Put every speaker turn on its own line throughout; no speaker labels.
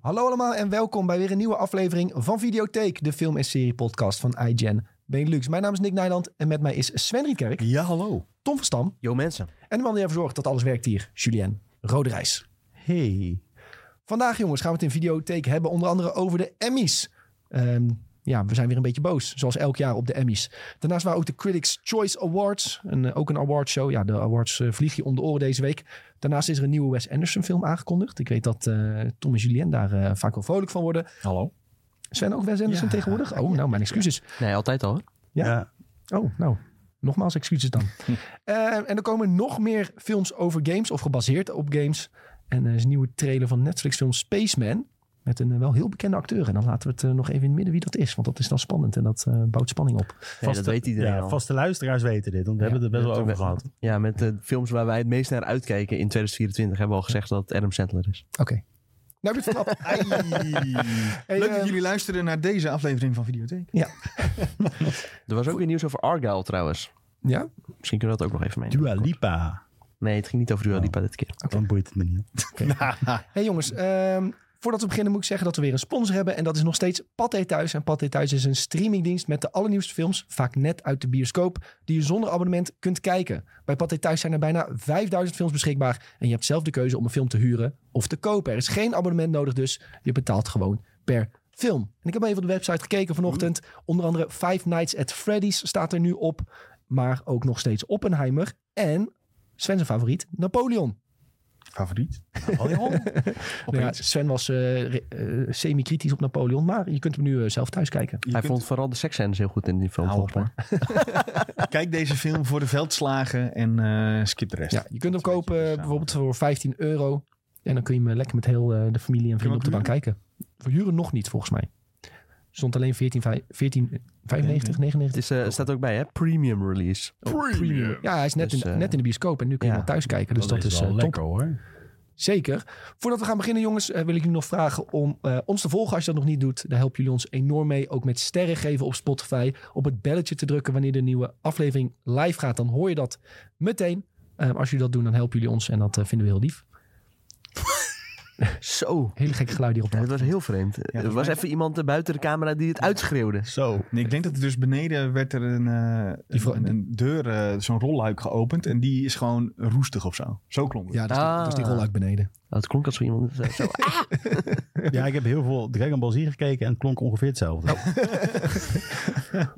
Hallo allemaal en welkom bij weer een nieuwe aflevering van Videotheek, de film- en serie-podcast van iGen Benelux. Mijn naam is Nick Nijland en met mij is Sven Riekerk,
Ja, hallo.
Tom van Stam
Yo mensen.
en de man die ervoor zorgt dat alles werkt hier, Julien Roderijs.
Hey.
Vandaag jongens gaan we het in Videotheek hebben, onder andere over de Emmys. Ehm, ja, we zijn weer een beetje boos, zoals elk jaar op de Emmys. Daarnaast waren ook de Critics' Choice Awards, een, eh, ook een awardshow. Ja, de awards eh, vlieg je om de oren deze week. Daarnaast is er een nieuwe Wes Anderson film aangekondigd. Ik weet dat eh, Tom en Julien daar eh, vaak wel vrolijk van worden.
Hallo.
Sven ook Wes Anderson
Ja.
tegenwoordig? Oh, nou, mijn excuses.
Nee, altijd al. hè?
Ja.
Ja.
Oh, nou. Nogmaals, excuses dan. Eh, en er komen nog meer films over games of gebaseerd op games. En er is een nieuwe trailer van Netflix-film Spaceman. Met een eh, wel heel bekende acteur. En dan laten we het eh, nog even in het midden wie dat is. Want dat is dan spannend en dat eh, bouwt spanning op.
Nee, dat weet iedereen
ja,
al.
Vaste luisteraars weten dit, want we
Ja,
hebben het er best wel
dat-
over gehad.
Ja, met de films waar wij het meest naar uitkijken in 2024 hebben we al gezegd dat het Adam Sandler is.
Oké. Nou heb je het vanaf.
Ai.
Hey,
Leuk dat
eh,
jullie luisteren naar deze aflevering van Videotheek.
Er was ook weer nieuws over Argyle trouwens.
Ja? Oké.
Misschien kunnen we dat ook nog even meenemen.
Dua Lipa.
Nee, het ging niet over Dua Lipa dit keer.
Dan boeit het me niet.
Hey jongens, ehm, voordat we beginnen moet ik zeggen dat we weer een sponsor hebben. En dat is nog steeds Pathé Thuis. En Pathé Thuis is een streamingdienst met de allernieuwste films, vaak net uit de bioscoop, die je zonder abonnement kunt kijken. Bij Pathé Thuis zijn er bijna 5000 films beschikbaar. En je hebt zelf de keuze om een film te huren of te kopen. Er is geen abonnement nodig, dus je betaalt gewoon per film. En ik heb even op de website gekeken vanochtend. Onder andere Five Nights at Freddy's staat er nu op. Maar ook nog steeds Oppenheimer en Sven's favoriet, Napoleon.
Favoriet?
Dus
Nou ja, Sven was eh, re- eh, semi-kritisch op Napoleon, maar je kunt hem nu eh, zelf thuis kijken.
Hij
kunt-
vond vooral de seksscènes heel goed in die film.
Hou op,
volgens mij.
Kijk deze film voor de veldslagen en eh, skip de rest.
Ja, je kunt hem
Dat is een
kopen
beetje
eh,
saai.
bijvoorbeeld voor 15 euro. En dan kun je hem eh, lekker met heel eh, de familie en vrienden op de
Kun je
bank
hem
kijken. Voor huren nog niet, volgens mij. Stond alleen 14, vij- 14 95,
Het
99.
is, eh, staat ook bij, hè? Oh, Premium release.
Premium.
Ja, hij is net,
Dus,
in,
eh,
net in de bioscoop en nu kun je
ja,
hem al thuis kijken. Dus dat, is, eh,
wel
top.
lekker hoor.
Zeker. Voordat we gaan beginnen, jongens, eh, wil ik jullie nog vragen om eh, ons te volgen als je dat nog niet doet. Daar helpen jullie ons enorm mee. Ook met sterren geven op Spotify. Op het belletje te drukken wanneer de nieuwe aflevering live gaat. Dan hoor je dat meteen. Eh, als jullie dat doen, dan helpen jullie ons. En dat eh, vinden we heel lief.
Zo.
Hele gekke geluid hier op
Ja,
de
dat was heel vreemd. er
volgens
was
mij-
even iemand eh, buiten de camera die het uitschreeuwde.
Zo.
Nee, ik denk dat er dus beneden werd er een, eh,
Die vrouw-
een, een deur, eh, zo'n rolluik geopend. En die is gewoon roestig of zo. Zo klonk het.
Ja, dat is, die, dat is die
Ah.
rol uit beneden.
Oh, het klonk als zo iemand. Zo. zo.
Ja, ik heb heel veel Dragon Ball Z gekeken en het klonk ongeveer hetzelfde.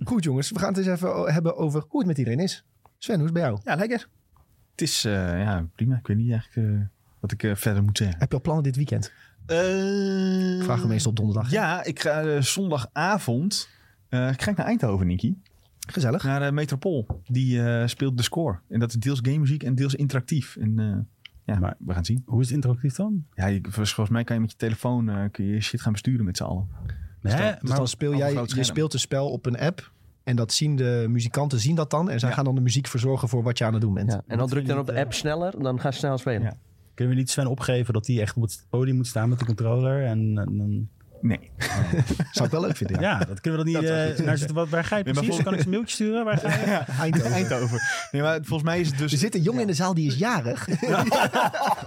Goed, jongens. We gaan het eens even o- hebben over hoe het met iedereen is. Sven, hoe is het bij jou?
Ja, lekker. Het is eh, ja, prima. Ik weet niet eigenlijk eh, wat ik eh, verder moet zeggen.
Heb je al plannen dit weekend?
Eh,
Ik vraag hem meestal op donderdag.
Ja, ik ga eh, zondagavond eh, ik ga ik naar Eindhoven, Niki.
Gezellig.
Naar eh, Metropool. Die eh, speelt de score. En dat is deels game muziek en deels interactief. En eh, ja,
Maar-
maar we gaan het zien.
Hoe is het interactief dan?
Ja, je, volgens mij kan je met je telefoon eh, kun je shit gaan besturen met z'n allen.
Nee,
dan-
Dus dan speel jij,
op groot
je
scherm.
speelt een spel op een app. En dat zien de muzikanten zien dat dan. En zij
Ja.
gaan dan de muziek verzorgen voor wat je aan het doen bent.
Ja. En dan druk je dan op de app sneller, dan ga je snel spelen.
Ja.
kunnen we niet Sven opgeven dat hij echt op het podium moet staan met de controller? En, en- en-
Nee.
Zou ik wel leuk vinden.
ja. dat kunnen we dan niet.
Dat zou
eh,
goed zijn.
naar zitten. Wat- waar ga je
maar
precies?
voor-
Kan ik ze een mailtje sturen? Waar ga je?
Eindhoven.
Eindhoven. Nee, maar volgens mij is het dus...
Er zit een jongen in de zaal die is jarig.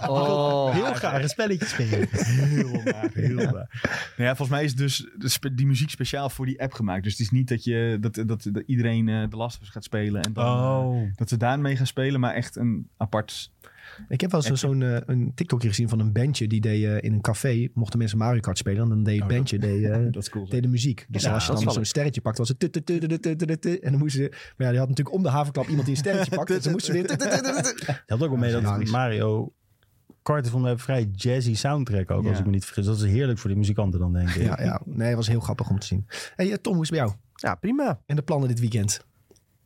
Oh.
Heel graag een spelletje spelen. Heel waar, heel waar.
Nou ja, volgens mij is dus de spe- die muziek speciaal voor die app gemaakt. Dus het is niet dat, je, dat, dat, dat iedereen eh de Last of Us gaat spelen. En dan, eh,
Oh.
dat ze daarmee gaan spelen, maar echt een apart...
Ik heb wel eens zo'n eh, een TikTokje gezien van een bandje. Die deed eh, in een café, mochten mensen Mario Kart spelen. En dan deed het bandje deed, eh,
Dat is cool.
deed de muziek. Dus
Ja,
als je
dat
dan
zal
zo'n
ik.
sterretje pakt, was het... tut, tut, tut, tut, tut, tut, tut. En dan moesten ze... Maar ja, die had natuurlijk om de havenklap iemand die een sterretje pakt. Dus dan moesten ze weer... tut, tut, tut, tut, tut.
Je had ook wel mee dat
Hilarisch.
Mario Kart vond een vrij jazzy soundtrack ook,
Ja.
als ik me niet vergis. Dat is heerlijk voor die muzikanten dan, denk ik.
Ja, ja. Nee, het was heel grappig om te zien. hey, eh, Tom, hoe is het bij jou?
Ja, prima.
En de plannen dit weekend?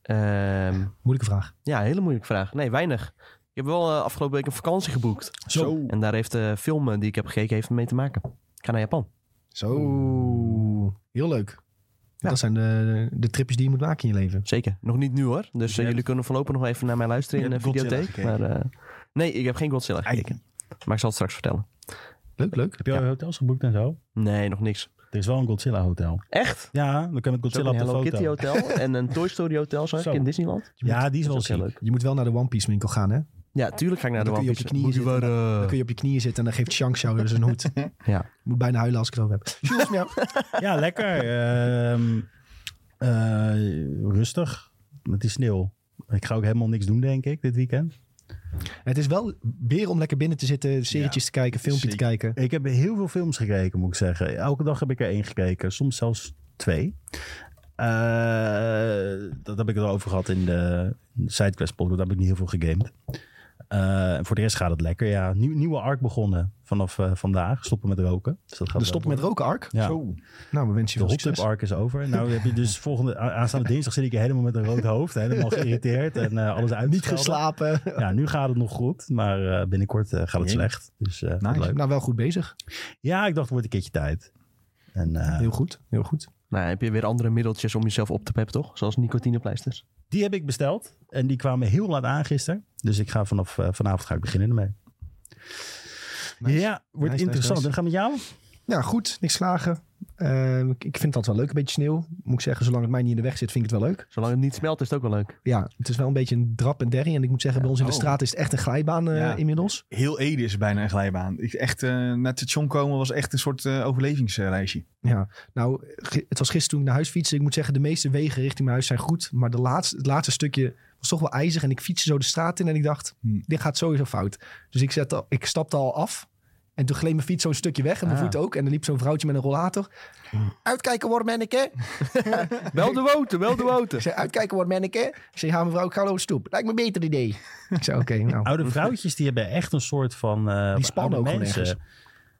Ehm,
Moeilijke vraag.
ja, hele moeilijke vraag. Nee, weinig. Ik heb wel eh, afgelopen week een vakantie geboekt.
Zo.
En daar heeft de film eh, die ik heb gekeken heeft mee te maken. Ik ga naar Japan.
Zo. Heel leuk. Dat zijn de, de tripjes die je moet maken in je leven.
Zeker. Nog niet nu hoor. Dus eh,
hebt-
jullie kunnen voorlopig nog even naar mij luisteren
Je
in de
hebt Godzilla
videotheek. Maar, eh, nee, ik heb geen Godzilla
Ei.
gekeken. Maar ik zal het straks vertellen.
Leuk, leuk.
Heb je al je hotels geboekt en zo?
Nee, nog niks.
Er is wel een Godzilla hotel.
Echt?
Ja, dan kan je met
Er is ook
Godzilla op de
een Hello Kitty
foto.
hotel en een Toy Story hotel zag ik
Zo.
in Disneyland.
Ja, die is
Dat
wel
is ook heel
ziek.
leuk.
Je moet wel naar de One Piece winkel gaan, hè?
Ja, tuurlijk ga ik naar de
Dan kun je op je
Wampus.
knieën
Moet je
zitten.
waar, eh,
Dan kun je op je knieën zitten en dan geeft Shank jou dus een hoed.
Ja.
Moet bijna huilen als ik het over heb. Jules, ja.
Ja, lekker. Ehm, eh, rustig. Het is sneeuw. Ik ga ook helemaal niks doen, denk ik, dit weekend.
Het is wel weer om lekker binnen te zitten, serietjes te kijken, filmpje te
zeker.
kijken.
Ik heb heel veel films gekeken, moet ik zeggen. Elke dag heb ik er één gekeken. Soms zelfs twee. Eh, dat heb ik erover gehad in de Sidequest podcast. Daar heb ik niet heel veel gegamed. Eh, en voor de rest gaat het lekker. Ja, nieuw, nieuwe arc begonnen vanaf eh, vandaag. Stoppen met roken. Dus dat gaat
We
wel
stoppen met roken, Ark.
Ja.
Zo.
Nou, we wensen
De
je
hot
veel
tub
succes.
arc is over. Nou heb je dus volgende, a- aanstaande dinsdag zit ik hier helemaal met een rood hoofd. Helemaal geïrriteerd en eh, alles uit.
Niet geslapen.
Ja, nu gaat het nog goed. Maar eh, binnenkort eh, gaat het
Jee.
slecht. Dus eh,
Nice.
leuk.
Nou, wel goed bezig.
Ja, ik dacht, het wordt een keertje tijd. En eh,
Heel goed. Heel goed.
Nou, heb je weer andere middeltjes om jezelf op te peppen, toch? Zoals nicotinepleisters.
die heb ik besteld. En die kwamen heel laat aan gisteren. Dus ik ga vanaf eh, vanavond ga ik beginnen ermee. Ja, wordt
nice,
interessant.
nice.
En gaan we met jou?
Ja, goed. Niks slagen. Ehm, ik ik vind dat wel leuk, een beetje sneeuw. Moet ik zeggen, zolang het mij niet in de weg zit, vind ik het wel leuk.
Zolang het niet smelt, is het ook wel leuk.
Ja, het is wel een beetje een drap en derry. En ik moet zeggen, bij ons in de
Oh.
straat is het echt een glijbaan eh,
Ja.
inmiddels.
Heel Ede is bijna een glijbaan. Ik, echt, eh, naar het station komen was echt een soort eh, overlevingsreisje.
Ja, nou, ge- het was gisteren toen ik naar huis fietste. Ik moet zeggen, de meeste wegen richting mijn huis zijn goed. Maar de laatste, het laatste stukje was toch wel ijzig. En ik fietste zo de straat in en ik dacht,
Hmm.
dit gaat sowieso fout. Dus ik, zette, al- ik stapte al af. En toen gleed mijn fiets zo'n stukje weg en mijn
Ah.
voet ook. En er liep zo'n vrouwtje met een rollator.
Ah.
Uitkijken worden, manneke.
Wel de woten, wel de
Ik
woten.
zei, uitkijken worden, manneke. Ik zei, ja mevrouw, ik ga over de stoep. Lijkt me een beter idee. Ik zei, oké, nou.
Oude vrouwtjes die hebben echt een soort van. eh,
Die spannen
oude
ook gewoon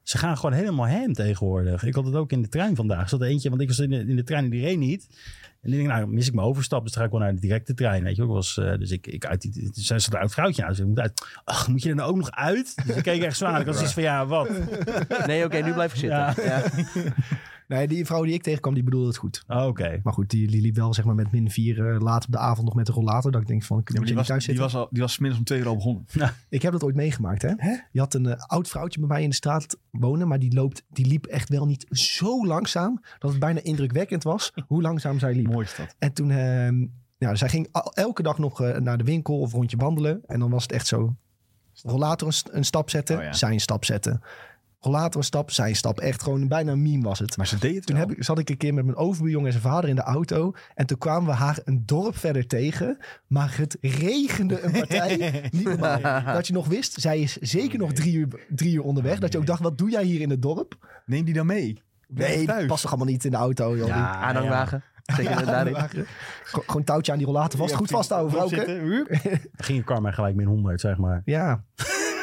Ze gaan gewoon helemaal hem tegenwoordig. Ik had het ook in de trein vandaag. Er zat er eentje, want ik was in de, in de trein en die reed niet. En ik denk, nou, mis ik mijn overstap, dus dan ga ik wel naar de directe trein. Weet je, ook was, eh, dus ik, ik uit die, toen zei- zat een oud vrouwtje aan. Dus ik moet uit. Ach, moet je er nou ook nog uit? Dus ik keek echt zwaar. Ik had zoiets van, ja, wat?
Nee, oké, nu blijf ik zitten.
Ja.
Ja.
Nee, die vrouw die ik tegenkwam, die bedoelde het goed.
Oh, Oké.
Maar goed, die, die liep wel zeg maar, met min 4 laat op de avond nog met een rollator. Dat ik denk van, ik moet je
die,
niet
was,
thuis
die,
zitten.
was al, die was 's middags om twee uur al begonnen.
Ik heb dat ooit meegemaakt, hè? Je had een eh, oud vrouwtje bij mij in de straat wonen, maar die, loopt, die liep echt wel niet zo langzaam dat het bijna indrukwekkend was hoe langzaam zij liep.
Mooi is dat.
En toen, ehm, ja, zij ging al- elke dag nog eh, naar de winkel of rondje wandelen. En dan was het echt zo, rollator een, st- een stap zetten,
Oh ja.
zij een stap zetten. Rollator een stap, zij een stap. Echt gewoon bijna een meme was het.
Maar ze deed het
Toen
wel.
heb ik, zat ik een keer met mijn overbuurjongen en zijn vader in de auto. En toen kwamen we haar een dorp verder tegen. Maar het regende een partij. niet normaal. Dat je nog wist, zij is zeker nog drie uur, drie uur onderweg. Dat je ook dacht, wat doe jij hier in het dorp?
Neem die dan mee. Blijf
Nee, dat
thuis.
past toch allemaal niet in de auto, joh. Die-
Aanhangwagen. Zeker daarin.
Gew- gewoon touwtje aan die rollator vast. Goed vasthouden, vrouwke.
Zitten, hup.
Dan ging Karma gelijk min 100, zeg maar.
Ja,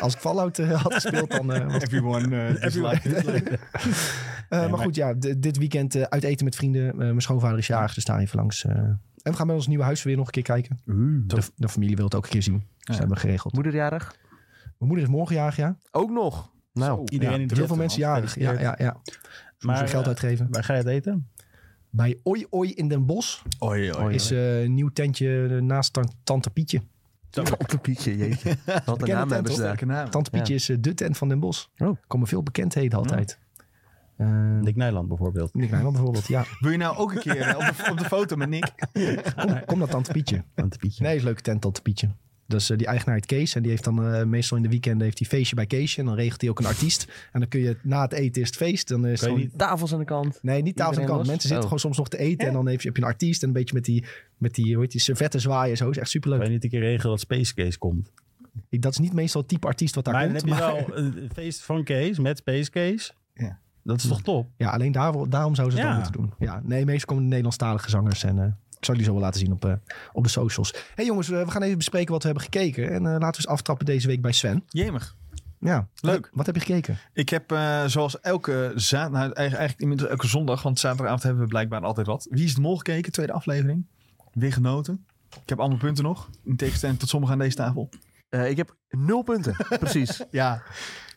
als ik Fallout eh, had gespeeld, dan... eh, was-
Everyone. eh, dislike.
Eh, maar,
maar-
goed, ja, d- dit weekend eh, uit eten met vrienden. Eh, mijn schoonvader is jarig, dus daar even langs. eh. en we gaan bij ons nieuwe huis weer nog een keer kijken. De, de familie wil het ook een keer zien. Dus dat hebben we geregeld.
Moederjarig.
Mijn moeder is morgen jarig, ja.
Ook nog. Nou,
Zo.
Iedereen in de
Heel veel mensen
man.
jarig. Ja, ja, ja. Ze
Maar,
moeten geld
eh,
uitgeven.
Waar ga je het eten?
Bij Oi Oi in Den Bosch
Oei, oei.
Oei,
is eh, een nieuw tentje eh, naast tan- Tante Pietje.
Tante Pietje, jeetje. Wat een
Bekende
naam hebben
tent,
ze
hoor.
daar.
Welke naam?
Tante Pietje is eh, de tent van Den Bosch.
Oh.
Er komen veel bekendheden altijd. Eh
Dick Nijland bijvoorbeeld.
Nick Nijland bijvoorbeeld, ja.
Wil je nou ook een keer eh, op, de, op de foto met Nick?
Kom, kom naar Tante Pietje.
Want Pietje.
Nee, is een leuke tent, Tante Pietje. Dus is eh, die eigenaar heet Kees. En die heeft dan eh, meestal in de weekenden heeft hij feestje bij Keesje. En dan regelt hij ook een artiest. En dan kun je na het eten is het feest. Dan is
Kan
het
je
gewoon-
niet-
Tafels aan de kant.
Nee, niet tafel aan de
Iedereen
kant.
los?
Mensen zitten
Oh.
gewoon soms nog te eten. En dan heb je, heb je een artiest en een beetje met die, met die, hoe heet die servetten zwaaien. en Zo is echt superleuk.
Kan je niet een keer regelen dat Space Case komt?
Ik- Dat is niet meestal het type artiest wat daar
maar dan
komt.
heb je
maar-
wel een feest van Kees met Space Case.
Ja.
Dat is toch top?
Ja, alleen daarvoor, daarom zouden ze het
Ja.
wel moeten doen. Ja, nee, meestal komen de Nederlandstalige zangers. En eh, ik zal jullie zo wel laten zien op, eh, op de socials. Hé hey jongens, eh, we gaan even bespreken wat we hebben gekeken. En eh, laten we eens aftrappen deze week bij Sven.
Jemig.
Ja,
Leuk.
Wat heb je gekeken?
Ik heb eh, zoals elke zaterdag, nou, eigenlijk, eigenlijk inmiddels elke zondag, want zaterdagavond hebben we blijkbaar altijd wat. Wie is de mol gekeken? Tweede aflevering. Weer genoten. Ik heb allemaal punten nog. In tegenstelling tot sommigen aan deze tafel.
Eh, ik heb nul punten. Precies.
Ja.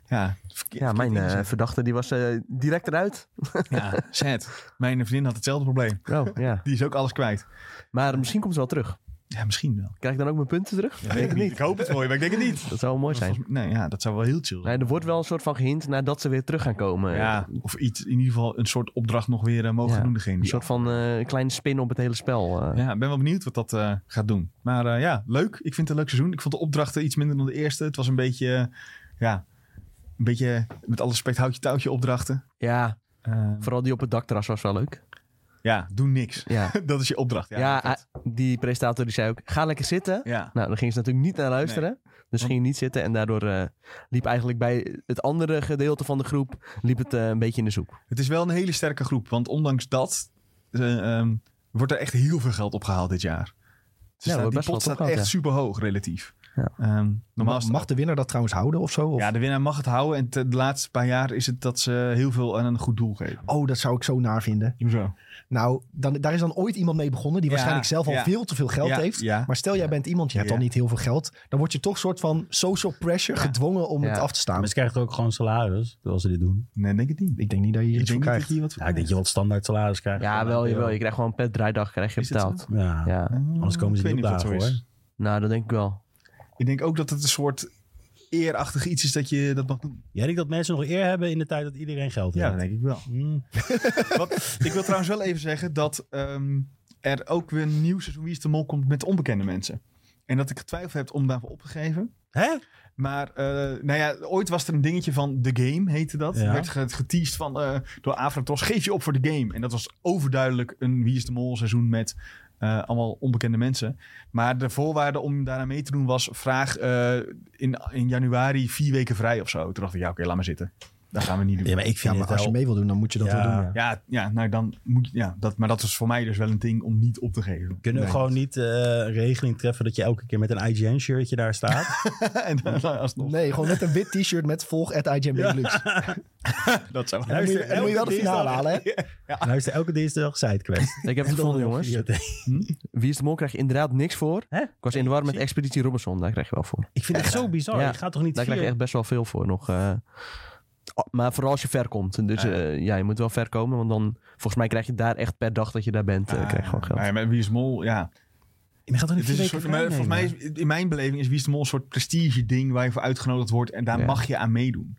Ja, verkeer-
Ja, mijn eh,
verkeerd
verdachte die was eh, direct eruit.
ingezet. ja, sad. Mijn vriendin had hetzelfde probleem.
Oh, ja.
Die is ook alles kwijt.
Maar misschien komt ze wel terug.
Ja, misschien wel.
Krijg ik dan ook mijn punten terug?
Ja, ik, ik hoop het voor je, maar ik denk het niet.
Dat zou wel mooi
Dat
zijn.
was- nee, ja, dat zou wel heel chill zijn.
Nee, er wordt wel een soort van gehint nadat ze weer terug gaan komen.
Ja, of iets, in ieder geval een soort opdracht nog weer eh, mogen
Ja,
doen degene.
Een
die-
soort van eh, kleine spin op het hele spel. eh.
Ja, ik ben wel benieuwd wat dat eh, gaat doen. Maar eh, ja, leuk. Ik vind het een leuk seizoen. Ik vond de opdrachten iets minder dan de eerste. Het was een beetje, eh, ja, een beetje eh, met alle respect houtje touwtje opdrachten.
ja,
Eh,
vooral die op het dakterras was wel leuk.
ja, doe niks.
Ja,
dat is je opdracht. Ja,
ja,
dat-
ah, die presentator die zei ook, ga lekker zitten.
ja.
Nou, daar ging ze natuurlijk niet naar luisteren. Dus ging niet zitten en daardoor eh, liep eigenlijk bij het andere gedeelte van de groep liep het eh, een beetje in de zoek.
Het is wel een hele sterke groep. Want ondanks dat eh, ehm, wordt er echt heel veel geld opgehaald dit jaar. Ze
Ja,
staan-
wordt
die
best wel
pot staat echt
opgehaald, ja.
super hoog relatief.
Ja.
Ehm, normaal
mag,
is het-
mag de winnaar dat trouwens houden of zo? Of?
Ja, de winnaar mag het houden. En te- de laatste paar jaar is het dat ze heel veel aan een goed doel geven.
Oh, dat zou ik zo naar vinden.
Hoezo?
Nou, dan, daar is dan ooit iemand mee begonnen die
Ja,
waarschijnlijk zelf al
ja.
veel te veel geld
Ja,
heeft.
ja.
Maar stel jij bent iemand, je hebt
Ja.
al niet heel veel geld. Dan word je toch soort van social pressure gedwongen om
Ja.
het af te staan.
Maar ze krijgen toch ook gewoon salaris, terwijl ze dit doen.
Nee, denk het niet.
Ik denk niet dat je hier
Ik
iets voor
denk niet
krijgt.
dat je hier wat voor
Ja, ik denk je wat standaard salaris krijgt.
Ja,
Van,
wel,
eh,
jawel. Je krijgt gewoon per draaidag krijg je
Is dat
betaald.
Ja.
Ja,
Eh,
Anders komen ze
ik
niet
weet
op
of
dagen,
dat zo is.
nou dat denk ik wel.
Ik denk ook dat het een soort eerachtig iets is dat je dat mag doen.
Jij denkt dat mensen nog eer hebben in de tijd dat iedereen geld heeft?
denk ik wel.
Hmm.
Wat, ik wil trouwens wel even zeggen dat ehm, er ook weer een nieuw seizoen Wie is de Mol komt met onbekende mensen. En dat ik getwijfeld heb om daarvoor op te geven.
Hè?
Maar eh, nou ja, ooit was er een dingetje van The Game, heette dat.
Ja.
Er werd ge- geteased van, eh, door Avatros, geef je op voor The Game. En dat was overduidelijk een Wie is de Mol seizoen met eh, allemaal onbekende mensen. Maar de voorwaarde om daarna mee te doen was, vraag eh, in, in januari vier weken vrij of zo. Toen dacht ik, ja oké, laat maar zitten. Dat gaan we niet doen.
Ja, maar ik
Ja,
vind
maar
het
als je
wel...
mee wil doen, dan moet je dat
Ja.
wel doen. Ja.
Ja, ja, nou dan moet je, ja, dat, maar dat was voor mij dus wel een ding om niet op te geven.
Kunnen we
Nee.
gewoon niet eh, een regeling treffen dat je elke keer met een IGN-shirtje daar staat?
en dan, eh, alsnog,
Nee, gewoon net een wit t-shirt met volg at IGN Big Lux.
dat zou
En dan moet je, en dan moet je wel de
Elke
finale
dinsdag.
halen, hè?
Luister elke dinsdag sidequest.
Ik heb het gevonden, jongens.
Videotheek.
Wie is de mol krijgt inderdaad niks voor.
Hè?
Ik was in de war met Expeditie Robinson, daar krijg je wel voor.
Ik vind het zo bizar.
Ja.
Je gaat toch niet
Daar krijg je
vier-
echt best wel veel voor nog. eh. Oh, maar vooral als je ver komt. Dus
Ja.
eh, ja, je moet wel ver komen. Want dan, volgens mij krijg je daar echt per dag dat je daar bent, eh, krijg je gewoon geld.
Nee, maar Wie is de Mol, ja.
Je gaat toch niet
Het
vier
is een
weken
eh,
soort, maar
vrij
volgens mij,
nemen?
is, in mijn beleving is Wie is de Mol een soort prestige ding waar je voor uitgenodigd wordt en daar
Ja.
mag je aan meedoen.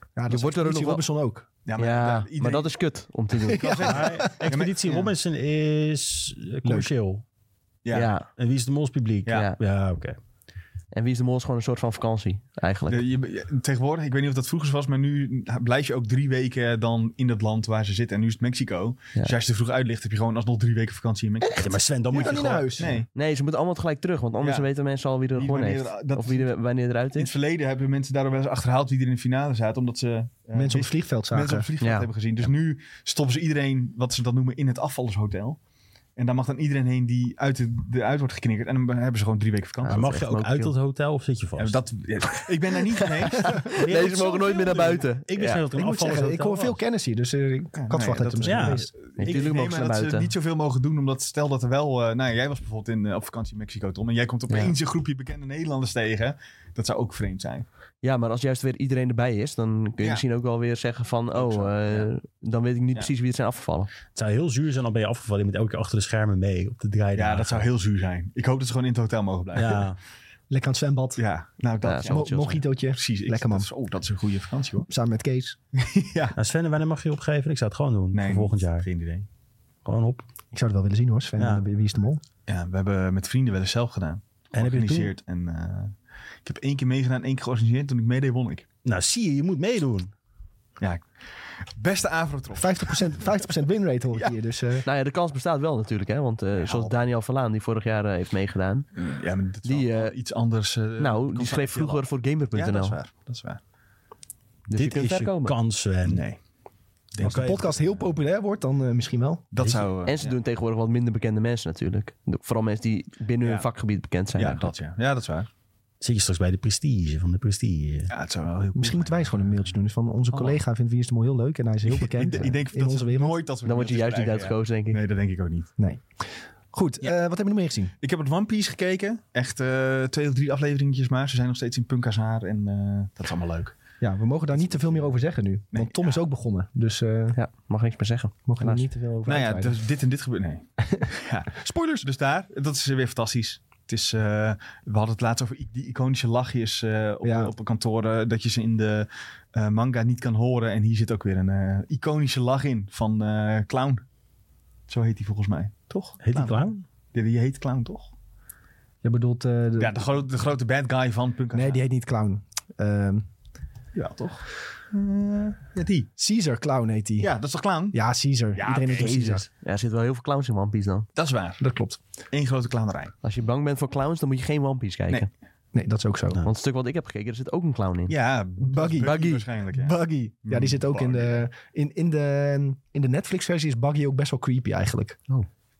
Ja, dat
Je
is
wordt er ook
Richie
nog
Robinson ook.
Ja,
Ja,
daar-
maar
iedereen-
dat is kut om te doen.
kan zeggen.
Maar Expeditie
ja.
Robinson is eh, commercieel.
Ja.
ja.
En wie is de Mols publiek?
Ja.
ja.
Ja, oké.
En Wie is de Mol is gewoon een soort van vakantie, eigenlijk.
De- je- je- tegenwoordig, ik weet niet of dat vroeger was, maar nu blijf je ook drie weken dan in het land waar ze zitten. En nu is het Mexico.
Ja.
Dus als je te vroeg uitlicht, heb je gewoon alsnog drie weken vakantie in Mexico.
Ja, maar Sven,
Moet
dan moet
je
je
niet naar
gewoon...
huis.
Nee.
Nee, ze moeten allemaal tegelijk terug. Want anders
Ja.
weten mensen al wie er
Wie
gewonnen
wanneer-
heeft.
dat
Of
is-
wie er, wanneer eruit
In het
is.
verleden hebben mensen daardoor wel eens achterhaald wie er in de finale zaten, omdat ze eh,
Mensen op het vliegveld zagen.
mensen op het vliegveld
Ja.
hebben gezien. Dus nu stoppen ze iedereen, wat ze dat noemen, in het afvallershotel. En daar mag dan iedereen heen die uit de, eruit wordt geknikkerd. En dan hebben ze gewoon drie weken vakantie.
Maar
Ja,
mag
dat
je
is echt
ook uit
logisch.
dat hotel of zit je vast?
Ja, dat, ja, ik ben daar niet van eens.
Deze mogen nooit meer naar buiten.
Ik
Ja.
wist niet dat er
Ik
een
moet zeggen, ik
afvallershotel
hoor veel
was.
kennis hier. Dus eh, ik
nee,
had verwacht dat
dat-
het misschien
ja.
geweest.
Natuurlijk
Nee,
mogen ze
maar
naar
dat ze
buiten.
niet zoveel mogen doen, omdat stel dat er wel... eh, nou ja, jij was bijvoorbeeld in, eh, op vakantie in Mexico, Tom. En jij komt opeens een groepje bekende Nederlanders tegen. Dat zou ook vreemd zijn.
Ja, maar als juist weer iedereen erbij is, dan kun je
Ja.
misschien ook wel weer zeggen van...
Ook
Oh,
zo,
eh, dan weet ik niet
Ja.
precies wie er zijn afgevallen.
Het zou heel zuur zijn, dan ben je afgevallen. Je moet elke keer achter de schermen mee op de draaidagen.
Ja, dat zou heel zuur zijn. Ik hoop dat ze gewoon in het hotel mogen blijven. Ja,
Ja.
Lekker aan het zwembad.
nou dat...
Ja,
ja,
zou wel
Mo-
chill zijn.
mojitootje.
Precies. Ik-
Lekker man.
Dat is, oh, dat is een goede vakantie, hoor.
Samen met Kees.
ja.
Nou, Sven, wanneer mag je opgeven? Ik zou het gewoon doen. voor volgend jaar.
Geen idee.
Gewoon op.
Ik zou het wel willen zien hoor, Sven.
Ja.
en Wie is de mol?
Ja, we hebben met vrienden wel eens zelf gedaan.
En heb je het toen?
georganiseerd. En eh, ik heb één keer meegedaan, één keer georganiseerd. Toen ik meedeed, won ik.
Nou, zie je, je moet meedoen.
Ja, ik- beste Avrotrof.
50%, 50% winrate hoor ik hier. Dus eh,
Nou ja, de kans bestaat wel natuurlijk, hè? Want eh, zoals Daniel Verlaan, die vorig jaar eh, heeft meegedaan.
Ja, maar dat is
Die,
wel
eh,
iets anders. eh,
nou, die
constant
schreef
veel
vroeger
af.
voor Gamer.nl.
Ja, dat is waar. Dat is waar.
Dus je
Dit
kunt
is
ver
je
komen.
kans, Sven.
Nee.
als de
Oké.
podcast heel populair wordt, dan eh, misschien wel.
Weet
Dat
je-
zou... eh,
En ze
ja.
doen tegenwoordig wat minder bekende mensen natuurlijk. Vooral mensen die binnen
Ja.
hun vakgebied bekend zijn.
Ja,
eigenlijk.
dat ja. Ja, dat is waar.
Zit je straks bij de prestige van de prestige.
Ja, het zou wel heel cool
Misschien moeten wij
zijn.
eens gewoon een mailtje doen. Dus van onze
Oh.
collega vindt Wie is de Mol heel leuk en hij is heel bekend
Ik, denk- ik denk
eh, in
dat
onze
we
wereld.
nooit dat we
Dan word je
mailtjes
juist niet
krijgen,
uitgekozen, denk
ja.
ik.
Nee, dat denk ik ook niet.
Goed,
Ja.
eh, wat hebben we nog meer gezien?
Ik heb het One Piece gekeken. Echt eh, twee of drie afleveringetjes maar. Ze zijn nog steeds in Punka's haar en eh, dat is allemaal leuk.
Ja, we mogen daar niet te veel meer over zeggen nu. Want Tom is ook begonnen. Dus eh
Ja, mag niks meer zeggen.
mogen we daar
Helaas.
niet te veel over
Nou ja,
uitweiden.
dus dit en dit gebeurt. Nee. ja. Spoilers! Dus daar, dat is weer fantastisch. Het is, eh, we hadden het laatst over i- die iconische lachjes eh, op,
Ja.
op kantoren. Dat je ze in de eh, manga niet kan horen. En hier zit ook weer een eh, iconische lach in van eh, Clown. Zo heet hij volgens mij. Toch?
Heet die clown?
Die, die heet Clown, toch?
Je bedoelt... eh, de-
Ja, de, gro- de grote bad guy van Punk.
nee, die heet niet Clown. Ehm,
Ja, toch? Eh, ja, die.
Caesar Clown heet die. Ja,
Ja, dat is toch Clown?
Caesar.
Ja,
Iedereen noemt hem Caesar.
Jezus. Ja, er zitten wel heel veel clowns in One Piece dan.
Dat is waar.
Dat klopt.
Eén grote clownerij.
Als je bang bent voor clowns, dan moet je geen One Piece kijken.
Nee, dat is ook zo.
Ja.
Want het stuk wat ik heb gekeken, er zit ook een clown in.
Ja,
Buggy.
Buggy.
waarschijnlijk. Ja.
Buggy. Ja, die zit ook in de... In, in de, in de Netflix-versie is Buggy ook best wel creepy eigenlijk.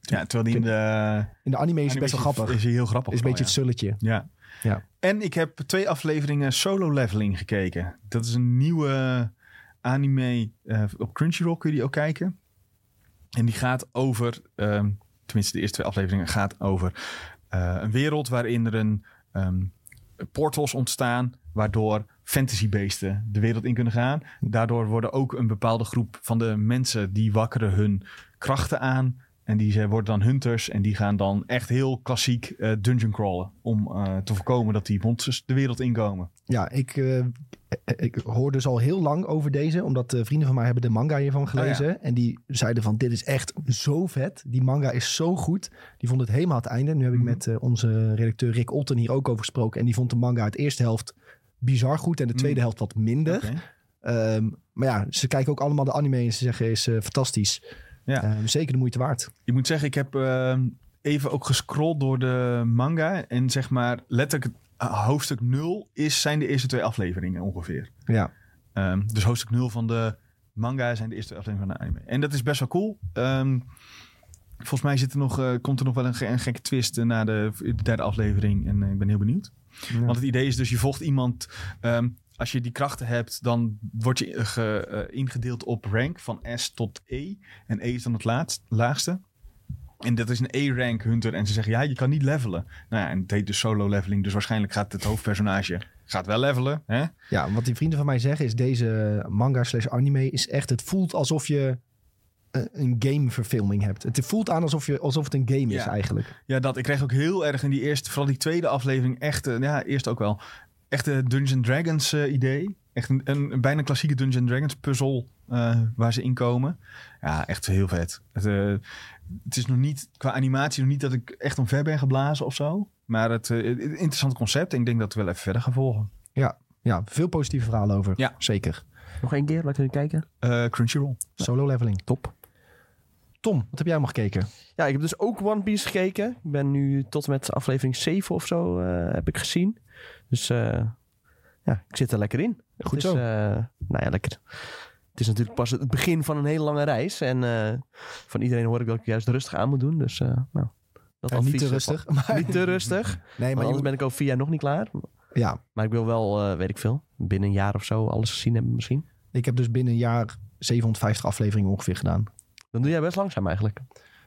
Ja, terwijl die in de...
In de anime is hij best wel grappig.
Is hij heel grappig.
Is een beetje
vooral,
het sulletje.
ja. Ja.
Ja.
En ik heb twee afleveringen solo leveling gekeken. Dat is een nieuwe anime. eh, op Crunchyroll kun je die ook kijken. En die gaat over, ehm, tenminste de eerste twee afleveringen, gaat over eh, een wereld waarin er een ehm, portals ontstaan. Waardoor fantasybeesten de wereld in kunnen gaan. Daardoor worden ook een bepaalde groep van de mensen die wakkeren hun krachten aan. En die zijn- worden dan hunters. En die gaan dan echt heel klassiek eh, dungeon crawlen. Om eh, te voorkomen dat die monsters de wereld inkomen.
Ja, ik, eh, ik hoor dus al heel lang over deze. Omdat eh, vrienden van mij hebben de manga
Oh,
hiervan gelezen. En die zeiden van, dit is echt zo vet. Die manga is zo goed. Die vond het helemaal het einde. Nu heb ik
Mhm.
met eh, onze redacteur Rick Otten hier ook over gesproken. En die vond de manga het eerste helft bizar goed. En de
Mm.
tweede helft wat minder.
Oké.
Ehm, maar ja, ze kijken ook allemaal de anime en ze zeggen is eh, fantastisch.
Ja.
Ehm, zeker de moeite waard.
Ik moet zeggen, ik heb ehm, even ook gescrolld door de manga. En zeg maar, letterlijk eh, hoofdstuk 0 is, zijn de eerste twee afleveringen ongeveer.
Ja,
Ehm, dus hoofdstuk 0 van de manga zijn de eerste aflevering van de anime. En dat is best wel cool. Ehm, volgens mij zit er nog, eh, komt er nog wel een, ge- een gekke twist eh, na de, de derde aflevering. En eh, ik ben heel benieuwd.
Ja.
Want het idee is dus, je volgt iemand... ehm, als je die krachten hebt, dan word je eh, ge- eh, ingedeeld op rank van S tot E. En E is dan het laatst, laagste. En dat is een E-rank hunter. En ze zeggen, ja, je kan niet levelen. Nou ja, en het heet dus solo leveling. Dus waarschijnlijk gaat het hoofdpersonage gaat wel levelen. Hè?
Ja, wat die vrienden van mij zeggen is deze manga slash anime is echt... Het voelt alsof je eh, een gameverfilming hebt. Het voelt aan alsof, je, alsof het een game is
Ja.
eigenlijk.
Ja, dat. Ik kreeg ook heel erg in die eerste, vooral die tweede aflevering, echt, eh, ja, eerst ook wel, echt een Dungeons Dragons eh, idee. Echt een, een, een bijna klassieke Dungeons Dragons puzzel eh, waar ze in komen. Ja, echt heel vet. Het, eh, het is nog niet, qua animatie, nog niet dat ik echt omver ben geblazen of zo. Maar het eh, het- het interessant concept. En ik denk dat we wel even verder gaan volgen.
Ja, veel positieve verhalen over.
Ja.
Zeker.
Nog één keer, laten we kijken.
Eh, Crunchyroll.
Solo leveling.
Top.
Tom, wat heb jij allemaal gekeken?
Ja, ik heb dus ook One Piece gekeken. Ik ben nu tot en met aflevering 7 of zo eh, heb ik gezien. Dus eh, ja, ik zit er lekker in.
Goed
Het is,
zo.
eh, nou ja, lekker. Het is natuurlijk pas het begin van een hele lange reis. En eh, van iedereen hoor ik dat ik juist rustig aan moet doen. Dus eh, nou, dat
Eh,
advies...
niet te
eh, Oh,
rustig. Maar,
Niet te rustig. Want
nee, maar je
anders
moet-
ben ik over vier jaar nog niet klaar.
ja,
Maar ik wil wel, eh, weet ik veel, binnen een jaar of zo alles gezien hebben misschien.
ik heb dus binnen een jaar 750 afleveringen ongeveer gedaan.
Dan doe jij best langzaam eigenlijk.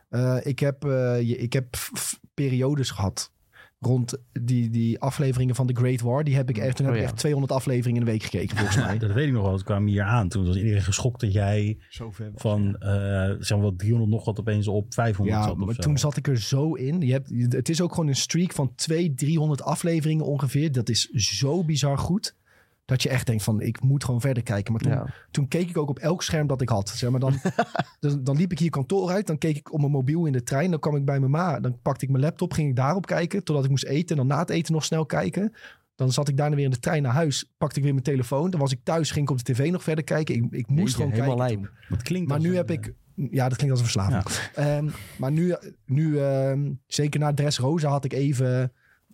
Eh, ik, heb, eh, je- ik heb f- f- periodes gehad. Rond die, die afleveringen van The Great War. Die heb ik echt, toen heb
Oh
ik
ja.
echt 200 afleveringen in de week gekeken, volgens mij.
Dat weet ik nog wel. Toen kwam hier aan. Toen was iedereen geschokt dat jij
Zo ver.
van eh, zeg maar wel 300 nog wat opeens op 500
Ja,
zat. of
maar
zo.
toen zat ik er zo in. Je hebt, het is ook gewoon een streak van 200, 300 afleveringen ongeveer. Dat is zo bizar goed. Dat je echt denkt van, ik moet gewoon verder kijken. Maar toen,
Ja.
toen keek ik ook op elk scherm dat ik had. Zeg maar dan, dan, dan liep ik hier kantoor uit. Dan keek ik op mijn mobiel in de trein. Dan kwam ik bij mijn ma. Dan pakte ik mijn laptop. Ging ik daarop kijken. Totdat ik moest eten. Dan na het eten nog snel kijken. Dan zat ik daarna weer in de trein naar huis. Pakte ik weer mijn telefoon. Dan was ik thuis. Ging ik op de tv nog verder kijken. Ik, ik moest
Jeetje,
gewoon kijken.
helemaal lijp.
Dat klinkt
Maar
als
nu
een, eh,
heb ik. Ja, dat klinkt als een verslaving. Ehm, maar nu, nu ehm, zeker na Dress Rosa, had ik even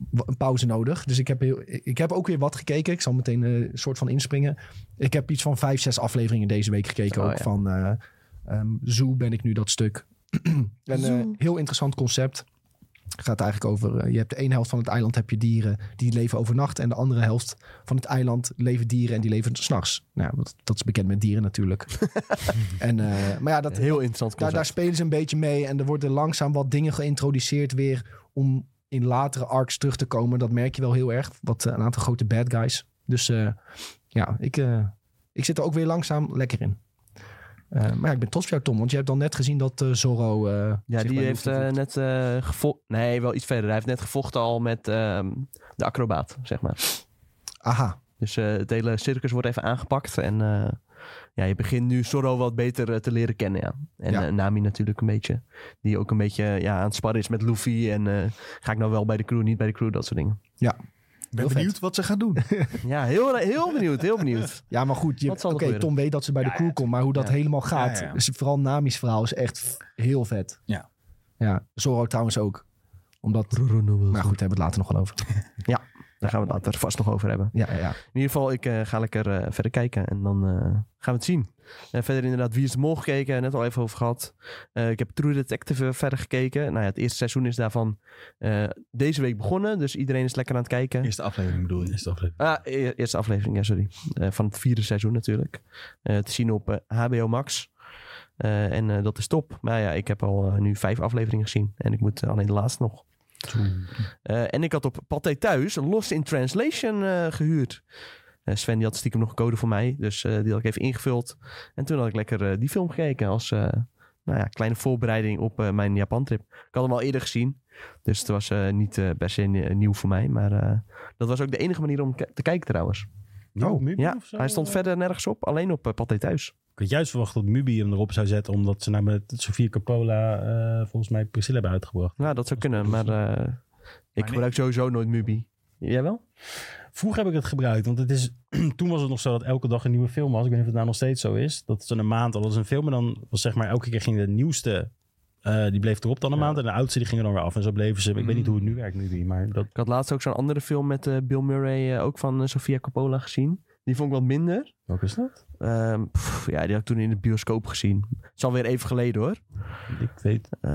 wa- een pauze nodig. Dus ik heb, heel, ik heb ook weer wat gekeken. Ik zal meteen eh, een soort van inspringen. Ik heb iets van vijf, zes afleveringen deze week gekeken.
Oh,
ook
ja.
van eh ehm, Zoo ben ik nu dat stuk. en eh, heel interessant concept. Gaat eigenlijk over, eh, je hebt de ene helft van het eiland heb je dieren die leven overnacht. En de andere helft van het eiland leven dieren en die leven s'nachts. Nou, dat, dat is bekend met dieren natuurlijk. en, eh, maar ja, dat,
Heel interessant
daar, daar
concept.
spelen ze een beetje mee. En er worden langzaam wat dingen geïntroduceerd weer. Om in latere arcs terug te komen. Dat merk je wel heel erg. Wat eh, een aantal grote bad guys. Dus eh, ja, ik, eh, ik zit er ook weer langzaam lekker in. Eh, maar ja, ik ben trots op jou, Tom. Want je hebt dan net gezien dat eh, Zorro... eh,
Ja,
zich
die
bij
heeft
Luffy
eh,
voegt.
net eh gevochten. Nee, wel iets verder. Hij heeft net gevochten al met ehm, de acrobaat, zeg maar.
Aha.
Dus eh, het hele circus wordt even aangepakt. En eh, ja, je begint nu Zorro wat beter eh, te leren kennen, ja. En
Ja.
eh, Nami natuurlijk een beetje. Die ook een beetje ja, aan het sparren is met Luffy. En eh, ga ik nou wel bij de crew, niet bij de crew, dat soort dingen.
ben
vet.
benieuwd wat ze gaan doen.
Ja, heel, heel benieuwd, heel benieuwd.
Ja, maar goed. je-
Wat
Oké,
zal er gebeuren?
Tom weet dat ze bij de
Ja,
crew
ja.
komt. Maar hoe dat
Ja.
helemaal gaat.
Ja, ja.
Is, vooral Nami's verhaal is echt f- heel vet.
Ja.
Ja, Zorro trouwens ook. Omdat... Maar goed, daar hebben we het later nog wel over.
Daar gaan we het later vast nog over hebben.
Ja, ja, ja.
In ieder geval, ik eh, ga lekker eh, verder kijken en dan eh, gaan we het zien. En verder inderdaad, Wie is de Mol gekeken, net al even over gehad. Eh, ik heb True Detective eh, verder gekeken. Nou ja, het eerste seizoen is daarvan eh, deze week begonnen, dus iedereen is lekker aan het kijken.
Eerste aflevering bedoel je.
Is dat even-
Ah, e- eerste aflevering, ja, sorry. Eh, van het vierde seizoen natuurlijk. Eh, te zien op eh, HBO Max. Eh, en eh, dat is top. Maar ja, ik heb al eh, nu vijf afleveringen gezien. En ik moet eh, alleen de laatste nog. Eh, en ik had op Pathé Thuis een Lost in Translation eh, gehuurd. Eh, Sven die had stiekem nog een code voor mij. Dus eh, die had ik even ingevuld. En toen had ik lekker eh, die film gekeken als eh, nou ja, kleine voorbereiding op eh, mijn Japan trip. Ik had hem al eerder gezien. Dus het was eh, niet eh, per se nie- nieuw voor mij. Maar eh, dat was ook de enige manier om ki- te kijken trouwens.
Oh, Mubi
Ja,
of zo?
hij stond verder nergens op. Alleen op eh, Pathé Thuis.
Ik had juist verwacht dat Mubi hem erop zou zetten, omdat ze nou met Sofia Coppola eh, volgens mij Priscilla hebben uitgebracht.
Nou, dat zou kunnen. Maar eh, ik
nee.
gebruik sowieso nooit Mubi. Jij wel?
Vroeger heb ik het gebruikt, want het is, toen was het nog zo dat elke dag een nieuwe film was. Ik weet niet of het nou nog steeds zo is. Dat ze een maand al was een film en dan was zeg maar elke keer ging de nieuwste, eh, die bleef erop dan een maand. En de oudste die gingen dan weer af en zo bleven ze. Ik weet niet
Mm.
hoe het nu werkt, Mubi, maar dat...
Ik had laatst ook zo'n andere film met eh, Bill Murray, eh, ook van eh, Sofia Coppola gezien. Die vond ik wat minder.
Welke is dat?
Ehm, pff, ja, die had ik toen in de bioscoop gezien. Het is alweer even geleden hoor.
Ik weet,
Eh,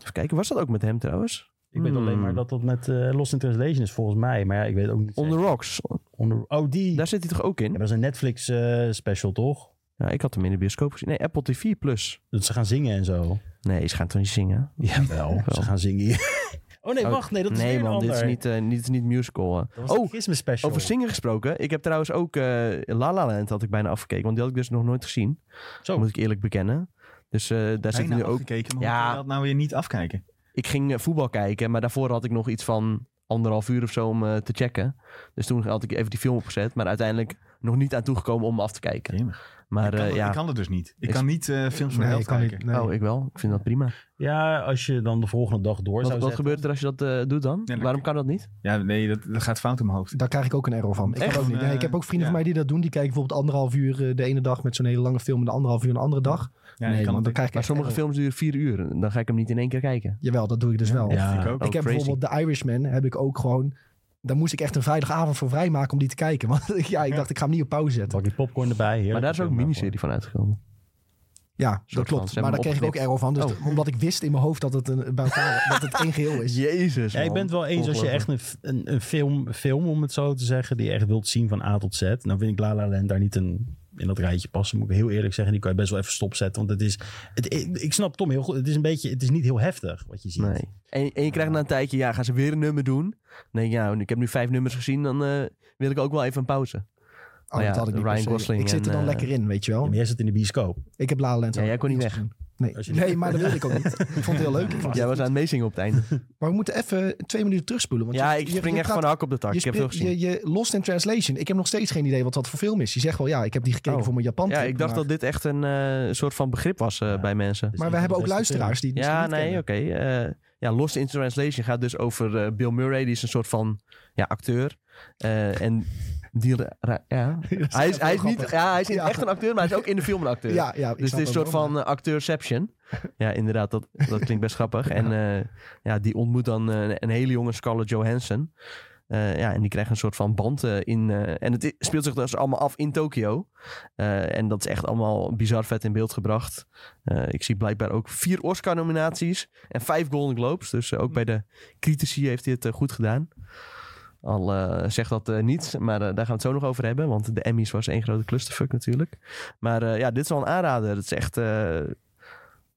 even kijken, was dat ook met hem trouwens?
ik weet alleen
Hmm.
maar dat dat met eh, Lost in Translation is volgens mij. Maar ja, ik weet ook niet.
On the Rocks,
On the- Oh, die.
daar zit hij toch ook
Ja,
in?
dat is een Netflix eh, special, toch?
Ja, ik had hem in de bioscoop gezien. Nee, Apple TV Plus.
Dat ze gaan zingen en zo.
Nee, ze gaan toch niet zingen?
Jawel. Ze gaan zingen hier. Oh nee,
Oh,
wacht. Nee, dat is
nee
weer een
man,
ander.
dit is niet, eh, niet, niet musical. eh.
Dat was
Oh,
oh, Christmas special.
over zingen gesproken. Ik heb trouwens ook eh La La Land had ik bijna afgekeken. Want die had ik dus nog nooit gezien.
Zo.
Moet ik eerlijk bekennen. Dus eh, daar zit
Bijna
nu ook
afgekeken, maar
Ja.
hoe kan je dat nou weer niet afkijken?
ik ging eh, voetbal kijken, maar daarvoor had ik nog iets van anderhalf uur of zo om eh, te checken. Dus toen had ik even die film opgezet, maar uiteindelijk nog niet aan toegekomen om hem af te kijken.
Jemig.
Maar
ik, kan,
eh,
dat-
ja,
ik kan het dus niet. Ik
Is-
kan niet eh, films van de
Nee,
helft
ik kan
kijken.
niet. nee.
oh, ik wel. Ik vind dat prima.
Ja, als je dan de volgende dag door
Wat,
zou
wat
zetten.
gebeurt er als je dat eh, doet dan?
dan-
Waarom kan dat niet?
Ja, nee, dat, dat gaat fout in mijn hoofd.
Daar krijg ik ook een error van. Ik, kan
Echt?
ook niet. Nee, ik heb ook vrienden
Ja.
van mij die dat doen. Die kijken bijvoorbeeld anderhalf uur eh, de ene dag met zo'n hele lange film en de anderhalf uur een andere dag.
Ja,
nee,
ik kan
want
het
dan
niet.
krijg ik
Maar
echt
sommige
error.
films duren vier uur. en Dan ga ik hem niet in één keer kijken. Ah,
Jawel, dat doe ik dus wel.
Ja,
Ja.
ik ook.
ik heb
Oh, crazy.
bijvoorbeeld The Irishman, heb ik ook gewoon... Daar moest ik echt een vrijdagavond voor vrijmaken om die te kijken. Want ik- ja, ik
Ja.
dacht, ik ga hem niet op pauze zetten.
Pak die popcorn erbij. heerlijk.
maar daar is ook een
Film
miniserie van uitgekomen.
Ja, dat
soort van.
klopt.
Ze
Maar daar
hebben
kreeg ik
hem
ook error van. Dus
Oh.
Omdat ik wist in mijn hoofd dat het, een, bij elkaar, dat het één geheel is.
Jezus.
Ja, ik ben het wel eens als je echt een, f- een, een film, film, om het zo te zeggen, die je echt wilt zien van A tot Z. Nou vind ik La La Land daar niet een, in dat rijtje passen, moet ik heel eerlijk zeggen. Die kan je best wel even stopzetten, want het is... Het, ik, ik snap Tom heel goed, het is een beetje... Het is niet heel heftig wat je ziet.
Nee. En, en je krijgt na een tijdje, ja, gaan ze weer een nummer doen? Dan denk je, nou, ik heb nu vijf nummers gezien, dan eh, wil ik ook wel even een pauze.
Oh,
ja,
dat had ik niet
Ryan
per se.
Gosling
Ik zit er
en,
dan
eh,
lekker in, weet je
Ja,
wel.
maar jij zit in de bioscoop.
Ik heb La La Land
Ja, jij kon niet weg.
Nee.
Als je-
nee, maar dat wilde ik ook niet. Ik vond het heel leuk. Ik vond het
Jij was aan het meezingen op het einde.
Maar we moeten even twee minuten terugspoelen. Want
ja,
je-
ik
je-
spring
je
echt
praat-
van hak op de tak.
Je,
Ik heb
spri-
veel gezien.
je, je Lost in Translation. Ik heb nog steeds geen idee wat dat voor film is. Je zegt wel, ja, ik heb die gekeken
Oh.
voor mijn Japan.
ja, ik dacht dat dit echt een eh, soort van begrip was eh,
Ja.
bij mensen.
Dus
Maar
een
we
van de
hebben ook
beste
luisteraars die het misschien
Ja,
niet
nee, oké.
kennen.
eh, ja, Lost in Translation gaat dus over eh, Bill Murray. Die is een soort van ja, acteur. Eh, en die... ra- ra- Ja.
Dat echt
Hij is, hij is,
heel
niet,
grappig.
ja, hij is niet
Ja.
echt een acteur, maar hij is ook in de film een acteur.
Ja, ja, ik
Dus
snap
het is een
hem
soort
wel,
van eh, acteurception. Ja, inderdaad, dat, dat klinkt best grappig. En eh, ja, die ontmoet dan eh, een hele jonge Scarlett Johansson. Eh, ja, en die krijgen een soort van band eh, in... eh, en het i- speelt zich dus allemaal af in Tokio. Eh, en dat is echt allemaal bizar vet in beeld gebracht. Eh, ik zie blijkbaar ook vier Oscar-nominaties en vijf Golden Globes. Dus eh, ook bij de critici heeft hij het eh, goed gedaan. Al eh, zegt dat eh, niets, maar eh, daar gaan we het zo nog over hebben. Want de Emmys was één grote clusterfuck natuurlijk. Maar eh, ja, dit is wel een aanrader. Het is echt eh,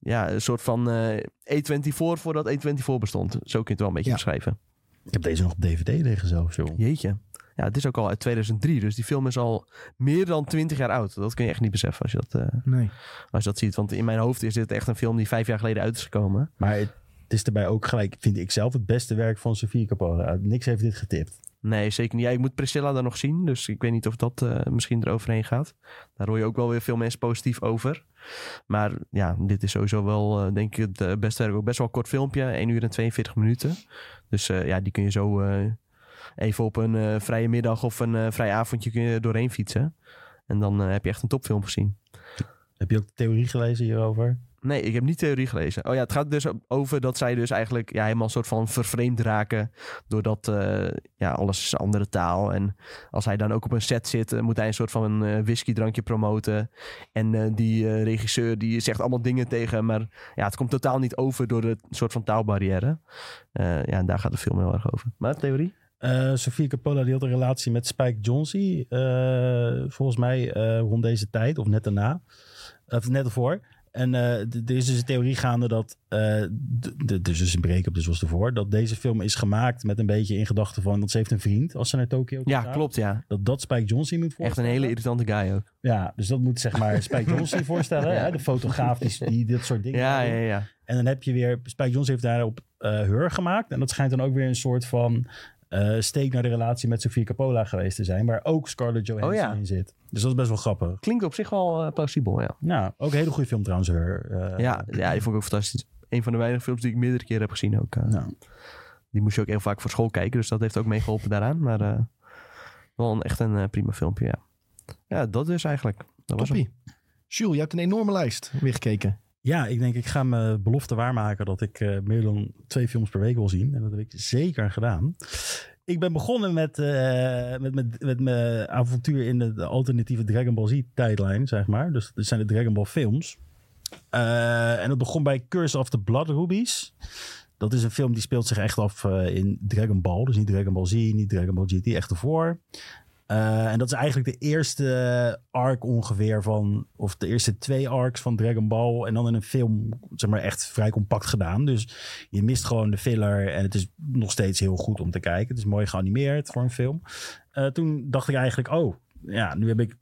ja, een soort van eh A24 voordat A24 E bestond. Zo kun je het wel een beetje
Ja.
beschrijven.
Ik heb deze nog op DVD liggen zelfs, joh.
Jeetje. ja, het is ook al uit 2003, dus die film is al meer dan 20 jaar oud. Dat kun je echt niet beseffen als je dat, eh,
Nee.
als je dat ziet. Want in mijn hoofd is dit echt een film die vijf jaar geleden uit is gekomen.
Maar het is daarbij ook gelijk, vind ik zelf, het beste werk van Sofie Coppola. Niks heeft dit getipt.
Nee, zeker niet. Ja, ik moet Priscilla dan nog zien, dus ik weet niet of dat eh, misschien eroverheen gaat. Daar hoor je ook wel weer veel mensen positief over. Maar ja, dit is sowieso wel, eh, denk ik, het eh, beste werk. Ook best wel een kort filmpje, 1 uur en 42 minuten. Dus eh, ja, die kun je zo eh, even op een eh, vrije middag of een eh, vrij avondje kun je doorheen fietsen. En dan eh, heb je echt een topfilm gezien.
Heb je ook de theorie gelezen hierover?
Nee, ik heb niet theorie gelezen. Oh ja, het gaat dus over dat zij dus eigenlijk ja, helemaal een soort van vervreemd raken. Doordat eh, ja, alles is een andere taal. En als hij dan ook op een set zit, eh, moet hij een soort van een eh, whiskydrankje promoten. En eh, die eh, regisseur die zegt allemaal dingen tegen. hem, Maar ja, het komt totaal niet over door de soort van taalbarrière. Eh, ja, en daar gaat de film heel erg over. Maar theorie?
Eh Sofie Coppola die had een relatie met Spike Jonze. eh, volgens mij eh, rond deze tijd, of net daarna. Of net ervoor. En eh, d- er is dus een theorie gaande dat. eh, d- d- dus is een break-up, dus was ervoor. Dat deze film is gemaakt met een beetje in gedachten van. Want ze heeft een vriend als ze naar Tokio
Ja,
gaat.
klopt ja.
Dat dat Spike Jonze moet
Echt
voorstellen.
een hele irritante guy ook.
Ja, dus dat moet zeg maar Spike Jonze voorstellen.
Ja.
Hè? De fotograaf die, die dit soort dingen.
Ja,
doet.
ja, ja.
En dan heb je weer, Spike Jonze heeft daarop eh Heur gemaakt. En dat schijnt dan ook weer een soort van eh, steek naar de relatie met Sofia Coppola geweest te zijn. Waar ook Scarlett Johansson
Oh ja.
in zit. Dus dat is best wel grappig.
Klinkt op zich wel eh, plausibel, ja.
Nou, ook een hele goede film trouwens, Heur. Eh,
Ja, ja, die vond ik ook fantastisch. Een van de weinige films die ik meerdere keren heb gezien ook. eh.
Nou.
Die moest je ook heel vaak voor school kijken, dus dat heeft ook meegeholpen daaraan. Maar eh, wel een, echt een eh, prima filmpje, ja. Ja, dat is eigenlijk. Dat was hem.
Toppie. Jules, je hebt een enorme lijst weer gekeken.
Ja, ik denk ik ga mijn belofte waarmaken dat ik eh, meer dan twee films per week wil zien. En dat heb ik zeker gedaan. Ik ben begonnen met, eh, met, met, met mijn avontuur in de, de alternatieve Dragon Ball Z tijdlijn, zeg maar. Dus dat zijn de Dragon Ball films. Eh, en dat begon bij Curse of the Blood Rubies. Dat is een film die speelt zich echt af eh, in Dragon Ball. Dus niet Dragon Ball Z, niet Dragon Ball GT, echt ervoor. Eh, en dat is eigenlijk de eerste arc ongeveer van, of de eerste twee arcs van Dragon Ball. En dan in een film, zeg maar, echt vrij compact gedaan. Dus je mist gewoon de filler en het is nog steeds heel goed om te kijken. Het is mooi geanimeerd voor een film. Eh, toen dacht ik eigenlijk, oh, ja, nu heb ik...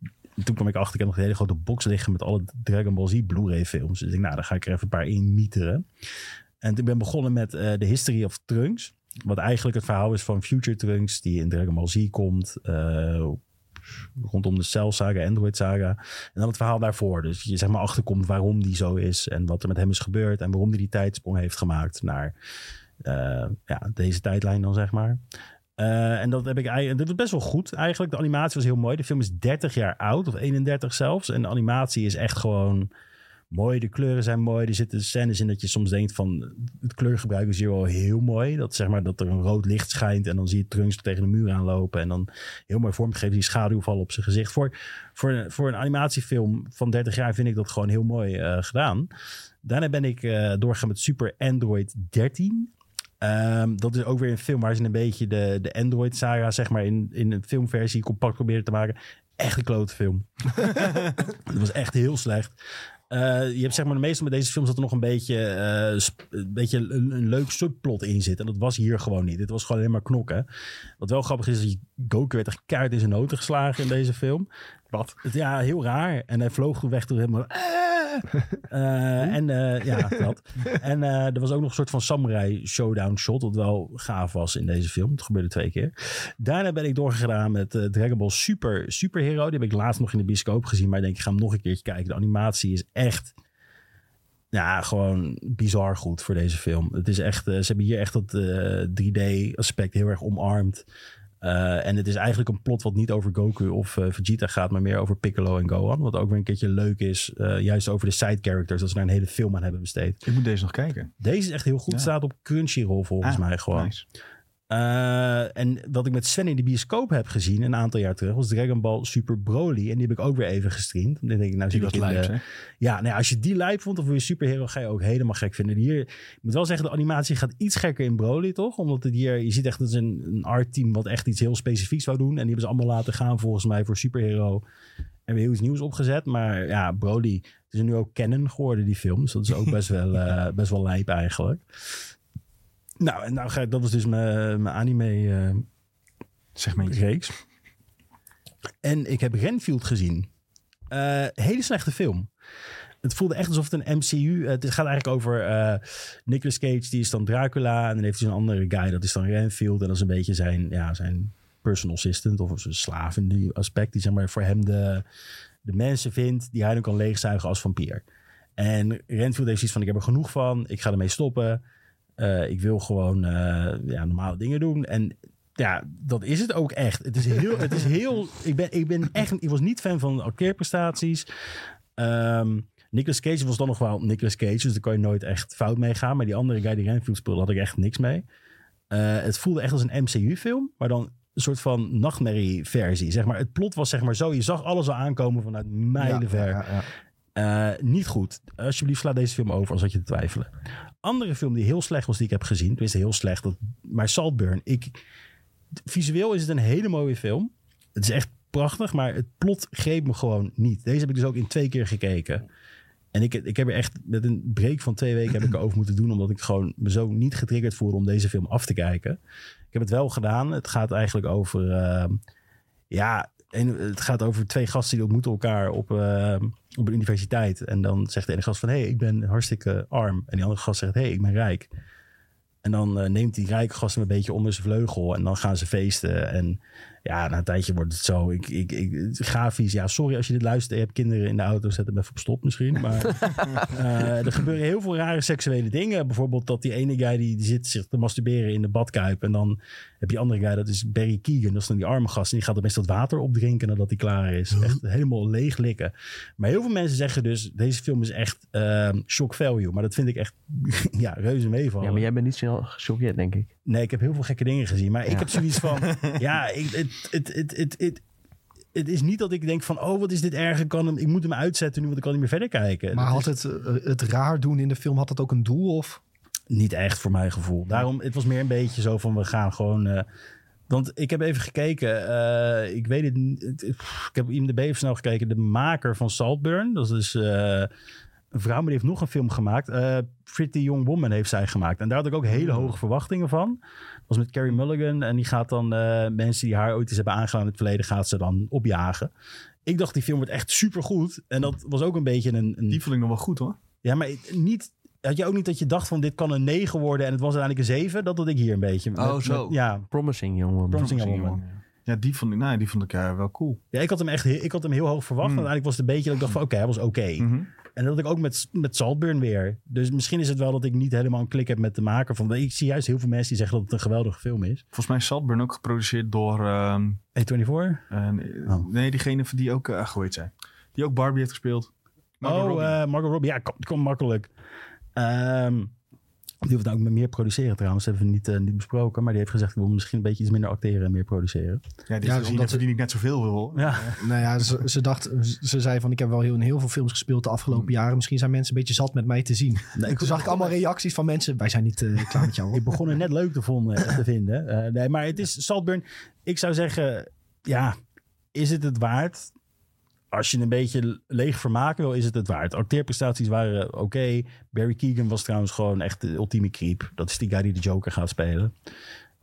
Toen kwam ik achter, ik heb nog een hele grote box liggen met alle Dragon Ball Z Blu-ray films. Dus ik denk, nou, daar ga ik er even een paar in mieteren. En toen ben ik begonnen met eh The History of Trunks. Wat eigenlijk het verhaal is van Future Trunks, die in Dragon Ball Z komt. eh, rondom de Cell Saga, Android Saga. En dan het verhaal daarvoor. Dus je zeg maar achterkomt waarom die zo is. En wat er met hem is gebeurd. En waarom hij die tijdsprong heeft gemaakt naar eh, ja, deze tijdlijn dan, zeg maar. Eh, en dat heb ik eigenlijk. Dat was best wel goed eigenlijk. De animatie was heel mooi. De film is 30 jaar oud, of 31 zelfs. En de animatie is echt gewoon mooi. De kleuren zijn mooi. Er zitten scènes in dat je soms denkt van het kleurgebruik is hier wel heel mooi. Dat zeg maar dat er een rood licht schijnt en dan zie je Trunks tegen de muur aanlopen en dan heel mooi vormgegeven die schaduwval op zijn gezicht. Voor, voor, voor een animatiefilm van 30 jaar vind ik dat gewoon heel mooi eh, gedaan. Daarna ben ik eh, doorgegaan met Super Android 13. Ehm, dat is ook weer een film waar ze een beetje de, de Android-saga, zeg maar, in, in een filmversie compact proberen te maken. Echt een klote film. Het was echt heel slecht. Eh, je hebt zeg maar de meeste met deze films dat er nog een beetje, eh, sp- een, beetje een, een leuk subplot in zit. En dat was hier gewoon niet. Dit was gewoon alleen maar knokken. Wat wel grappig is, is dat Goku werd echt keihard in zijn noten geslagen in deze film. Wat? Ja, heel raar. En hij vloog toen weg toen helemaal... "Ah!" Eh, en eh, ja, dat. En eh, er was ook nog een soort van samurai showdown shot. Wat wel gaaf was in deze film. Het gebeurde twee keer. Daarna ben ik doorgegaan met eh, Dragon Ball Super Super Hero. Die heb ik laatst nog in de bioscoop gezien. Maar ik denk, ik ga hem nog een keertje kijken. De animatie is echt... Ja, gewoon bizar goed voor deze film. Het is echt, eh, ze hebben hier echt dat eh 3D-aspect heel erg omarmd. Eh, en het is eigenlijk een plot wat niet over Goku of eh, Vegeta gaat, maar meer over Piccolo en Gohan. Wat ook weer een keertje leuk is, eh, juist over de side characters, dat ze daar een hele film aan hebben besteed.
Ik moet deze nog kijken.
Deze is echt heel goed,
Ja.
staat op Crunchyroll volgens
Ah,
mij gewoon.
Nice.
Eh, en wat ik met Sven in de bioscoop heb gezien een aantal jaar terug, was Dragon Ball Super Broly. En die heb ik ook weer even gestreamd. Dan denk ik, nou,
Die
zit
was
ik in de-
lijp, hè?
ja, nou ja, als je die lijp vond of je superhero, ga je ook helemaal gek vinden. Hier, ik moet wel zeggen, de animatie gaat iets gekker in Broly, toch? Omdat het hier, je ziet echt dat is een, een art-team wat echt iets heel specifieks zou doen. En die hebben ze allemaal laten gaan, volgens mij, voor superhero. En weer heel iets nieuws opgezet. Maar ja, Broly, het is nu ook canon geworden, die film. Dus dat is ook best wel, eh, best wel lijp eigenlijk. Nou, en nou, ga ik- dat was dus mijn, mijn anime eh,
segmentje.
reeks. En ik heb Renfield gezien. Eh, hele slechte film. Het voelde echt alsof het een MCU... Het gaat eigenlijk over eh, Nicolas Cage, die is dan Dracula. En dan heeft hij een andere guy, dat is dan Renfield. En dat is een beetje zijn, ja, zijn personal assistant of zijn slaaf in die aspect. Die zeg maar voor hem de, de mensen vindt die hij dan kan leegzuigen als vampier. En Renfield heeft zoiets van, ik heb er genoeg van. Ik ga ermee stoppen. Eh, ik wil gewoon eh, ja, normale dingen doen. En ja, dat is het ook echt. Het is heel. Het is heel ik, ben, ik ben echt. Ik was niet fan van de acteerprestaties. Ehm Nicolas Cage was dan nog wel Nicolas Cage. Dus daar kon je nooit echt fout mee gaan. Maar die andere guy die Renfield speelde, had ik echt niks mee. Eh, het voelde echt als een MCU-film. Maar dan een soort van nachtmerrie-versie. Zeg maar. Het plot was zeg maar zo. Je zag alles al aankomen vanuit mijlenver.
Ja, ja, ja.
Eh, niet goed. Alsjeblieft, sla deze film over als had je te twijfelen. Andere film die heel slecht was die ik heb gezien. Tenminste, heel slecht. Dat, maar Saltburn. Ik, visueel is het een hele mooie film. Het is echt prachtig, maar het plot greep me gewoon niet. Deze heb ik dus ook in twee keer gekeken. En ik, ik heb er echt met een break van twee weken heb ik erover moeten doen. Omdat ik gewoon me zo niet getriggerd voelde om deze film af te kijken. Ik heb het wel gedaan. Het gaat eigenlijk over... ehm, ja, en eh, het gaat over twee gasten die ontmoeten elkaar op, eh, op een universiteit. En dan zegt de ene gast van... Hé, hey, ik ben hartstikke arm. En die andere gast zegt... Hé, hey, ik ben rijk. En dan eh, neemt die rijke gast hem een beetje onder zijn vleugel. En dan gaan ze feesten. En ja, na een tijdje wordt het zo. Ik, ik, ik, grafisch, ja, sorry als je dit luistert. en Je hebt kinderen in de auto, zet hem even op stop misschien. Maar eh, er gebeuren heel veel rare seksuele dingen. Bijvoorbeeld dat die ene guy die, die zit zich te masturberen in de badkuip. En dan heb je die andere guy, dat is Barry Keegan. Dat is dan die arme gast. En die gaat best dat water opdrinken nadat hij klaar is. Echt helemaal leeg likken. Maar heel veel mensen zeggen dus, deze film is echt eh, shock value. Maar dat vind ik echt, ja, reuze meevallen.
Ja, maar jij bent niet snel gechoqueerd, denk ik.
Nee, ik heb heel veel gekke dingen gezien. Maar ik
Ja.
heb zoiets van... ja, ik, het, het, het, het, het, het is niet dat ik denk van... Oh, wat is dit erg? Ik, kan hem, ik moet hem uitzetten nu, want ik kan niet meer verder kijken.
Maar
Dat
had het, eh, het raar doen in de film, had dat ook een doel? Of?
is niet echt voor mijn gevoel. Daarom, het was meer een beetje zo van... We gaan gewoon... eh, want ik heb even gekeken. eh, ik weet het niet. het- het- pff, Ik heb IMDb even snel gekeken. De maker van Saltburn. Dat is eh, een vrouw, maar die heeft nog een film gemaakt. Eh, Pretty Young Woman heeft zij gemaakt. En daar had ik ook hele hoge verwachtingen van. Dat was met Carrie Mulligan. En die gaat dan eh, mensen die haar ooit eens hebben aangedaan in het verleden... gaat ze dan opjagen. Ik dacht, die film wordt echt supergoed. En dat was ook een beetje een... een
Die vond ik nog wel goed hoor.
ja, maar niet. Had je ook niet dat je dacht van dit kan een 9 worden en het was uiteindelijk een 7? Dat had ik hier een beetje.
Oh, zo.
ja,
Promising, jongen.
Prom- Promising Young
Young Woman. Ja, die vond ik, nou, die vond ik eh, wel cool.
Ja, ik had hem echt heel, ik had hem heel hoog verwacht.
Mm.
En uiteindelijk was het een beetje dat ik dacht van oké, hij was oké.
Mhm.
En dat had ik ook met, met Saltburn weer. Dus misschien is het wel dat ik niet helemaal een klik heb met de maker. Van, ik zie juist heel veel mensen die zeggen dat het een geweldige film is.
Volgens mij is Saltburn ook geproduceerd door... ehm,
A24?
eh, nee,
Oh.
Nee, diegene die ook... eh, ach, hoe heet zij? Die ook Barbie heeft gespeeld. Margot
oh,
Robbie.
eh, Margot Robbie. Ja, kom, kom makkelijk. Ehm, die hoeft nou ook meer produceren trouwens. Dat hebben we niet, eh, niet besproken. Maar die heeft gezegd, ik wil misschien een beetje iets minder acteren en meer produceren.
ja, die
ja,
is gezien
omdat
dat verdien ik net zoveel wil.
Ja.
Nou ja, ze, ze dacht, ze zei van ik heb wel heel, in heel veel films gespeeld de afgelopen jaren. Misschien zijn mensen een beetje zat met mij te zien.
Nee,
Toen zag ik allemaal reacties van mensen. Wij zijn niet eh, klaar met jou. hoor.
Ik begon het net leuk te, vonden, te vinden. Eh, nee, maar het is Saltburn. Ik zou zeggen, ja, is het het waard? Als je een beetje leeg vermaken wil, is het het waard. Acteerprestaties waren oké. Barry Keegan was trouwens gewoon echt de ultieme creep. Dat is die guy die de Joker gaat spelen.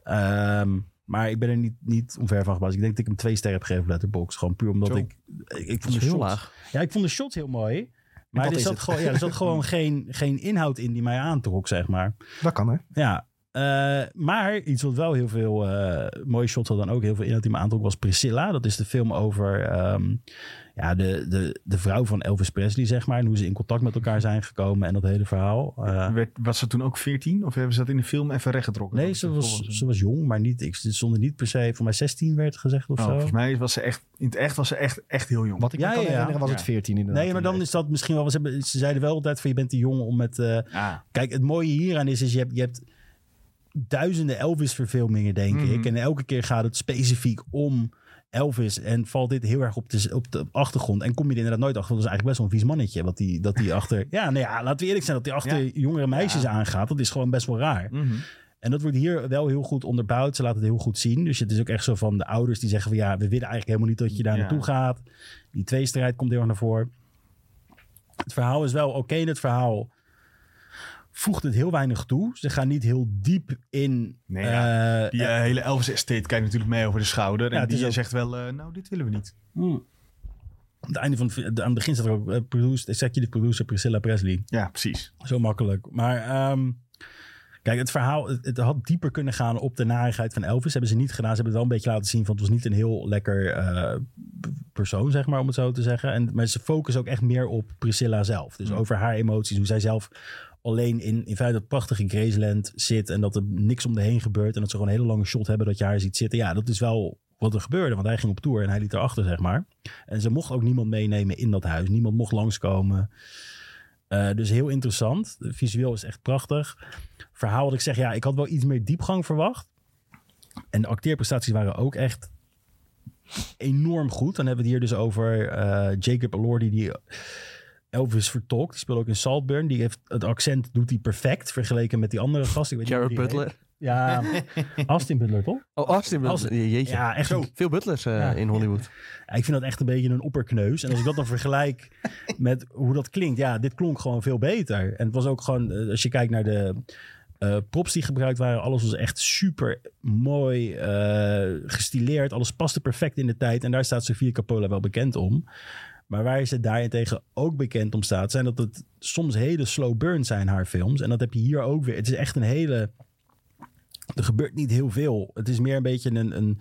Ehm, maar ik ben er niet, niet omver van gebaasd. Ik denk dat ik hem twee sterren heb gegeven op Letterboxd. Gewoon puur omdat
Zo.
ik... Ik, ik
Dat
vond
is
de
heel
shots-
laag.
ja, ik vond de shot heel mooi. Maar
dat
er
is
zat,
het.
gewoon, ja, er zat gewoon geen, geen inhoud in die mij aantrok, zeg maar.
Dat kan hè.
Ja. eh, maar iets wat wel heel veel eh, mooie shots had, dan ook heel veel in dat hij me aantrok, was Priscilla. Dat is de film over ehm, ja, de, de, de vrouw van Elvis Presley, zeg maar. En hoe ze in contact met elkaar zijn gekomen en dat hele verhaal. Eh,
Werd, was ze toen ook 14? Of hebben ze dat in de film even rechtgetrokken?
nee,
Dat
ze
volgens-
was, ze was jong, maar niet, ik stond er niet per se, voor mij 16 werd gezegd of
Oh,
zo.
volgens mij was ze echt... In het echt was ze echt, echt heel jong.
Wat ik
Ja,
me kan
ja, ja.
herinneren was
Ja.
het 14 inderdaad.
Nee, maar dan is dat misschien wel. Ze, hebben- ze zeiden wel altijd van je bent te jong om met eh,
Ah,
Kijk, het mooie hieraan is, is je hebt, je hebt duizenden Elvis-verfilmingen, denk
Mhm.
ik. En elke keer gaat het specifiek om Elvis. En valt dit heel erg op de, op de achtergrond. En kom je er inderdaad nooit achter. want Dat is eigenlijk best wel een vies mannetje. Wat die, dat die achter. Ja, nou ja, laten we eerlijk zijn. Dat die achter
Ja.
jongere meisjes
Ja.
aangaat. Dat is gewoon best wel raar.
mhm.
En dat wordt hier wel heel goed onderbouwd. Ze laten het heel goed zien. Dus het is ook echt zo van de ouders die zeggen van ja, we willen eigenlijk helemaal niet dat je daar
Ja.
naartoe gaat. Die tweestrijd komt heel erg naar voren. Het verhaal is wel oké in het verhaal. voegt het heel weinig toe. Ze gaan niet heel diep in.
Nee, ja,
eh,
Die eh, hele Elvis estate kijkt natuurlijk mee over de schouder.
Ja,
en
het
die
is ook-
zegt wel, eh, nou, dit willen we niet.
Aan het einde van het, aan het begin staat er ook eh, produced, executive producer Priscilla Presley.
Ja, precies.
Zo makkelijk. Maar ehm, kijk, het verhaal het, het had dieper kunnen gaan op de narigheid van Elvis. Hebben ze niet gedaan. Ze hebben het wel een beetje laten zien van het was niet een heel lekker eh, p- persoon, zeg maar, om het zo te zeggen. En, maar ze focussen ook echt meer op Priscilla zelf. Dus
Hmm.
over haar emoties, hoe zij zelf alleen in, in feite dat prachtige Graceland zit en dat er niks om de heen gebeurt en dat ze gewoon een hele lange shot hebben dat je haar ziet zitten. Ja, dat is wel wat er gebeurde, want hij ging op tour en hij liet erachter, zeg maar. En ze mocht ook niemand meenemen in dat huis. Niemand mocht langskomen. Eh, dus heel interessant. Visueel is echt prachtig. Verhaal wat ik zeg, ja, ik had wel iets meer diepgang verwacht. En de acteerprestaties waren ook echt enorm goed. Dan hebben we het hier dus over eh, Jacob Elordi die Elvis vertolkt. Die speelt ook in Saltburn. Die heeft, het accent doet hij perfect vergeleken met die andere gast. Ik weet niet
Jared
hoe die
Butler.
heet. Ja, Austin Butler, toch?
Oh, Austin
Austin.
Butler. Je- Jeetje.
Ja, echt een
Veel Butlers eh,
Ja.
in Hollywood.
ja, ik vind dat echt een beetje een opperkneus. En als ik dat dan vergelijk met hoe dat klinkt, ja, dit klonk gewoon veel beter. En het was ook gewoon, eh, als je kijkt naar de eh, props die gebruikt waren, alles was echt super mooi eh, gestileerd. Alles paste perfect in de tijd. En daar staat Sofia Coppola wel bekend om. Maar waar ze daarentegen ook bekend om staat, zijn dat het soms hele slow burn zijn, haar films. En dat heb je hier ook weer. Het is echt een hele. Er gebeurt niet heel veel. Het is meer een beetje een, een,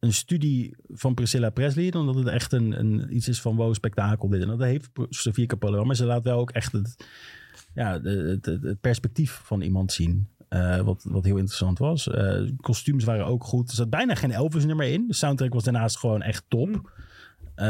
een studie van Priscilla Presley. Dan dat het echt een, een, iets is van wow, spektakel dit. En dat heeft Sofia Coppola wel. Maar ze laat wel ook echt het, ja, de- het, het, het perspectief van iemand zien. eh, wat, wat heel interessant was. Eh, Kostuums waren ook goed. Er zat bijna geen Elvis nummer in. De soundtrack was daarnaast gewoon echt top. Eh,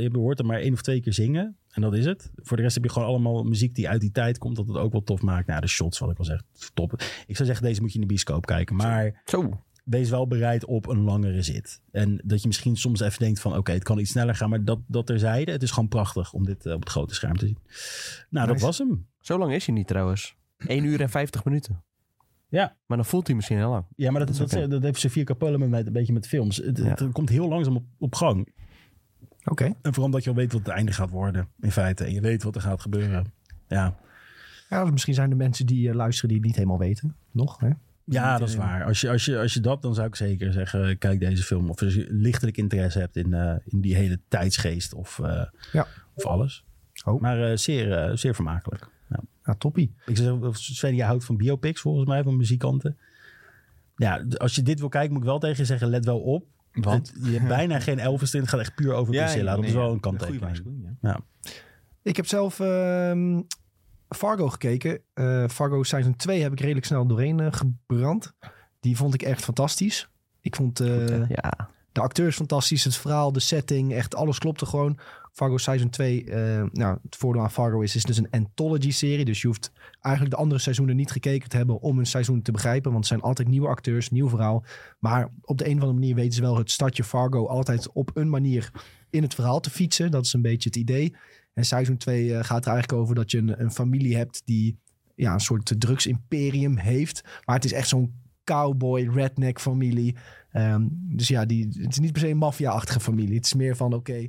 je hoort hem maar één of twee keer zingen. En dat is het. Voor de rest heb je gewoon allemaal muziek die uit die tijd komt. Dat het ook wel tof maakt. Nou, de shots, wat ik al zeg, top. Ik zou zeggen, deze moet je in de bioscoop kijken. Maar
Zo.
wees wel bereid op een langere zit. En dat je misschien soms even denkt van... oké, het kan iets sneller gaan, maar dat, dat terzijde. Het is gewoon prachtig om dit eh, op het grote scherm te zien. Nou, dat
Nice.
was hem.
Zo lang is hij niet trouwens. 1 uur en 50 minuten.
Ja.
Maar dan voelt hij misschien heel lang.
Ja, maar dat,
Dat is
dat,
oké.
dat heeft Sofia Coppola met mij een beetje met films. Het, het komt heel langzaam op, op gang.
Oké.
En vooral omdat je al weet wat het einde gaat worden, in feite. En je weet wat er gaat gebeuren. Ja,
Ja, of misschien zijn er mensen die eh, luisteren die het niet helemaal weten. Nog, hè?
ja
eh,
dat is waar. Als je, als, je, als je dat, dan zou ik zeker zeggen... eh, kijk deze film. Of als je lichtelijk interesse hebt in, eh, in die hele tijdsgeest of, eh,
Ja.
of alles.
Oh.
Maar eh, zeer, eh, zeer vermakelijk.
Nou, toppie.
Ik zeg, of Sven, jij houdt van biopics volgens mij, van muzikanten. Ja, d- als je dit wil kijken, moet ik wel tegen je zeggen, let wel op. Want
Want?
je hebt bijna geen Elvis in, het gaat echt puur over Priscilla. dat
nee,
is wel
ja.
een
Goeie
kanttekening.
waarschuwing, ja.
Ik heb zelf ehm, Fargo gekeken. Eh, Fargo Season 2 heb ik redelijk snel doorheen eh, gebrand. Die vond ik echt fantastisch. Ik vond eh,
ja.
de acteurs fantastisch. Het verhaal, de setting, echt alles klopte gewoon. Fargo Season 2, eh, nou, het voordeel aan Fargo is, is dus een anthology-serie. Dus je hoeft eigenlijk de andere seizoenen niet gekeken te hebben om een seizoen te begrijpen. Want het zijn altijd nieuwe acteurs, nieuw verhaal. Maar op de een of andere manier weten ze wel het stadje Fargo altijd op een manier in het verhaal te fietsen. Dat is een beetje het idee. En seizoen 2 eh, gaat er eigenlijk over dat je een, een familie hebt die ja, een soort drugsimperium heeft. Maar het is echt zo'n cowboy, redneck familie. Ehm, dus ja, die, het is niet per se een maffia-achtige familie. Het is meer van, oké,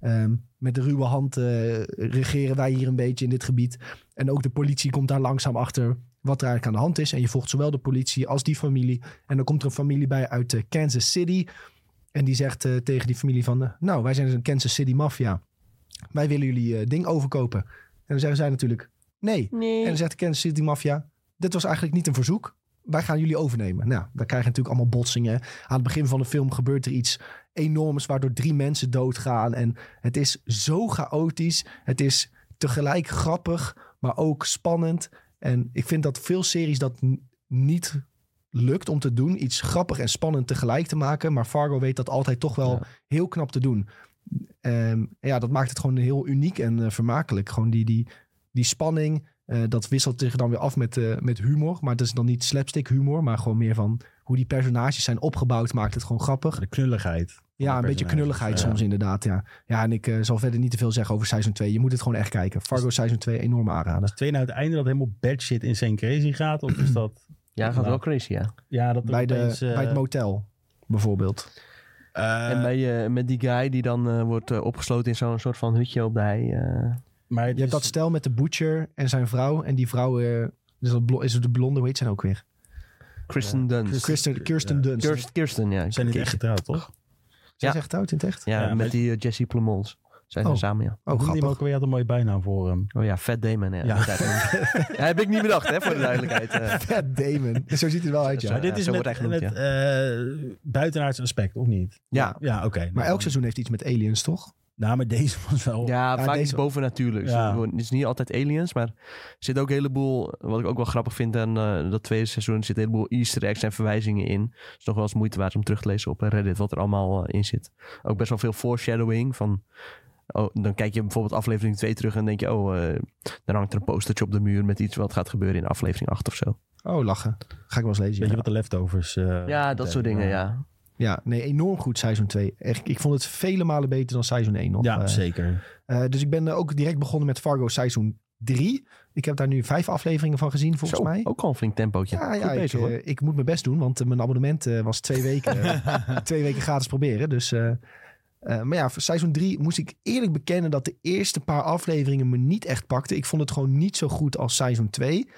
ehm, met de ruwe hand eh, regeren wij hier een beetje in dit gebied. En ook de politie komt daar langzaam achter wat er eigenlijk aan de hand is. En je volgt zowel de politie als die familie. En dan komt er een familie bij uit eh, Kansas City. En die zegt eh, tegen die familie van, eh, nou, wij zijn dus een Kansas City maffia. Wij willen jullie eh, ding overkopen. En dan zeggen zij natuurlijk, nee. En dan zegt de Kansas City Mafia, dit was eigenlijk niet een verzoek. Wij gaan jullie overnemen. Nou, dan krijg je natuurlijk allemaal botsingen. Aan het begin van de film gebeurt er iets enorms... waardoor drie mensen doodgaan. En het is zo chaotisch. Het is tegelijk grappig, maar ook spannend. En ik vind dat veel series dat n- niet lukt om te doen. Iets grappig en spannend tegelijk te maken. Maar Fargo weet dat altijd toch wel
Ja.
heel knap te doen. Ehm, ja, dat maakt het gewoon heel uniek en eh, vermakelijk. Gewoon die, die, die spanning, eh, dat wisselt zich dan weer af met, eh, met humor. Maar het is dan niet slapstick humor, maar gewoon meer van hoe die personages zijn opgebouwd, maakt het gewoon grappig.
De knulligheid. van de
Ja, een beetje
personages.
knulligheid
Ja.
soms inderdaad. Ja, ja en ik eh, zal verder niet te veel zeggen over seizoen 2. Je moet het gewoon echt kijken. Fargo seizoen 2, enorme aanrader.
Is twee nou het einde dat helemaal bad shit in zijn crazy gaat? Of is dat...
Ja, gaat wel crazy, ja.
Ja, dat er
Bij, de,
opeens, eh,
bij het motel, bijvoorbeeld.
eh,
en bij, eh, met die guy die dan eh, wordt eh, opgesloten in zo'n soort van hutje op de hei. eh.
maar het
Je hebt
is-
dat stel met de butcher en zijn vrouw. En die vrouw eh, Dus dat blo- is de blonde, weet zijn nou ook weer.
Kristen Dunst.
Kirsten, Kirsten
ja.
Dunst.
Kirst- Kirsten, ja.
Ze zijn niet echt getrouwd, toch?
Zij
Ja.
zegt oud in het echt.
Ja,
Ja,
met
met-
die eh, Jesse Plemons. Zijn ze
Oh.
samen, ja.
Oh,
Die
grappig.
ook weer had een mooie bijnaam voor hem.
Oh ja, Fat Damon. Ja,
Ja.
Dat zei hij. Ja, heb ik niet bedacht, hè, voor de duidelijkheid. eh.
Ja, Damon. Zo ziet hij er wel uit,
Ja,
ja.
maar dit is
zo
met,
wordt hij
met
genoemd,
eh, buitenaards aspect, of niet?
ja.
Ja, oké.
Maar
Nou,
elk seizoen heeft iets met aliens, toch?
Nou, maar deze was wel...
Ja,
Ja,
vaak
deze-
iets bovennatuurlijks.
Ja.
Het is niet altijd aliens, maar er zit ook een heleboel... Wat ik ook wel grappig vind aan eh, dat tweede seizoen... er zit een heleboel easter eggs en verwijzingen in. Het is nog wel eens moeite waard om terug te lezen op Reddit... wat er allemaal eh, in zit. Ook best wel veel foreshadowing van... Oh, dan kijk je bijvoorbeeld aflevering 2 terug en denk je... oh, eh, dan hangt er een postertje op de muur met iets wat gaat gebeuren in aflevering 8 of zo.
Oh, lachen. Ga ik wel eens lezen.
Weet
ja.
je wat de leftovers... eh,
Ja, dat soort dingen, ja.
Ja, nee, enorm goed seizoen 2. Echt, ik vond het vele malen beter dan seizoen 1 nog.
Ja,
Eh,
zeker.
eh, dus ik ben eh, ook direct begonnen met Fargo seizoen 3. Ik heb daar nu vijf afleveringen van gezien, volgens
Zo,
mij.
Ook al een flink tempootje.
Ja,
Goed
ja ik,
bezig, hoor.
eh, ik moet mijn best doen, want eh, mijn abonnement eh, was twee weken, eh, twee weken gratis proberen. Dus, eh, eh, maar ja, voor seizoen 3 moest ik eerlijk bekennen dat de eerste paar afleveringen me niet echt pakten. Ik vond het gewoon niet zo goed als seizoen 2.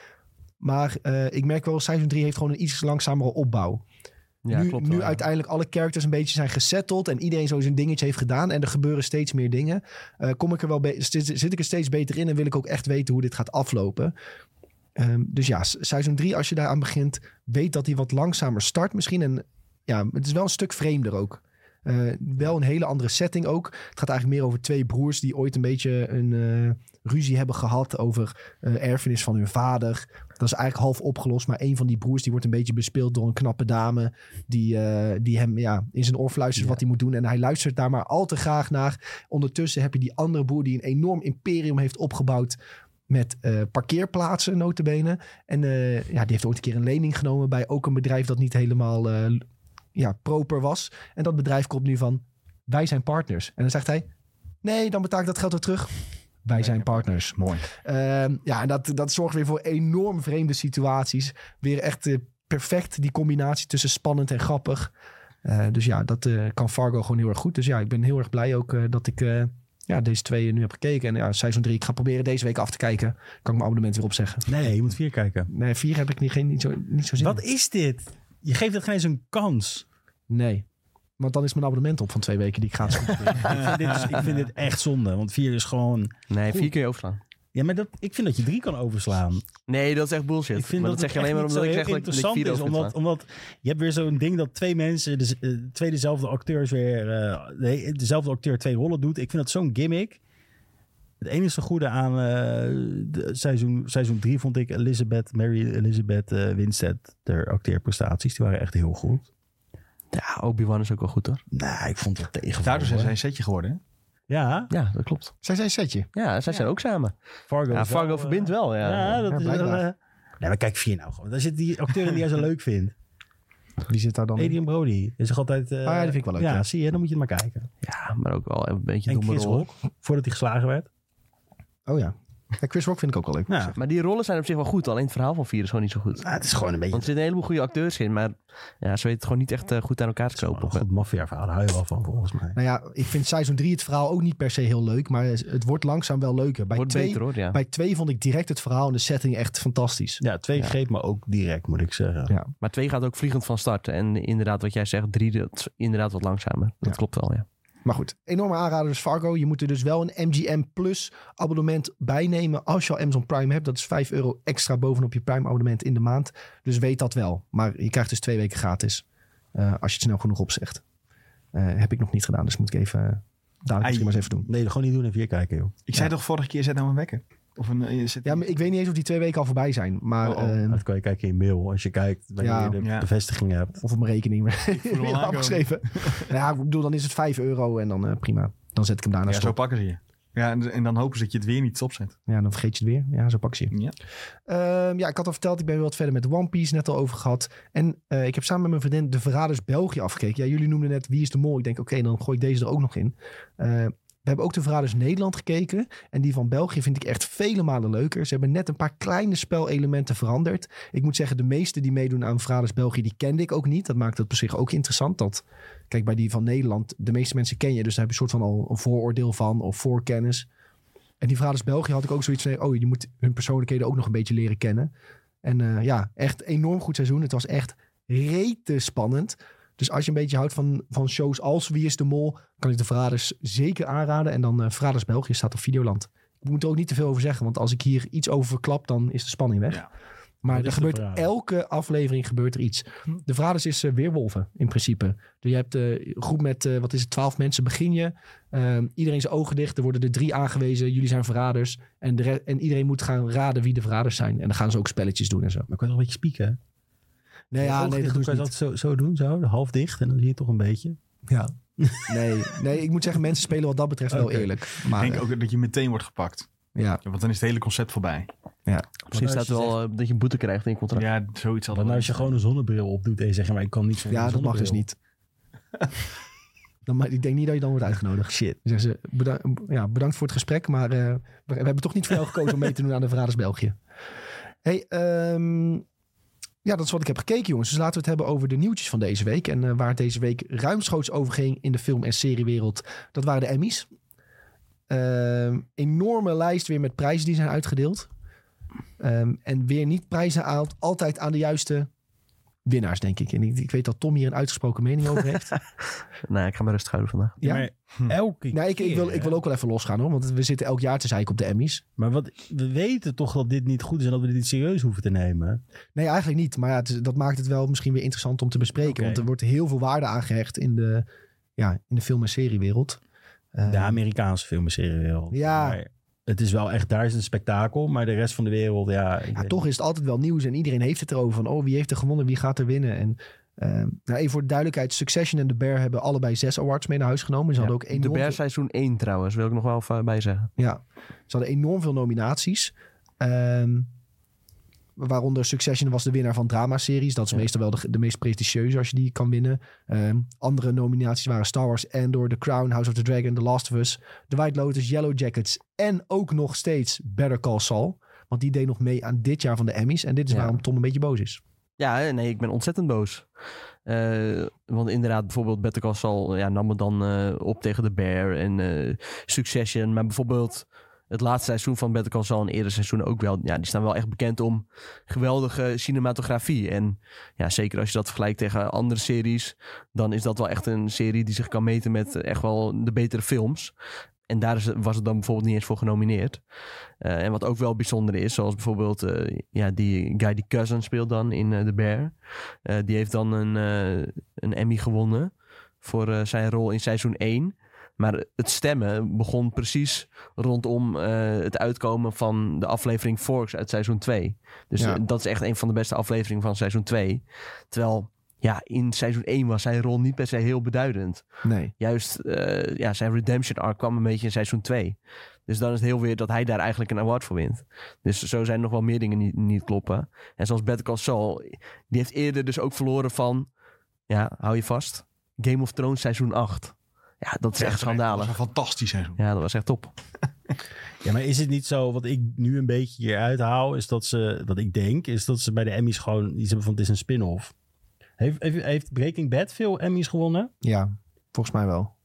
Maar eh, ik merk wel, seizoen 3 heeft gewoon een iets langzamere opbouw.
ja,
nu
klopt
nu
wel, ja.
uiteindelijk alle characters een beetje zijn gesetteld en iedereen zo zijn dingetje heeft gedaan en er gebeuren steeds meer dingen. eh, kom ik er wel be- zit, zit ik er steeds beter in en wil ik ook echt weten hoe dit gaat aflopen. Ehm, dus ja, s- seizoen 3, als je daaraan begint, weet dat hij wat langzamer start misschien. En ja, het is wel een stuk vreemder ook. Eh, wel een hele andere setting ook. Het gaat eigenlijk meer over twee broers die ooit een beetje een eh, ruzie hebben gehad over eh, erfenis van hun vader. Dat is eigenlijk half opgelost, maar een van die broers die wordt een beetje bespeeld door een knappe dame die, eh, die hem ja, in zijn oor fluistert wat hij moet doen. En hij luistert daar maar al te graag naar. Ondertussen heb je die andere broer die een enorm imperium heeft opgebouwd met eh, parkeerplaatsen, notabene. En eh, ja, die heeft ooit een keer een lening genomen bij ook een bedrijf dat niet helemaal eh, ja, proper was. En dat bedrijf komt nu van, wij zijn partners. En dan zegt hij, nee, dan betaal ik dat geld weer terug. Wij zijn partners.
Mooi.
Ehm, ja, en dat, dat zorgt weer voor enorm vreemde situaties. Weer echt eh, perfect die combinatie tussen spannend en grappig. Eh, dus ja, dat eh, kan Fargo gewoon heel erg goed. Dus ja, ik ben heel erg blij ook eh, dat ik eh, ja, deze twee nu heb gekeken. En ja, seizoen 3, ik ga proberen deze week af te kijken. Kan ik mijn abonnement weer opzeggen.
Nee, je moet vier kijken.
Nee, vier heb ik niet, geen, niet, zo, niet zo zin
Wat
in.
is dit? Je geeft het geen eens een kans.
Nee, want dan is mijn abonnement op van twee weken die ik gratis heb.
ik, vind dit, dus- ik vind dit echt zonde. Want vier is gewoon...
Nee, vier
Goed.
keer overslaan.
Ja, maar dat, ik vind dat je drie kan overslaan.
Nee, dat is echt bullshit.
Ik vind
maar
dat,
dat, zeg je alleen maar omdat ik zeg dat ik- dat ik
interessant
vier
is.
over
Omdat,
vind
omdat je hebt weer zo'n ding dat twee mensen, dus, eh, twee dezelfde acteurs weer, eh, nee, dezelfde acteur twee rollen doet. Ik vind dat zo'n gimmick. Het enige goede aan eh, de, seizoen, seizoen drie vond ik Elizabeth, Mary Elizabeth eh Winstead, haar acteerprestaties. Die waren echt heel goed.
Ja, Obi-Wan is ook wel goed hoor.
Nou, ik vond het tegen.
Daardoor zijn zij een setje geworden. hè?
Ja,
Ja, dat klopt.
Zij zijn een setje.
Ja, zij zijn ook samen.
Fargo.
Ja,
is wel,
Fargo
eh,
verbindt wel, ja.
Ja, dat
Ja,
is wel...
blijkbaar.
eh, nee, maar kijk vier nou gewoon. Daar zit die acteur in die jij zo leuk vindt.
Die zit daar dan in.
Adrian Brody is toch altijd... eh,
Ah ja, die vind ik wel leuk,
Ja,
ja.
zie je, dan moet je het maar kijken.
Ja, maar ook wel een beetje
En
domme
Chris
rollen.
Rock, voordat hij geslagen werd.
Oh ja. ja. Chris Rock vind ik ook wel leuk.
Nou,
Maar die rollen zijn op zich wel goed, alleen het verhaal van vier is gewoon niet zo goed.
Ah,
nou, het is gewoon een beetje...
Want er zitten een heleboel goede acteurs in, maar ja, ze weten het gewoon niet echt eh, goed aan elkaar te
Een
knopen.
Oh, goed maffiaverhaal, daar hou je wel van volgens mij.
Nou ja, ik vind seizoen 3 het verhaal ook niet per se heel leuk. Maar het wordt langzaam wel leuker. Bij
Wordt
twee,
beter hoor, ja.
Bij twee vond ik direct het verhaal en de setting echt fantastisch.
Ja, twee
Ja.
greep me ook direct, moet ik zeggen.
Ja.
Maar twee gaat ook vliegend van start. En inderdaad, wat jij zegt, drie dat is inderdaad wat langzamer. Dat
Ja.
klopt wel, ja.
Maar goed, enorme aanrader dus Fargo. Je moet er dus wel een MGM Plus abonnement bij nemen als je al Amazon Prime hebt. Dat is 5 euro extra bovenop je Prime abonnement in de maand. Dus weet dat wel. Maar je krijgt dus twee weken gratis eh, als je het snel genoeg opzegt. Eh, heb ik nog niet gedaan, dus moet ik even eh, dadelijk misschien maar eens even doen.
Nee, gewoon niet doen en vier kijken, joh.
Ik zei toch vorige keer, zet nou een wekker. Of een, eh, zet
Ja, maar ik weet niet eens of die twee weken al voorbij zijn. Maar,
Oh, oh.
eh,
Dat kan je kijken in je mail, als je kijkt wanneer
Ja.
je de
Ja.
bevestiging hebt.
of op mijn rekening
hem
weer
al
afgeschreven. nou ja, ik bedoel, dan is het 5 euro en dan eh, prima. Dan zet ik hem daarna
ja, zo
stop.
pakken ze je. Ja, en, en dan hopen ze dat je het weer niet stopzet.
Ja, dan vergeet je het weer. Ja, zo pak ze je.
Ja.
Ehm, ja, ik had al verteld, ik ben weer wat verder met One Piece, net al over gehad. En eh, ik heb samen met mijn vriendin De Verraders België afgekeken. Ja, jullie noemden net Wie is de Mol. Ik denk, oké, dan gooi ik deze er ook nog in. Eh, we hebben ook De Verraders Nederland gekeken. En die van België vind ik echt vele malen leuker. Ze hebben net een paar kleine spelelementen veranderd. Ik moet zeggen, de meeste die meedoen aan Verraders België, die kende ik ook niet. Dat maakt het op zich ook interessant. Dat, kijk, bij die van Nederland, de meeste mensen ken je. Dus daar heb je een soort van al een vooroordeel van of voorkennis. En die Verraders België had ik ook zoiets van... oh, je moet hun persoonlijkheden ook nog een beetje leren kennen. En eh, ja, echt enorm goed seizoen. Het was echt rete spannend. Dus als je een beetje houdt van, van shows als Wie is de Mol, kan ik de Verraders zeker aanraden. En dan eh Verraders België staat op Videoland. Ik moet er ook niet te veel over zeggen, want als ik hier iets over verklap, dan is de spanning weg.
Ja.
Maar
Wat
er
is de
gebeurt
Verraders? Hm.
elke aflevering gebeurt er iets. De Verraders is eh, weerwolven in principe. Dus je hebt eh, een groep met, eh, wat is het, twaalf mensen begin je. Ehm, iedereen zijn ogen dicht, er worden er drie aangewezen. Jullie zijn verraders. En, de re- en iedereen moet gaan raden wie de verraders zijn. En dan gaan ze ook spelletjes doen en zo.
Maar ik kan toch een beetje spieken. hè?
Nee, ja,
Ogen
nee, dat
dicht
doe
Oh, kan
ik
je
niet.
dat zo, zo doen, zo, half dicht. En dan zie je toch een beetje.
Ja. Nee, nee, ik moet zeggen, mensen spelen wat dat betreft wel
Oké.
eerlijk.
Ah,
Maar
Ik denk ook dat je meteen wordt gepakt.
eh, ja,
Ja, want dan is het hele concept voorbij.
Misschien
Maar
staat
als
er
je
wel eh, dat je een boete krijgt in je contract.
Ja, zoiets
Want
hadden
nou, als je
wel.
gewoon een zonnebril op doet en je zegt, maar ik kan niet zonder
ja dat mag dus
zonnebril.
niet. Dan, ma- ik denk niet dat je dan wordt uitgenodigd.
Shit.
Dan zeggen ze, beda- ja, bedankt voor het gesprek, maar eh, we, we hebben toch niet voor jou gekozen om mee te doen aan de Verraders België. Hey, ehm, ja, dat is wat ik heb gekeken, jongens. Dus laten we het hebben over de nieuwtjes van deze week. En eh, waar het deze week ruimschoots over ging in de film- en seriewereld, dat waren de Emmys. Ehm, enorme lijst weer met prijzen die zijn uitgedeeld. Ehm, en weer niet prijzen aan, altijd aan de juiste winnaars, denk ik. En ik, ik weet dat Tom hier een uitgesproken mening over heeft.
Nee, Nou, ik ga me rustig houden vandaag.
Ja. Hm.
Maar elke
Nee, ik, ik, wil,
keer,
ik wil ook wel even losgaan hoor. Want we zitten elk jaar te zeiken op de Emmys.
Maar wat, we weten toch dat dit niet goed is en dat we dit niet serieus hoeven te nemen.
Nee, eigenlijk niet. Maar ja, het is- dat maakt het wel misschien weer interessant om te bespreken.
Oké.
Want er wordt heel veel waarde aangehecht in de, ja, in de film- en seriewereld. Eh,
De Amerikaanse film en seriewereld.
Ja.
Maar het is wel echt, daar is een spektakel. Maar de rest van de wereld, ja. ik
ja,
weet
toch is het altijd wel nieuws en iedereen heeft het erover. Van, oh, wie heeft er gewonnen? Wie gaat er winnen? En ehm, nou, even voor de duidelijkheid. Succession en The Bear hebben allebei zes awards mee naar huis genomen. Ze
Ja,
hadden ook
De
enorm
Bear
veel-
seizoen 1 trouwens, wil ik nog wel even bij zeggen.
Ja, ze hadden enorm veel nominaties. Ehm, waaronder Succession was de winnaar van dramaseries. Dat is
Ja.
meestal wel de, de meest prestigieuze als je die kan winnen. Ehm, andere nominaties waren Star Wars, Andor, The Crown, House of the Dragon, The Last of Us, The White Lotus, Yellow Jackets en ook nog steeds Better Call Saul. Want die deed nog mee aan dit jaar van de Emmys. En dit is
Ja.
waarom Tom een beetje boos is.
Ja, eh, nee, ik ben ontzettend boos. Eh, want inderdaad, bijvoorbeeld Better Call Saul ja, nam het dan eh, op tegen de Bear en eh, Succession. Maar bijvoorbeeld het laatste seizoen van Better Call Saul en eerder seizoenen ook wel. Ja, die staan wel echt bekend om geweldige cinematografie. En ja, zeker als je dat vergelijkt tegen andere series, dan is dat wel echt een serie die zich kan meten met eh, echt wel de betere films. En daar is, was het dan bijvoorbeeld niet eens voor genomineerd. Eh, en wat ook wel bijzonder is, zoals bijvoorbeeld eh, ja, die guy die Cousin speelt dan in eh, The Bear. Eh, die heeft dan een, eh, een Emmy gewonnen voor eh, zijn rol in seizoen 1. Maar het stemmen begon precies rondom eh, het uitkomen van de aflevering Forks uit seizoen 2. Dus
Ja.
eh, dat is echt een van de beste afleveringen van seizoen 2. Terwijl ja, in seizoen 1 was zijn rol niet per se heel beduidend
Nee.
juist eh, ja, zijn redemption arc kwam een beetje in seizoen 2. Dus dan is het heel weer dat hij daar eigenlijk een award voor wint. Dus zo zijn er nog wel meer dingen die niet kloppen. En zoals Better Call Saul, die heeft eerder dus ook verloren van... Ja, hou je vast. Game of Thrones seizoen 8. Ja, dat is echt
Dat
schandalig.
was een fantastisch seizoen.
Ja, dat was echt top.
Ja, maar is het niet zo, wat ik nu een beetje hieruit haal, is dat ze, wat ik denk, is dat ze bij de Emmys gewoon iets hebben van, het is een spin-off. Heeft, heeft, heeft Breaking Bad veel Emmys gewonnen?
Ja, volgens mij wel.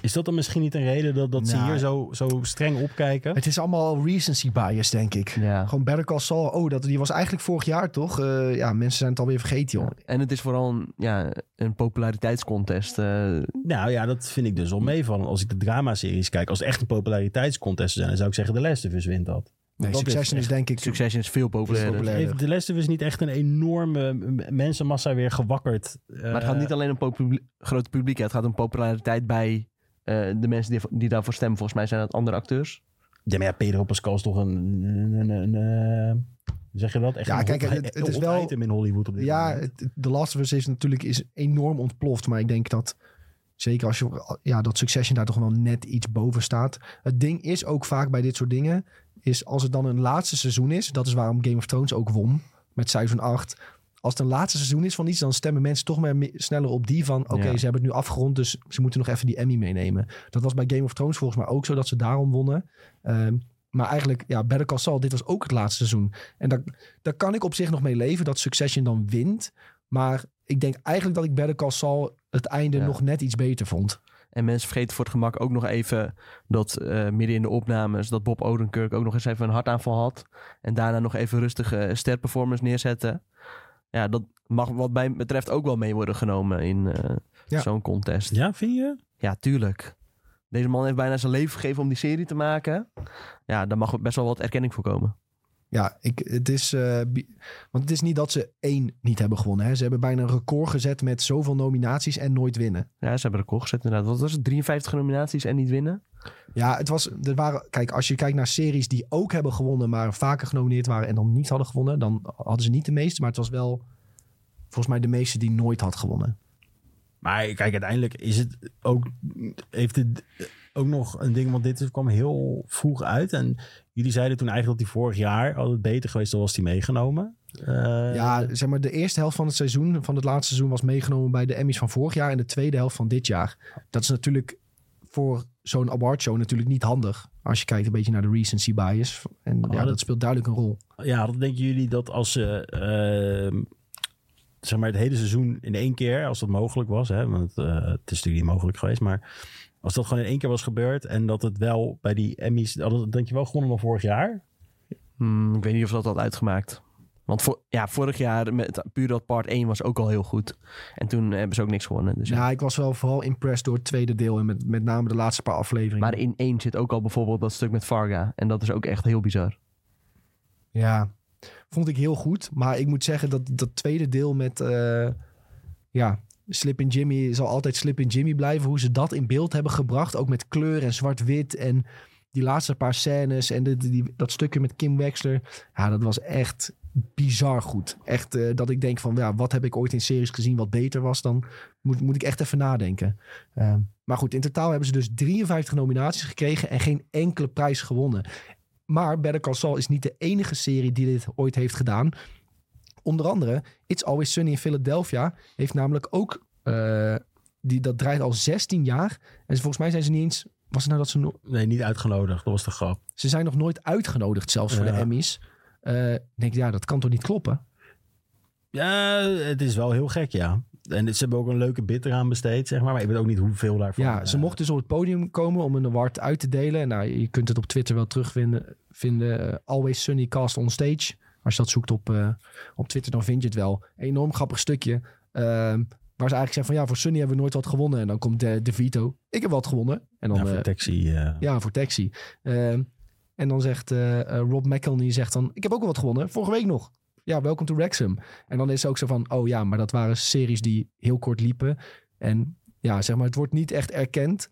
Is dat dan misschien niet een reden dat, dat ze
Nou,
hier zo, zo streng opkijken?
Het is allemaal recency bias, denk ik.
Ja.
Gewoon Better Call Saul. Oh, dat, die was eigenlijk vorig jaar toch? Eh, ja, mensen zijn het alweer vergeten, joh.
En het is vooral een, ja, een populariteitscontest. eh,
Nou ja, dat vind ik dus al meevallen. Als ik de dramaseries kijk, als het echt een populariteitscontest zou zijn, dan zou ik zeggen The Last of Us wint dat.
Nee,
dat is
Succession is, denk ik...
Succession is veel populairder.
populair.
Heeft The Last of Us niet echt een enorme m- mensenmassa weer gewakkerd? Eh,
Maar het gaat niet alleen om popul- grote publiek. hè. Het gaat om populariteit bij eh, de mensen die, die daarvoor stemmen. Volgens mij zijn dat andere acteurs.
Ja, maar ja, Pedro Pascal is toch een... een, een, een, eh, hoe zeg je dat? Echt
Ja,
een
kijk,
hot-
het- het is
hot
wel-
item in Hollywood op dit
Ja,
moment.
het- The Last of Us is natuurlijk is enorm ontploft. Maar ik denk dat, zeker als je... Ja, dat Succession daar toch wel net iets boven staat. Het ding is ook vaak bij dit soort dingen... is als het dan een laatste seizoen is... dat is waarom Game of Thrones ook won met seizoen 8... Als het een laatste seizoen is van iets, dan stemmen mensen toch maar me- sneller op die van. Oké,
Ja.
ze hebben het nu afgerond, dus ze moeten nog even die Emmy meenemen. Dat was bij Game of Thrones volgens mij ook zo dat ze daarom wonnen. Ehm, maar eigenlijk, ja, Better Call Saul, dit was ook het laatste seizoen. En daar, daar kan ik op zich nog mee leven dat Succession dan wint. Maar ik denk eigenlijk dat ik Better Call Saul het einde
Ja.
nog net iets beter vond.
En mensen vergeten voor het gemak ook nog even dat eh, midden in de opnames dat Bob Odenkirk ook nog eens even een hartaanval had. En daarna nog even rustige sterperformance neerzetten. Ja, dat mag wat mij betreft ook wel mee worden genomen in eh,
Ja.
zo'n contest.
Ja, vind je?
Ja, tuurlijk. Deze man heeft bijna zijn leven gegeven om die serie te maken. Ja, daar mag best wel wat erkenning voor komen.
Ja, ik, het is, eh, bi- want het is niet dat ze één niet hebben gewonnen. Hè. Ze hebben bijna een record gezet met zoveel nominaties en nooit winnen.
Ja, ze hebben record gezet inderdaad. Wat was het? 53 nominaties en niet winnen?
Ja, het was, er waren, kijk, als je kijkt naar series die ook hebben gewonnen, maar vaker genomineerd waren en dan niet hadden gewonnen, dan hadden ze niet de meeste, maar het was wel volgens mij de meeste die nooit had gewonnen.
Maar kijk, uiteindelijk is het ook, heeft het ook nog een ding, want dit is- kwam heel vroeg uit. En jullie zeiden toen eigenlijk dat hij vorig jaar al het beter geweest was, was hij meegenomen. Eh,
Ja, zeg maar, de eerste helft van het seizoen, van het laatste seizoen, was meegenomen bij de Emmys van vorig jaar en de tweede helft van dit jaar. Dat is natuurlijk voor zo'n awardshow natuurlijk niet handig. Als je kijkt een beetje naar de recency bias. En ja,
dat-
dat speelt duidelijk een rol.
Ja, dan denken jullie dat als ze ehm, zeg maar het hele seizoen in één keer, als dat mogelijk was, hè, want eh, het is natuurlijk niet mogelijk geweest, maar als dat gewoon in één keer was gebeurd en dat het wel bij die Emmys, hadden- denk je wel gewonnen dan vorig jaar?
Hmm, ik weet niet of dat had uitgemaakt. Want voor, ja, vorig jaar, met, puur dat part 1 was ook al heel goed. En toen hebben ze ook niks gewonnen. Dus ja.
Ja, ik was wel vooral impressed door het tweede deel en met, met name de laatste paar afleveringen.
Maar in 1 zit ook al bijvoorbeeld dat stuk met Varga. En dat is ook echt heel bizar.
Ja, vond ik heel goed. Maar ik moet zeggen dat dat tweede deel met... eh, ja, Slip in Jimmy zal altijd Slip in Jimmy blijven. Hoe ze dat in beeld hebben gebracht. Ook met kleur en zwart-wit en die laatste paar scènes. En de, die, dat stukje met Kim Wexler. Ja, dat was echt bizar goed. Echt eh, dat ik denk van, ja, wat heb ik ooit in series gezien wat beter was? Dan moet, moet ik echt even nadenken. Eh, maar goed, in totaal hebben ze dus 53 nominaties gekregen en geen enkele prijs gewonnen. Maar Better Call Saul is niet de enige serie die dit ooit heeft gedaan. Onder andere It's Always Sunny in Philadelphia heeft namelijk ook... eh, die, dat draait al 16 jaar. En ze- volgens mij zijn ze niet eens... Was het nou dat ze, no-
Nee, niet uitgenodigd, dat was de grap.
ze zijn nog nooit uitgenodigd zelfs voor
Ja.
de Emmys. Eh, ik denk, ja, dat kan toch niet kloppen?
Ja, het is wel heel gek, ja. En ze hebben ook een leuke bit eraan besteed, zeg maar. Maar ik weet ook niet hoeveel daarvan.
ja, ze
eh,
mochten dus op het podium komen om een award uit te delen. Nou, je kunt het op Twitter wel terugvinden. Vinden, eh, Always Sunny Cast on Stage. Als je dat zoekt op, eh, op Twitter, dan vind je het wel. Enorm grappig stukje. ehm, waar ze eigenlijk zeggen van, ja, voor Sunny hebben we nooit wat gewonnen. En dan komt de, de Vito. Ik heb wat gewonnen. En dan,
ja, voor
eh,
taxi. eh,
ja, voor taxi. Ehm, en dan zegt eh, eh, Rob McElhenney zegt dan... Ik heb ook wel wat gewonnen, vorige week nog. Ja, welkom to Wrexham. En dan is ze ook zo van... Oh ja, maar dat waren series die heel kort liepen. En ja, zeg maar, het wordt niet echt erkend...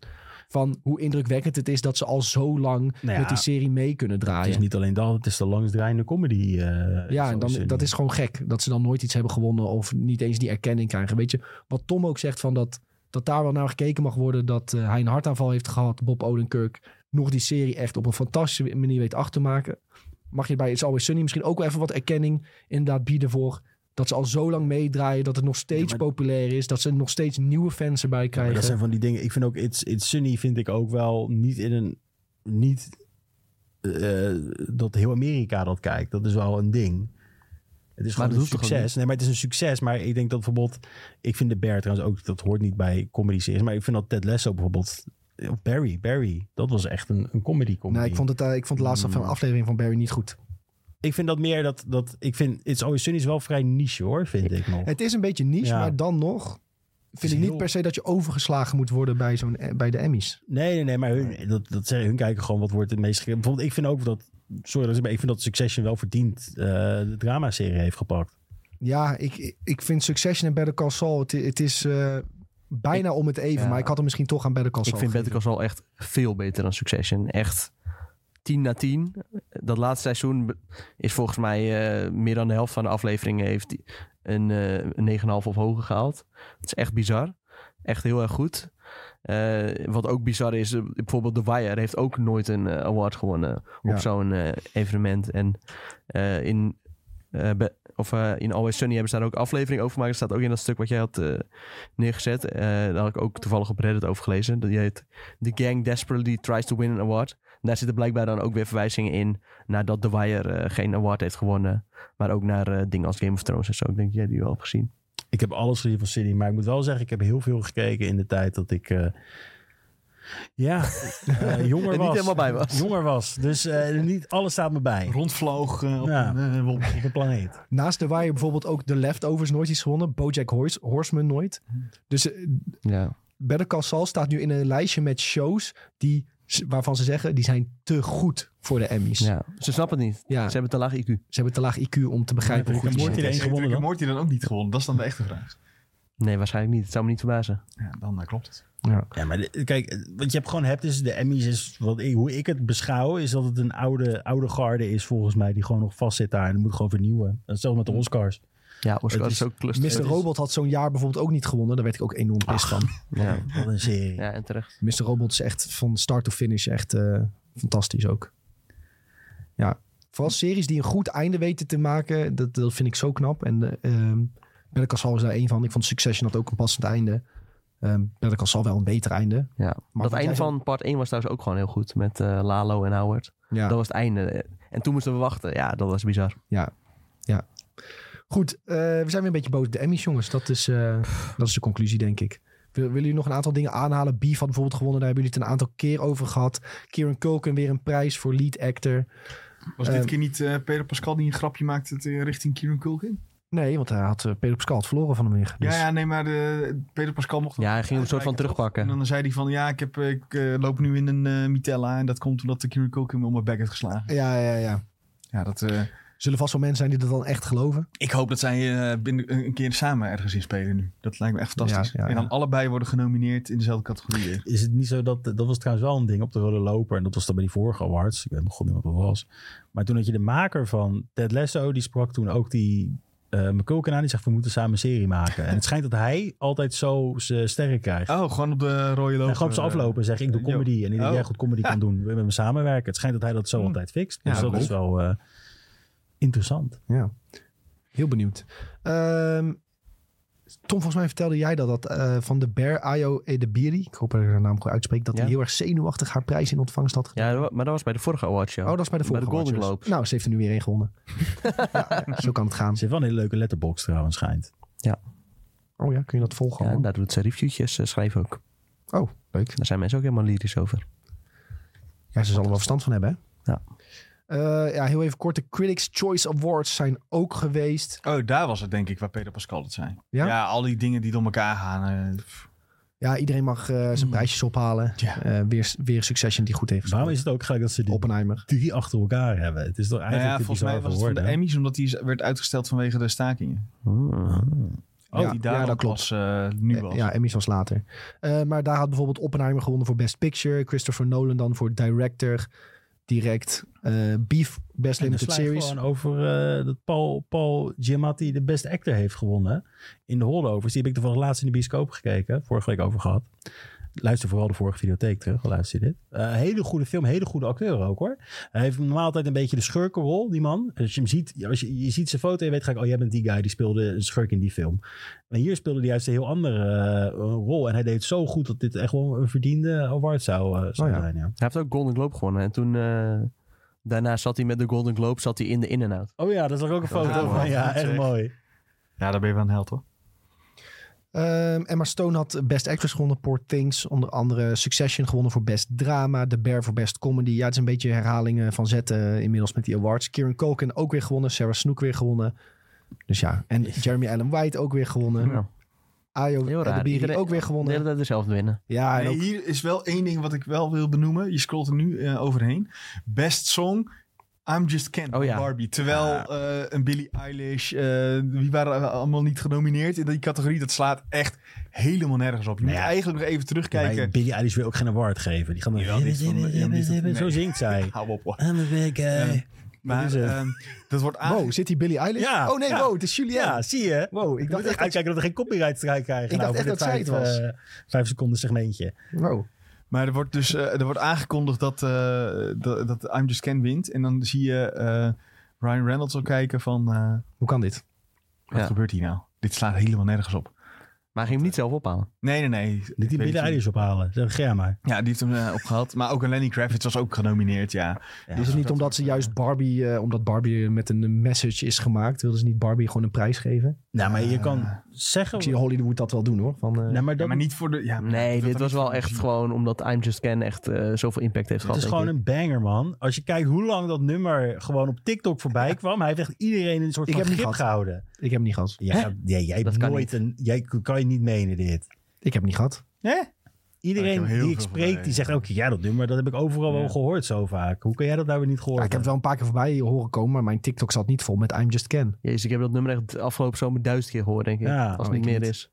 van hoe indrukwekkend het is dat ze al zo lang...
Nou ja,
met die serie mee kunnen
het
draaien.
is niet alleen dat, het is de langstdraaiende comedy.
Ja,
eh,
en
zoals
dus dan,
ze
dat
nu-
is gewoon gek. Dat ze dan nooit iets hebben gewonnen of niet eens die erkenning krijgen. Weet je, wat Tom ook zegt van dat, dat daar wel naar gekeken mag worden... dat eh, hij een hartaanval heeft gehad, Bob Odenkirk... nog die serie echt op een fantastische manier weet achter te maken. Mag je bij It's Always Sunny misschien ook wel even wat erkenning inderdaad bieden voor... dat ze al zo lang meedraaien, dat het nog steeds
Ja, maar-
populair is... dat ze nog steeds nieuwe fans erbij
Ja, maar
krijgen.
dat zijn van die dingen. Ik vind ook It's, It's Sunny vind ik ook wel niet in een niet eh, dat heel Amerika dat kijkt. Dat is wel een ding. Het is gewoon
Maar dat
een
hoeft toch ook
succes. Nee, maar het is een succes. Maar ik denk dat bijvoorbeeld, ik vind de Bear trouwens ook, dat hoort niet bij comedy series. Maar ik vind dat Ted Lasso bijvoorbeeld, of Barry, Barry, dat was echt een, een comedy comedy.
Nee, ik vond, het, eh, ik vond de laatste
Mm.
aflevering van Barry niet goed.
ik vind dat meer dat, dat ik vind It's Always Sunny is wel vrij niche hoor, vind ik nog.
Het is een beetje niche,
Ja.
maar dan nog...
is
vind ik niet
heel-
per se dat je overgeslagen moet worden bij, zo'n, eh, bij de Emmys.
Nee, nee, nee, maar hun, dat, dat zeggen, hun kijken gewoon wat wordt het meest gekeken. Bijvoorbeeld, ik vind ook dat, sorry, dat is- maar ik vind dat Succession wel verdiend eh, de dramaserie heeft gepakt.
Ja, ik, ik vind Succession en Better Call Saul... het, het is eh, bijna om het even.
ja.
Maar ik had hem misschien toch aan Better Call Saul
ik vind Better
gegeven.
Call Saul echt veel beter dan Succession. Echt 10 na 10. Dat laatste seizoen be- is volgens mij eh, meer dan de helft van de afleveringen heeft die een, eh, een 9,5 of hoger gehaald. Dat is echt bizar. Echt heel erg goed. Eh, wat ook bizar is, eh, bijvoorbeeld The Wire heeft ook nooit een eh, award gewonnen
Ja.
op zo'n eh, evenement. En eh, in, eh, Be- of, eh, in Always Sunny hebben ze daar ook aflevering over gemaakt. Dat staat ook in dat stuk wat jij had eh, neergezet. Eh, daar had ik ook toevallig op Reddit over gelezen. Die heet The Gang Desperately Tries to Win an Award. En daar zitten blijkbaar dan ook weer verwijzingen in naar dat The Wire eh, geen award heeft gewonnen. Maar ook naar eh, dingen als Game of Thrones en zo. Ik denk, jij hebt die wel hebt gezien.
Ik heb alles gezien van Sunny, maar ik moet wel zeggen, ik heb heel veel gekeken in de tijd dat ik eh, Ja, eh, jonger
En
was.
niet helemaal bij was.
Jonger was. Dus eh, niet alles staat me bij.
Rondvloog eh, op
Ja.
een eh, wolk.
Op een planeet.
Naast de Wire bijvoorbeeld ook The Leftovers nooit iets gewonnen. Bojack Hors Horseman nooit. Dus eh,
Ja.
Better Call Saul staat nu in een lijstje met shows die, waarvan ze zeggen die zijn te goed voor de Emmys. Ja.
ja. Ze snappen het niet. Ze hebben te laag IQ.
ze hebben te laag IQ om te begrijpen
Ja,
hoe
ik
goed het
heb nooit
is.
Eén
Heeft
gewonnen
Rick en
dan?
Morty dan ook niet gewonnen? Dat is dan de echte vraag.
Nee, waarschijnlijk niet. Het zou me niet verbazen.
Ja, dan eh, klopt het.
Ja, maar de- kijk, wat je hebt gewoon hebt is de Emmys is wat ik, hoe ik het beschouw is dat het een oude, oude garde is volgens mij die gewoon nog vastzit daar en er moet gewoon vernieuwen. Hetzelfde met
Mm.
de Oscars.
Ja, Oscar
Het
is,
is-
ook cluster.
Mr. Robot had zo'n jaar bijvoorbeeld ook niet gewonnen. Daar werd ik ook enorm pist van.
Ja.
Wat een serie.
ja, en terecht.
Mr. Robot is echt van start to finish echt eh, fantastisch ook. Ja, vooral series die een goed einde weten te maken, dat, dat vind ik zo knap. En eh, ehm Better Call Saul is daar één van. Ik vond Succession had ook een passend einde. Ehm Better Call Saul wel een beter einde.
Ja.
wat
dat
jij
einde
zo-
van part 1 was trouwens ook gewoon heel goed. Met eh, Lalo en Howard.
Ja.
Dat was het einde. En toen moesten we wachten. Ja, dat was bizar.
Goed, eh, we zijn weer een beetje boos op de Emmys, jongens. Dat is, eh, dat is de conclusie, denk ik. Wil- Willen jullie nog een aantal dingen aanhalen? Beef had bijvoorbeeld gewonnen. Daar hebben jullie het een aantal keer over gehad. Kieran Culkin weer een prijs voor lead actor.
Was
Eh,
dit keer niet eh Peter Pascal die een grapje maakte te- richting Kieran Culkin?
Nee, want hij had eh, Peter Pascal het verloren van hem weer. Dus-
Ja, ja, nee, maar de, Peter Pascal mocht...
Ja, hij ging hem een soort van terugpakken.
En dan zei hij van, ja, ik, heb, eh, ik eh, loop nu in een eh, Mitella. En dat komt omdat de Kieran Culkin me om mijn bek heeft geslagen.
ja, ja, ja.
Ja, dat, eh,
Zullen vast wel mensen zijn die dat dan echt geloven.
ik hoop dat zij eh, binnen een keer samen ergens in spelen nu. Dat lijkt me echt fantastisch.
Ja, ja,
En dan
ja.
allebei worden genomineerd in dezelfde categorie weer.
Is het niet zo dat, dat was trouwens wel een ding op de rode loper. En dat was dan bij die vorige awards. Ik weet mijn god niet wat dat was. Maar toen had je de maker van Ted Lasso, die sprak toen ook die eh McCulkin aan. Die zegt, we moeten samen een serie maken. En het schijnt dat hij altijd zo zijn sterren krijgt.
Oh, gewoon op de rode loper.
en gewoon op ze aflopen en zeggen, ik doe
eh, yo.
comedy. En ik denk dat jij
Oh.
goed comedy kan doen. We met hem samenwerken. Het schijnt dat hij dat zo
Hmm.
altijd fixt.
Ja,
Dus dat
leuk.
is wel eh, interessant.
Ja. Heel benieuwd. Ehm, Tom, volgens mij vertelde jij dat, dat eh, van de Bear Ayo Edebiri, ik hoop dat ik haar naam goed uitspreek, dat
Ja.
hij heel erg zenuwachtig haar prijs in ontvangst had
Ja, dat wa- maar dat was bij de vorige awardshow.
Oh, dat is bij de
Bij de
vorige
Golden
Awards.
Globes.
Nou, ze heeft er nu weer één gewonnen. ja, zo kan het gaan.
Ze heeft wel een hele leuke letterbox trouwens, schijnt.
Oh ja, kun je dat volgen?
Ja, en
allemaal?
daar doet ze reviewtjes, eh, schrijven ook.
Oh, leuk.
Daar zijn mensen ook helemaal lyrisch over.
Ja, ze zal er wel verstand van hebben, hè?
Ja.
Eh, ja, heel even kort. De Critics' Choice Awards zijn ook geweest.
Oh, daar was het denk ik waar Peter Pascal het zei.
Ja?
Ja, al die dingen die door elkaar gaan. eh, pff.
Ja, iedereen mag eh, zijn
Hmm.
prijsjes ophalen.
Ja.
Eh, weer, weer Succession die goed heeft. gespeeld.
Waarom is het ook gelijk dat ze die
Oppenheimer.
drie achter elkaar hebben? Het is toch
Nou
eigenlijk te
ja, volgens
bizar
mij was
voor
het van de
woorden, hè?
Emmys, omdat die is- werd uitgesteld vanwege de stakingen.
Hmm.
Oh,
die
ja,
daar
ja, dat
dat
klopt.
pas eh, nu was.
Ja, Emmys was later. Eh, maar daar had bijvoorbeeld Oppenheimer gewonnen voor Best Picture. Christopher Nolan dan voor Director. Direct. Eh, Beef, Best
En dan
Limited
sla je
Series.
gewoon over eh, dat Paul, Paul Giamatti de best actor heeft gewonnen in de Holdovers. Die heb ik toevallig laatst in de bioscoop gekeken, vorige week over gehad. Luister vooral de vorige videotheek terug, al luister je dit. Eh, hele goede film, hele goede acteur ook hoor. Hij heeft normaal altijd een beetje de schurkenrol, die man. Als je hem ziet, ja, als je, je ziet zijn foto en je weet gelijk, oh jij bent die guy die speelde een schurk in die film. Maar hier speelde hij juist een heel andere eh, rol. En hij deed het zo goed dat dit echt wel een verdiende award zou, eh, zou
Oh ja.
zijn. Ja.
Hij heeft ook Golden Globe gewonnen. En toen... eh, Daarna zat hij met de Golden Globe zat hij in de in-en-out.
Oh ja, daar zag ik ook een
Dat is
foto
wel
van.
mooi.
Ja,
Goed
echt
zeg.
mooi.
Ja, daar ben je wel een held hoor.
Ehm, Emma Stone had Best Actress gewonnen, Poor Things. Onder andere Succession gewonnen voor Best Drama. The Bear voor Best Comedy. Ja, het is een beetje herhalingen van zetten eh, inmiddels met die awards. Kieran Culkin ook weer gewonnen. Sarah Snook weer gewonnen. Dus ja, en Jeremy Allen White ook weer gewonnen.
Ja.
Ayo
Heel raar.
Edebiri
Iedereen-
ook weer
De hele
gewonnen.
tijd dezelfde winnen.
Ja, en
Nee,
ook
Hier is wel één ding wat ik wel wil benoemen. Je scrolt er nu eh, overheen. Best song. I'm Just Ken
Oh ja.
Barbie. Terwijl eh, een Billie Eilish, eh, wie waren er allemaal niet genomineerd in die categorie, dat slaat echt helemaal nergens op. Je
Nou
moet
ja.
eigenlijk nog even
Kijk,
terugkijken.
Billy Billie Eilish wil ook geen award geven. Die gaan dan...
Ja, dit is van- ja, dit is van-
Zo
nee.
zingt zij.
Hou op hoor.
I'm a big guy.
Ja. Maar
is het?
ehm, dat wordt aange-
Wow, zit die Billie Eilish?
Ja,
oh nee,
ja.
wow, het is Julianne.
Ja, zie je?
Wow, ik dacht echt dat-
uitkijken dat we geen copyright strike krijgen.
Ik dacht
over
echt
dit
dat zij het was.
eh, vijf seconden segmentje.
Wow.
Maar er wordt dus eh, er wordt aangekondigd dat, eh, dat, dat I'm Just Ken wint. En dan zie je eh, Ryan Reynolds al kijken van... eh,
Hoe kan dit?
wat
Ja.
gebeurt hier nou? Dit slaat helemaal nergens op.
Maar Maar hij ging hem niet zelf ophalen.
Nee, nee, nee.
Niet die
Ik weet
Billy
het niet.
Eilish ophalen. Zeg, Ger maar.
Ja, die heeft hem eh, opgehaald. Maar ook een Lenny Kravitz was ook genomineerd, ja.
is het niet omdat ze juist Barbie, eh, omdat Barbie met een message is gemaakt, wilden ze niet Barbie gewoon een prijs geven?
Nou, maar je
Eh,
kan zeggen...
Ik zie Hollywood dat wel doen hoor. Van, eh,
Nou, maar
Ja,
dat,
maar niet voor de... Ja,
Nee,
dat
dit
dan
was
niet
wel
voor de
echt
muziek.
gewoon omdat I'm Just Ken echt eh, zoveel impact
Het
heeft gehad.
is
denk
gewoon een banger, man. Als je kijkt hoe lang dat nummer gewoon op TikTok voorbij kwam. Hij heeft echt iedereen in een soort
Ik
van
heb hem
grip
gehad.
gehouden.
ik heb hem niet gehad.
Ja, ja, jij hebt
Dat kan
nooit een... Jij kan je niet menen dit.
Ik heb hem niet gehad.
Hè?
Ik
Iedereen
heb heel
die ik
veel
spreek,
voorbij.
die zegt ook... Ja, dat nummer, dat heb ik overal
Ja.
wel gehoord zo vaak. Hoe kan jij dat nou weer niet gehoord
Ja, ik heb het wel
hebben?
een paar keer voorbij horen komen, maar mijn TikTok zat niet vol met I'm Just Ken.
Jezus, ik heb dat nummer echt de afgelopen zomer duizend keer gehoord, denk ik.
Ja,
als
oh,
het niet
ik
meer
niet.
is.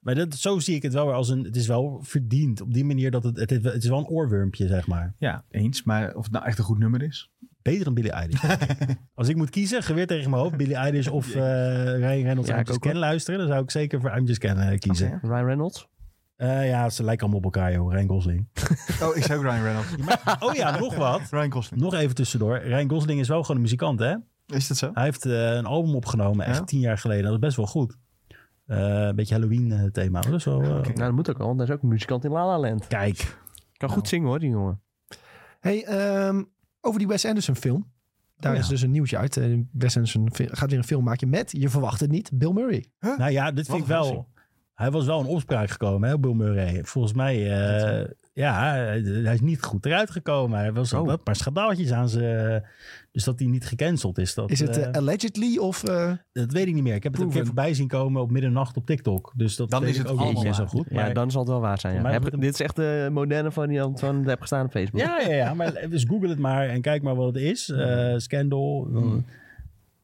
Maar dat, zo zie ik het wel weer als een... Het is wel verdiend op die manier dat het... Het, het is wel een oorwurmpje, zeg maar.
Ja, eens. Maar of het nou echt een goed nummer is.
Beter dan Billy Eilish. denk ik. Als ik moet kiezen, geweer tegen mijn hoofd, Billy Eilish of eh Ryan Reynolds
Ja,
I'm
ik
Just
ook wel.
Ken luisteren, dan zou ik zeker voor I'm Just Ken eh, kiezen.
Oké.
Ryan Reynolds?
Eh, ja, ze lijken allemaal op elkaar, joh. Ryan Gosling.
Oh, ik zei ook Ryan Reynolds.
oh ja, nog wat.
Ryan Gosling.
Nog even tussendoor. Ryan Gosling is wel gewoon een muzikant, hè?
Is dat zo?
Hij heeft eh, een album opgenomen, echt
Ja?
tien jaar geleden. Dat is best wel goed. Eh, een beetje Halloween-thema. Dat is wel... eh,
Oké.
Nou, dat moet ook al, want hij is ook een muzikant in La La Land.
Kijk.
Kan goed zingen hoor, die jongen.
Hey, ehm, over die Wes Anderson film. Daar
Oh, ja.
is dus een nieuwtje uit. En Wes Anderson fi- gaat weer een film maken met, je verwacht het niet, Bill Murray.
Nou ja, dit vind
Wat
ik
een
wel...
verrassing.
Hij was wel een opspraak gekomen, hè, Bill Murray. Volgens mij... eh, ja, hij hij is niet goed eruit gekomen. Hij was
Oh.
wel een paar schandaaltjes aan zijn... Dus dat hij niet gecanceld is. Dat,
Is het
eh,
eh, allegedly of... eh,
dat weet ik niet meer. Ik heb het een keer
proven?
voorbij zien komen op middernacht op TikTok. Dus dat
Dan
weet
is
ik
het
ook niet
allemaal
meer zo
waar.
goed.
Ja,
maar-
dan zal het wel waar zijn. Ja.
Maar
Heb-
met hem-
Dit is echt de moderne variant van het heb gestaan op Facebook.
Ja, ja, ja. Maar dus google het maar en kijk maar wat het is. Eh, scandal. mm.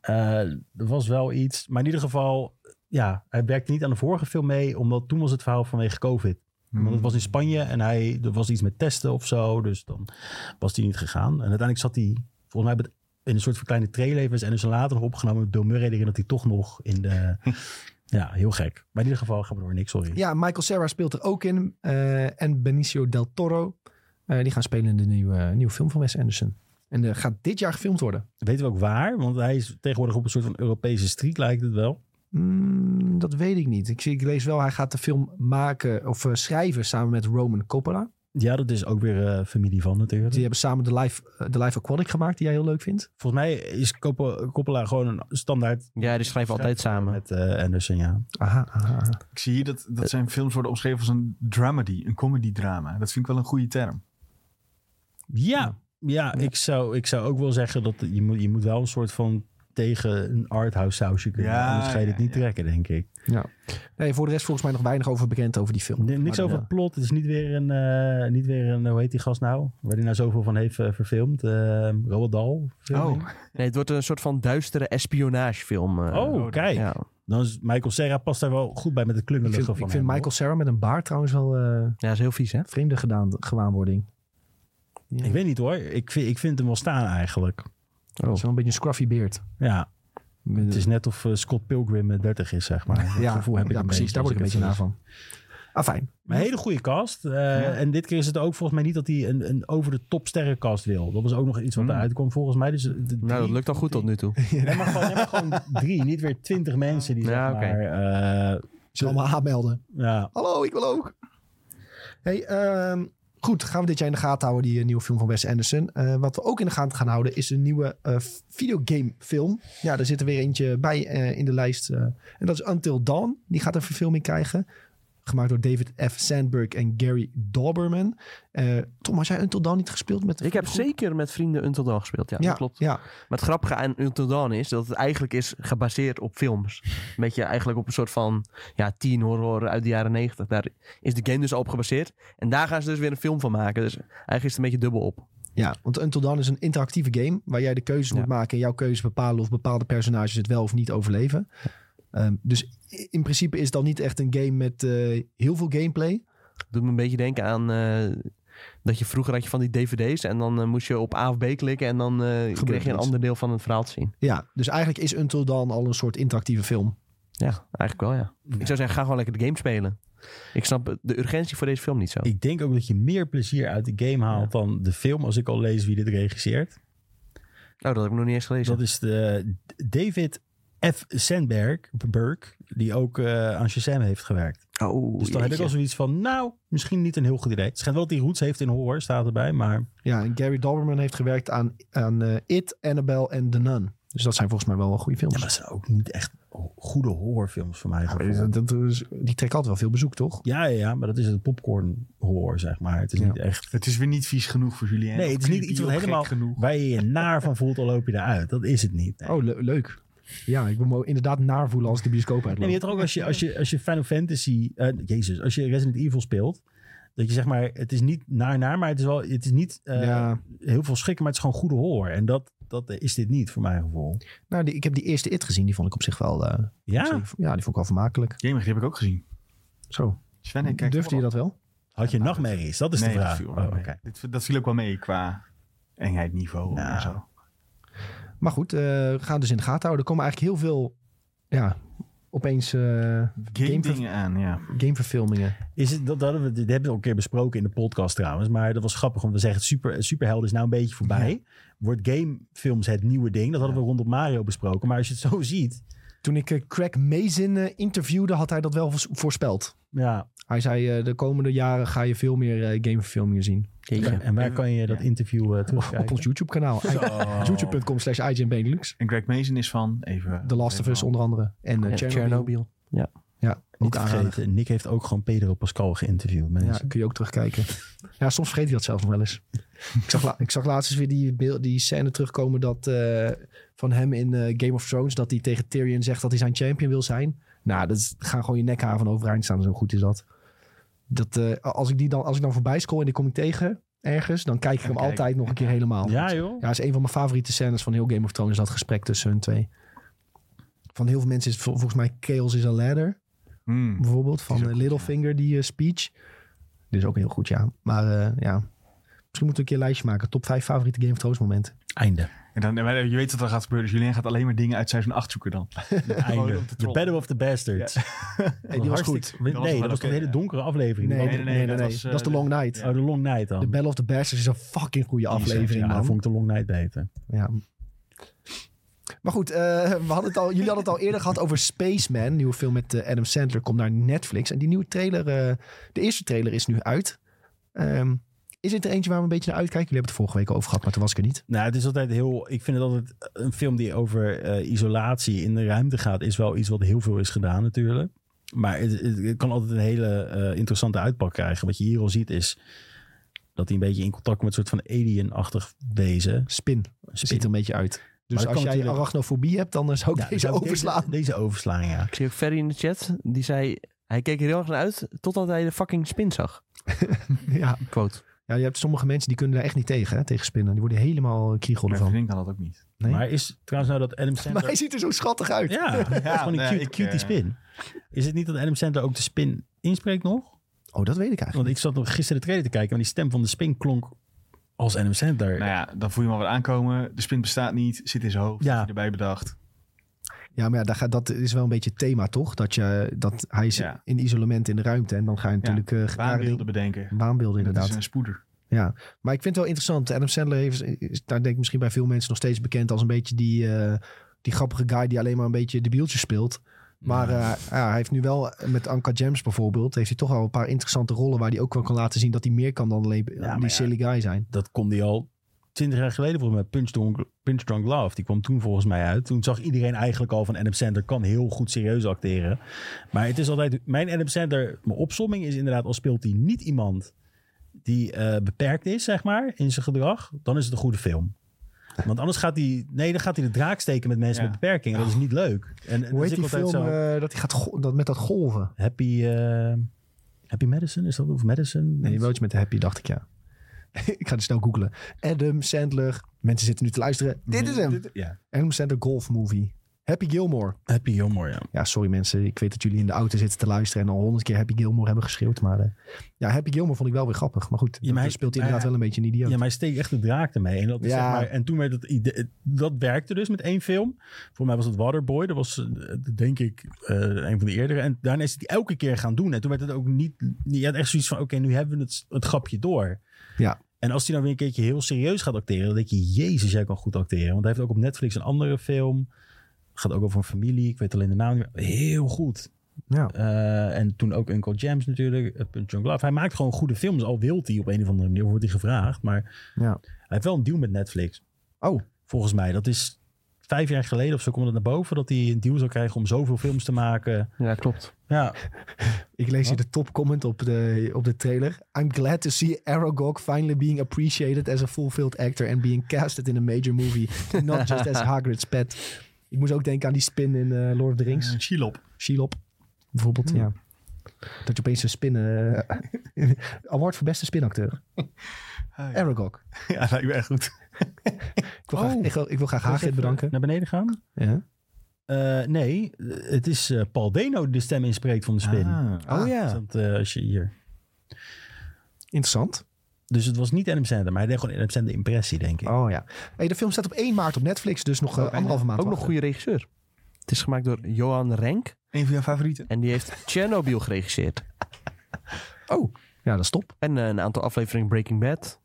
Eh, er was wel iets. Maar in ieder geval, ja, hij werkte niet aan de vorige film mee. Omdat toen was het verhaal vanwege COVID. Want
Hmm. Mm.
het was in Spanje en hij, er was iets met testen of zo. Dus dan was hij niet gegaan. En uiteindelijk zat hij, volgens mij, met- in een soort van kleine trailevers. En dus later nog opgenomen met Bill Murray erin dat hij toch nog in de... ja, heel gek. Maar in ieder geval gaan we door, Nick, sorry.
Ja, Michael Serra speelt er ook in. eh, en Benicio del Toro. Eh, die gaan spelen in de nieuwe, nieuwe film van Wes Anderson. En eh, gaat dit jaar gefilmd worden.
Weten we ook waar? Want hij is tegenwoordig op een soort van Europese street, lijkt het wel.
Mm, dat weet ik niet. Ik, zie- ik lees wel, hij gaat de film maken of eh, schrijven samen met Roman Coppola.
Ja, dat is ook weer eh, familie van natuurlijk.
Die hebben samen de Live, eh, de live Aquatic gemaakt, die jij heel leuk vindt.
Volgens mij is Coppo- Coppola gewoon een standaard
Ja, die schrijven altijd samen.
met eh, Anderson, ja.
Aha, aha, aha.
Ik zie hier dat, dat zijn films worden omschreven als een dramedy, een comedy-drama. Dat vind ik wel een goede term.
Ja, ja ik, zou, ik zou ook wel zeggen dat je moet, je moet wel een soort van tegen een arthouse sausje kunnen.
Ja,
anders ga je
ja,
dit niet
ja.
trekken, denk ik.
Nee, voor de rest volgens mij nog weinig over bekend over die film.
N- niks
Maar, eh,
over
ja.
het plot. Het is niet weer een, eh, niet weer een hoe heet die gast nou? Waar die nou zoveel van heeft eh, verfilmd. eh Roald Dahl. verfilming.
Oh.
Nee, het wordt een soort van duistere espionagefilm. eh.
Oh, kijk.
Ja.
Dan is Michael Serra past daar wel goed bij met het
Ik
klungelige
vind,
van
ik
hem,
vind
hoor.
Michael Serra met een baard trouwens wel eh
ja, is heel vies hè?
vreemde gedaan, gewaanwording. Ja.
Ik weet niet hoor. Ik vind, ik vind hem wel staan eigenlijk.
Dat is wel een beetje een scruffy beard.
Ja,
Met-
Oh. Het is net of eh, Scott Pilgrim eh, 30 is, zeg maar. Dat
ja,
gevoel heb ik
ja,
een
precies.
beetje
Daar word ik een
als
beetje naar
het
van. Ah, fijn.
lees. Maar een hele goede cast. eh, En dit keer is het ook volgens mij niet dat hij een, een over de top sterrenkast wil. Dat was ook nog iets wat
Mm.
Hmm.
eruit kwam volgens mij. Dus de drie,
Nou, dat lukt al goed tot nu toe.
Nee, maar gewoon, nee, maar gewoon drie, niet weer twintig mensen die
Ja,
zeg
oké.
maar... eh,
Ze allemaal aanmelden.
ja.
Hallo, ik wil ook. Hey, ehm, goed, gaan we dit jaar in de gaten houden, die eh, nieuwe film van Wes Anderson. Eh, wat we ook in de gaten gaan houden, is een nieuwe eh, videogame film. Ja, daar zit er weer eentje bij eh, in de lijst. eh, en dat is Until Dawn. Die gaat een verfilming krijgen. Gemaakt door David F. Sandberg en Gary Dauberman. Eh, Tom, had jij Until Dawn niet gespeeld? Met de
Ik heb
vriendengroep?
zeker met vrienden Until Dawn gespeeld. Ja,
Ja,
dat klopt.
Ja,
Maar het grappige aan Until Dawn is dat het eigenlijk is gebaseerd op films. Een beetje eigenlijk op een soort van ja, teen horror uit de jaren negentig. Daar is de game dus al op gebaseerd. En daar gaan ze dus weer een film van maken. Dus eigenlijk is het een beetje dubbel op.
Ja, want Until Dawn is een interactieve game waar jij de keuzes
Ja.
moet maken en jouw keuzes bepalen of bepaalde personages het wel of niet overleven. Ehm, dus i- in principe is het dan niet echt een game met eh, heel veel gameplay.
Doet me een beetje denken aan eh, dat je vroeger had je van die dvd's. En dan eh, moest je op A of B klikken. En dan eh, kreeg je een
iets.
ander deel van het verhaal te zien.
Ja, dus eigenlijk is Until Dawn al een soort interactieve film.
Ja, eigenlijk wel ja. Ik zou zeggen, ga gewoon lekker de game spelen. Ik snap de urgentie voor deze film niet zo.
Ik denk ook dat je meer plezier uit de game haalt dan de film. Als ik al lees wie dit regisseert.
Oh, dat heb ik nog niet eens gelezen.
Dat is de David F. Sandberg, Berg, die ook eh, aan Shazam heeft gewerkt.
Oh,
Dus dan heb ik
jeetje.
al zoiets van, nou, misschien niet een heel goed idee. Het schijnt wel dat hij roots heeft in horror, staat erbij. Maar
Ja, en Gary Doberman heeft gewerkt aan, aan eh, It, Annabelle en The Nun. Dus dat zijn volgens mij wel goede films.
ja, dat zijn ook niet echt goede horrorfilms voor mij.
Maar dat- dat is- die trekken altijd wel veel bezoek, toch?
Ja, ja, ja, maar dat is het popcorn horror, zeg maar. Het is
Ja.
niet echt
Het is weer niet vies genoeg voor Julien.
Nee,
Of
het is niet
creepy
iets wat
of gek
helemaal-
genoeg.
waar je je naar van voelt, al loop je eruit. Dat is het niet. Nee.
Oh, le- leuk. Ja, ik wil me inderdaad naar voelen als ik de bioscoop
En je
uitloopt.
hebt er ook als je, als je, als je Final Fantasy, eh, Jezus, als je Resident Evil speelt, dat je zeg maar, het is niet naar naar, maar het is wel, het is niet eh,
ja,
heel veel schrikken, maar het is gewoon goede horror. En dat, dat is dit niet, voor mijn gevoel.
nou, die, ik heb die eerste It gezien. Die vond ik op zich wel... eh,
Ja,
op zich- ja, die vond ik wel vermakelijk.
Jemig, die heb ik ook gezien.
Zo,
Sven, ik Ah, kijk
durfde je dat wel?
had je nachtmerries? Dat is
nee,
de vraag.
Dat viel, wel
Oh,
mee.
oké.
Dit- dat viel ook wel mee qua engheidniveau
Nou.
en zo.
Maar goed, eh, we gaan dus in de gaten houden. Er komen eigenlijk heel veel... Ja, opeens eh,
Game
Game
dingen aan, ja.
gameverfilmingen.
Is het, dat, dat hadden we, dit hebben we al een keer besproken in de podcast trouwens. Maar dat was grappig, want we zeggen het super, superhelden is nou een beetje voorbij. Wordt gamefilms het nieuwe ding? Dat hadden we rondom Mario besproken. Maar als je het zo ziet,
Toen ik eh, Craig Mazin eh, interviewde, had hij dat wel voors- voorspeld.
ja.
Hij zei, eh, de komende jaren ga je veel meer eh, gameverfilmingen zien.
Jeetje.
En waar kan je dat
Ja.
interview eh,
Op
terugkijken?
ons YouTube-kanaal. YouTube.com slash IGN Benelux.
En Greg Mason is van even...
The Last of Us onder andere. En eh,
Ja,
Chernobyl.
Chernobyl. Ja.
Ja,
Niet
niet
te
aanraden.
vergeten, Nick heeft ook gewoon Pedro Pascal geïnterviewd.
Ja,
Mensen.
kun je ook terugkijken. Ja, soms vergeet hij dat zelfs nog wel eens. ik, zag la- ik zag laatst eens weer die, beeld, die scène terugkomen dat, eh, van hem in eh, Game of Thrones. Dat hij tegen Tyrion zegt dat hij zijn champion wil zijn. Nou, dat is- gaan gewoon je nekhaar van overeind staan. Zo goed is dat. dat eh, als, ik die dan, als ik dan voorbij scroll en die kom ik tegen ergens. Dan kijk ik hem
kijk.
altijd nog een keer helemaal.
Ja, joh.
Ja, is een van mijn favoriete scènes van heel Game of Thrones. Dat gesprek tussen hun twee. Van heel veel mensen is vol- volgens mij Chaos is a Ladder.
Hmm.
Bijvoorbeeld van
Die is ook
eh,
goed,
Littlefinger, die eh, speech. Dit is ook heel goed, ja. Maar eh, ja, misschien moeten we een keer een lijstje maken. Top 5 favoriete Game of Thrones momenten.
Einde.
En dan, maar je weet wat er gaat gebeuren, dus Julien gaat alleen maar dingen uit seizoen 8 zoeken dan. Gewoon
Einde.
om te
The
trollen.
Battle of the Bastards.
Nee, die was goed.
Nee,
was
dat was
wel
toch
oké,
een hele
ja.
donkere aflevering.
Nee, nee,
Die
nee,
nee,
nee,
nee, dat
nee.
was, eh,
Dat is The Long Night.
ja.
Oh, de Long Night dan.
The Battle of the Bastards is een fucking goede
Die is echt,
aflevering,
ja,
man.
vond ik de Long Night beter.
Ja. Maar goed, eh, we hadden het al, jullie hadden het al eerder gehad over Spaceman. Nieuwe film met eh, Adam Sandler komt naar Netflix. En die nieuwe trailer, eh, de eerste trailer is nu uit. Ehm, is het er eentje waar we een beetje naar uitkijken? Jullie hebben het vorige week al over gehad, maar toen was ik er niet.
Nou, het is altijd heel. Ik vind het altijd. eh, Een film die over eh, isolatie in de ruimte gaat. is wel iets wat heel veel is gedaan, natuurlijk. Maar het, het- het kan altijd een hele eh, interessante uitpak krijgen. Wat je hier al ziet is. dat hij een beetje in contact komt met een soort van alien-achtig wezen.
Spin ziet er een beetje uit.
dat
Dus
kan
als jij
natuurlijk-
arachnofobie hebt, dan eh, zou ik
Ja,
deze
zou ik deze-
overslaan.
Deze, overslaan, ja.
Ik zie ook Ferry in de chat. Die zei, hij keek er heel erg naar uit totdat hij de fucking spin zag.
Ja.
Quote.
ja, je hebt sommige mensen die kunnen daar echt niet tegen, hè, tegen spinnen. Die worden helemaal kriegel
Mijn
van.
vriendin kan dat ook niet.
Nee?
Maar is trouwens nou dat Adam Sandler.
Maar hij ziet er zo schattig uit.
Ja, het is gewoon een
nee,
cute,
ik,
cutie
eh,
spin. Is het niet dat Adam Sandler ook de spin inspreekt nog?
Oh, dat weet ik eigenlijk.
Want ik zat nog gisteren de trailer te kijken, maar die stem van de spin klonk als Adam Sandler.
Nou ja, dan voel je maar wat aankomen. De spin bestaat niet, zit in zijn hoofd,
Ja.
is hij erbij bedacht.
Ja, maar ja, daar gaat, dat is wel een beetje het thema, toch? Dat, je, dat hij is
Ja.
in isolement in de ruimte. En dan ga je natuurlijk... eh, rare
Waanbeelden
dingen-
bedenken.
Waanbeelden,
Dat
inderdaad.
is een spoeder.
Ja, maar ik vind het wel interessant. Adam Sandler heeft, is daar denk ik misschien bij veel mensen nog steeds bekend als een beetje die, eh, die grappige guy die alleen maar een beetje de bieltjes speelt. Maar eh, ja, hij heeft nu wel eh, met Anka James bijvoorbeeld, heeft hij toch al een paar interessante rollen waar hij ook wel kan laten zien dat hij meer kan dan alleen
maar
die
ja.
silly guy zijn.
Dat kon die al twintig jaar geleden volgens mij, Punch Drunk, Punch Drunk Love. Die kwam toen volgens mij uit. Toen zag iedereen eigenlijk al van Adam Sandler kan heel goed serieus acteren. Maar het is altijd, mijn Adam Sandler, mijn opsomming is inderdaad, al speelt hij niet iemand die eh, beperkt is, zeg maar, in zijn gedrag, dan is het een goede film. Want anders gaat hij, nee, dan gaat hij de draak steken met mensen
Ja.
met beperkingen. Dat is niet leuk. En, en
Hoe
dan
heet
zit ik
die
altijd
film
zo-
eh, dat hij gaat go- dat, met dat golven?
Happy, eh, Happy Madison is dat? Of Madison?
Nee, wel iets met de happy, dacht ik ja. ik ga het snel googlen. Adam Sandler, mensen zitten nu te luisteren. Dit is hem.
Ja.
Adam Sandler golf movie. Happy Gilmore.
Happy Gilmore, ja.
Ja, sorry mensen. Ik weet dat jullie in de auto zitten te luisteren en al honderd keer Happy Gilmore hebben geschreeuwd. Maar eh, ja, Happy Gilmore vond ik wel weer grappig. Maar goed,
Ja, maar
dan
hij-
speelt hij inderdaad
maar-
wel een beetje een idioot.
Ja, maar hij steekt echt de draak ermee. En, dat is
Ja.
zeg maar, en toen werd het idee, dat werkte dus met één film. Voor mij was het Waterboy. Dat was eh, denk ik eh, een van de eerdere. En daarna is hij het elke keer gaan doen. En toen werd het ook niet. Je had echt zoiets van: oké, nu hebben we het, het grapje door.
Ja.
En als hij nou weer een keertje heel serieus gaat acteren, dan denk je: Jezus, jij kan goed acteren. Want hij heeft ook op Netflix een andere film. Gaat ook over een familie. Ik weet alleen de naam. niet meer. Heel goed.
Ja.
Eh, en toen ook Uncle James natuurlijk, eh, John Glove. Hij maakt gewoon goede films, al wilt hij op een of andere manier, wordt hij gevraagd. Maar
Ja.
hij heeft wel een deal met Netflix.
Oh.
Volgens mij, dat is vijf jaar geleden of zo kwam dat naar boven, dat hij een deal zou krijgen om zoveel films te maken.
Ja, klopt.
Ja,
Ik lees hier de topcomment op de, op de trailer. I'm glad to see Aragog finally being appreciated as a fulfilled actor and being casted in a major movie. Not just as Hagrid's pet. Ik moest ook denken aan die spin in eh, Lord of the Rings.
Eh, Shelob.
Shelob, bijvoorbeeld.
Hmm.
Ja. Dat je opeens een spin... eh, award voor beste spinacteur.
Oh,
Ah, ja.
Aragog.
ja, lijkt me echt goed.
Ik wil,
Oh.
graag, ik wil, ik wil graag Hagrid bedanken.
naar beneden gaan.
Ja.
Eh, nee, het is eh, Paul Deno die de stem inspreekt van de spin.
Ah.
Oh
Ah,
Dus Dat, eh, als je hier.
Interessant.
Dus het was niet Adam Sandler, maar hij deed gewoon Adam Sandler impressie, denk ik.
Oh ja. Hey, de film staat op 1 maart op Netflix, dus nog eh,
Oké.
anderhalve maand.
Ook nog een
wachten.
goede regisseur. Het is gemaakt door Johan Renk.
Een van jouw favorieten?
En die heeft Chernobyl geregisseerd.
Oh, ja, dat is top.
En eh, een aantal afleveringen Breaking Bad.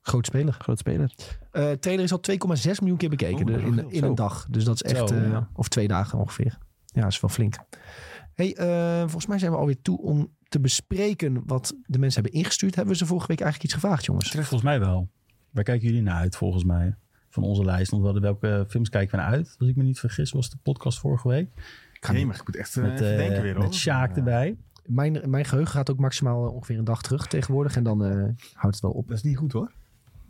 Groot speler.
Groot speler.
Eh trailer is al 2,6 miljoen keer bekeken
Oh,
de-
dat is
in,
veel.
in een
Zo.
dag. Dus dat is echt...
Zo,
eh,
ja.
Of twee dagen ongeveer. Ja, is wel flink. Hey, eh, volgens mij zijn we alweer toe om te bespreken wat de mensen hebben ingestuurd. Hebben we ze vorige week eigenlijk iets gevraagd, jongens?
Volgens mij wel. Waar kijken jullie naar uit, volgens mij? Van onze lijst. Want we hadden welke films kijken we naar uit? Als ik me niet vergis, was de podcast vorige week.
Jemig, ik moet echt eh,
Met,
even
eh,
denken weer, hoor.
met Sjaak erbij.
Mijn, mijn geheugen gaat ook maximaal eh, ongeveer een dag terug tegenwoordig. En dan eh, houdt het wel op.
Dat is niet goed, hoor.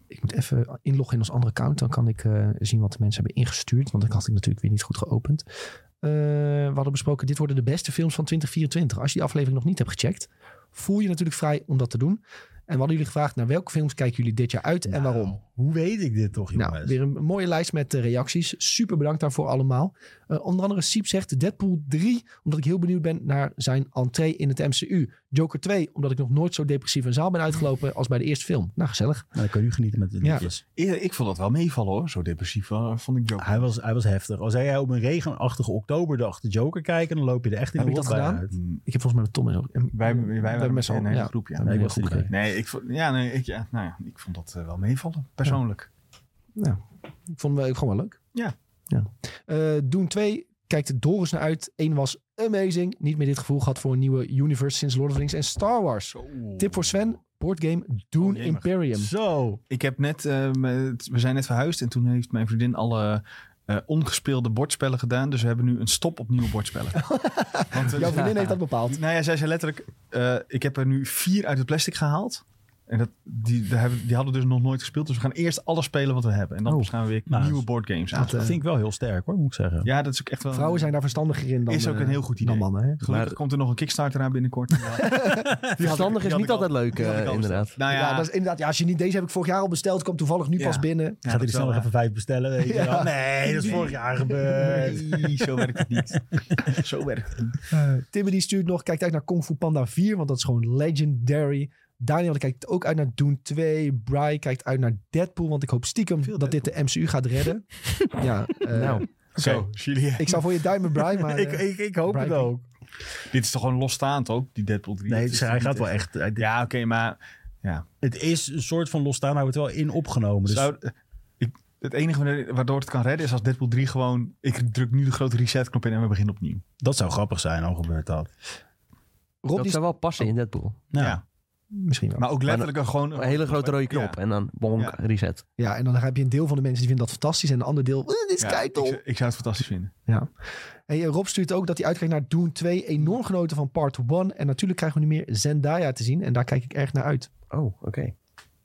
Ik moet even inloggen in ons andere account. Dan kan ik eh, zien wat de mensen hebben ingestuurd. Want dat had ik natuurlijk weer niet goed geopend. Eh, we hadden besproken, dit worden de beste films van 2024. Als je die aflevering nog niet hebt gecheckt, voel je natuurlijk vrij om dat te doen. En we hadden jullie gevraagd, naar welke films kijken jullie dit jaar uit en
Nou,
waarom?
Hoe weet ik dit toch, jongens?
Nou, weer een mooie lijst met eh, reacties. Super bedankt daarvoor allemaal. Eh, onder andere Siep zegt Deadpool 3, omdat ik heel benieuwd ben naar zijn entree in het MCU. Joker 2, omdat ik nog nooit zo depressief een zaal ben uitgelopen als bij de eerste film. Nou, gezellig.
Nou, dan kun je nu genieten met de
Ja.
liedjes.
Ik, ik vond dat wel meevallen, hoor. Zo depressief eh, vond ik Joker.
Hij, was, hij was heftig. Als jij op een regenachtige oktoberdag de Joker kijken, dan loop je er echt in
Heb
de
ik dat
rot bij
gedaan?
uit.
Mm,
Ik heb volgens mij met Tom en zo. en-
Wij, wij,
we
waren
hebben met z'n allen.
een hele
Ja.
groep, ja.
Nee, ik
Ja,
was
goed
er niet bij.
Nee, ik vond, ja, nee, ik, ja, nou ja, ik vond dat eh, wel meevallen, persoonlijk.
Ik vond hem gewoon wel leuk.
Ja.
ja. Eh, Doom 2 kijkt Doris naar uit. Eén was amazing. Niet meer dit gevoel gehad voor een nieuwe universe sinds Lord of the Rings en Star Wars.
Zo.
Tip voor Sven. Boardgame Dune
Oh, jemig.
Imperium.
Zo.
Ik heb net, eh, met- we zijn net verhuisd en toen heeft mijn vriendin alle eh, ongespeelde bordspellen gedaan. Dus we hebben nu een stop op nieuwe bordspellen. Want, eh,
Jouw vriendin heeft dat bepaald.
Nou ja, zij zei letterlijk, eh, ik heb er nu vier uit het plastic gehaald. En dat, die, daar hebben- die hadden we dus nog nooit gespeeld. Dus we gaan eerst alles spelen wat we hebben. En dan
Oh.
gaan we weer
Nou,
nieuwe
dat-
boardgames aan.
Dat, eh,
Dat vind ik wel heel sterk hoor, moet ik zeggen.
Ja, dat is ook echt wel...
vrouwen zijn daar verstandiger in dan,
Is ook een
eh,
heel goed idee. Nou
dan mannen. Hè?
Gelukkig
Maar-
komt er nog een Kickstarter aan binnenkort. Nou Ja. Die had ik-
Verstandig
die
is
had
niet
ik al-
altijd leuk,
die had
eh,
ik al
inderdaad.
Nou
ja,
ja,
dat is inderdaad. Ja, als je niet deze heb ik vorig jaar al besteld, kwam toevallig nu
Ja.
pas binnen.
ja,
Gaat
dat
hij
is
er snel
wel
nog even vijf bestellen? Weet je
Ja.
wel? Nee, dat is
Nee.
vorig jaar
waar.
gebeurd.
Nee, zo werkt het niet. Zo werkt het niet.
Eh, Timmy die stuurt nog, kijkt uit naar Kung Fu Panda 4, want dat is gewoon legendary. Daniel die kijkt ook uit naar Dune 2. Bry kijkt uit naar Deadpool, want ik hoop stiekem
Veel
dat dit de MCU gaat redden. ja, eh,
Nou,
Zo, Julie.
ik zou voor je duimen, Bry, maar
ik,
eh,
ik, ik hoop het
Brian-
ook.
Dit is toch gewoon losstaand ook, die Deadpool 3?
Nee,
Dat
het
is
is- hij
toch
gaat
niet
wel echt. hij-
Ja, oké, maar
Het is een soort van losstaan, maar hij wordt wel in opgenomen. Dus
zou, ik, het enige waardoor het kan redden is als Deadpool 3 gewoon... Ik druk nu de grote resetknop in en we beginnen opnieuw.
dat zou grappig zijn, al gebeurt dat.
Rob
dat
die Oh.
zou wel passen in Deadpool.
Nou,
Ja.
misschien wel.
Maar ook letterlijk een gewoon...
Een hele grote rode
Ja.
knop en dan bonk,
Ja.
reset.
Ja, en dan heb je een deel van de mensen die vinden dat fantastisch en een ander deel, eh, dit is
Ja,
keitel.
Ik, ik zou het fantastisch vinden.
Hey, eh, Rob stuurt ook dat hij uitkijkt naar Dune 2. Enorm genoten van part 1. En natuurlijk krijgen we nu meer Zendaya te zien. En daar kijk ik erg naar uit.
Oh, oké.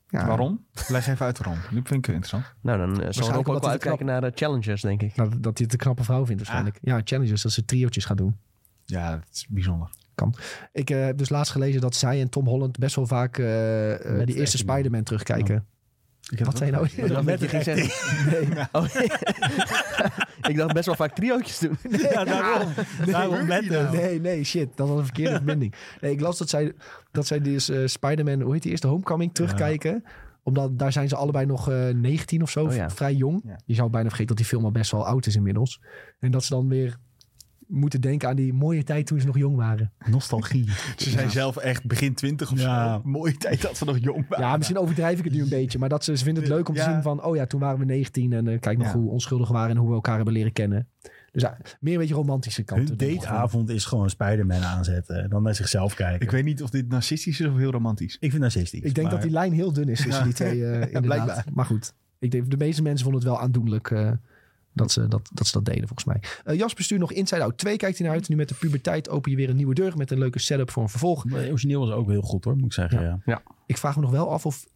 Ja,
Waarom? Leg even uit waarom. Nu vind ik het interessant.
Nou, dan eh, zal
Waarschijnlijk
Rob ook
omdat
wel
hij te
uitkijken naar eh, Challengers, denk ik.
Nou, dat hij het een knappe vrouw vindt waarschijnlijk. Ja, Challengers, dat ze triootjes gaat doen.
Ja, dat is bijzonder.
Ik eh, heb dus laatst gelezen dat zij en Tom Holland best wel vaak eh, eh,
Met
die eerste
acting.
Spider-Man terugkijken.
Oh, Ik
Wat
heb het
zei je
ook-
nou?
Ik dacht
Met
dat je
de
ging zeggen- Nee. Oh, ik dacht best wel vaak triootjes doen.
ja, daarom. daarom met hem.
Ah, Nee, nee, shit. Dat was een verkeerde verbinding. Nee, ik las dat zij, dat zij dus eh, Spider-Man, hoe heet die eerste, Homecoming, terugkijken. Omdat daar zijn ze allebei nog eh 19 of zo,
Oh ja.
v- vrij jong.
Ja.
Je zou bijna vergeten dat die film al best wel oud is inmiddels. En dat ze dan weer moeten denken aan die mooie tijd toen ze nog jong waren.
Nostalgie.
Ze zijn zelf echt begin twintig of
Ja.
zo. Mooie tijd dat ze nog jong waren.
Ja, misschien overdrijf ik het nu een beetje. Maar dat ze, ze vinden het leuk om te
Ja.
zien van... oh ja, toen waren we 19 en eh, kijk nog
Ja.
hoe onschuldig we waren... en hoe we elkaar hebben leren kennen. Dus ja, meer een beetje romantische kant. doen
Hun
we nog wel.
dateavond is gewoon Spider-Man aanzetten. en Dan naar zichzelf kijken.
Ik
Ik,
weet niet of dit narcistisch is of heel romantisch.
vind narcistisch.
Ik denk
maar-
dat die lijn heel dun is tussen
Ja.
die twee. eh, inderdaad.
blijkbaar.
Maar goed, ik denk, de meeste mensen vonden het wel aandoenlijk eh, dat, ze dat, dat ze dat deden, volgens mij. Eh, Jasper stuurt nog Inside Out 2, kijkt hij naar uit. Nu met de puberteit open je weer een nieuwe deur met een leuke setup voor een vervolg.
Maar origineel was ook heel goed hoor, moet ik zeggen.
Ja.
Ja.
Ik vraag me nog wel af of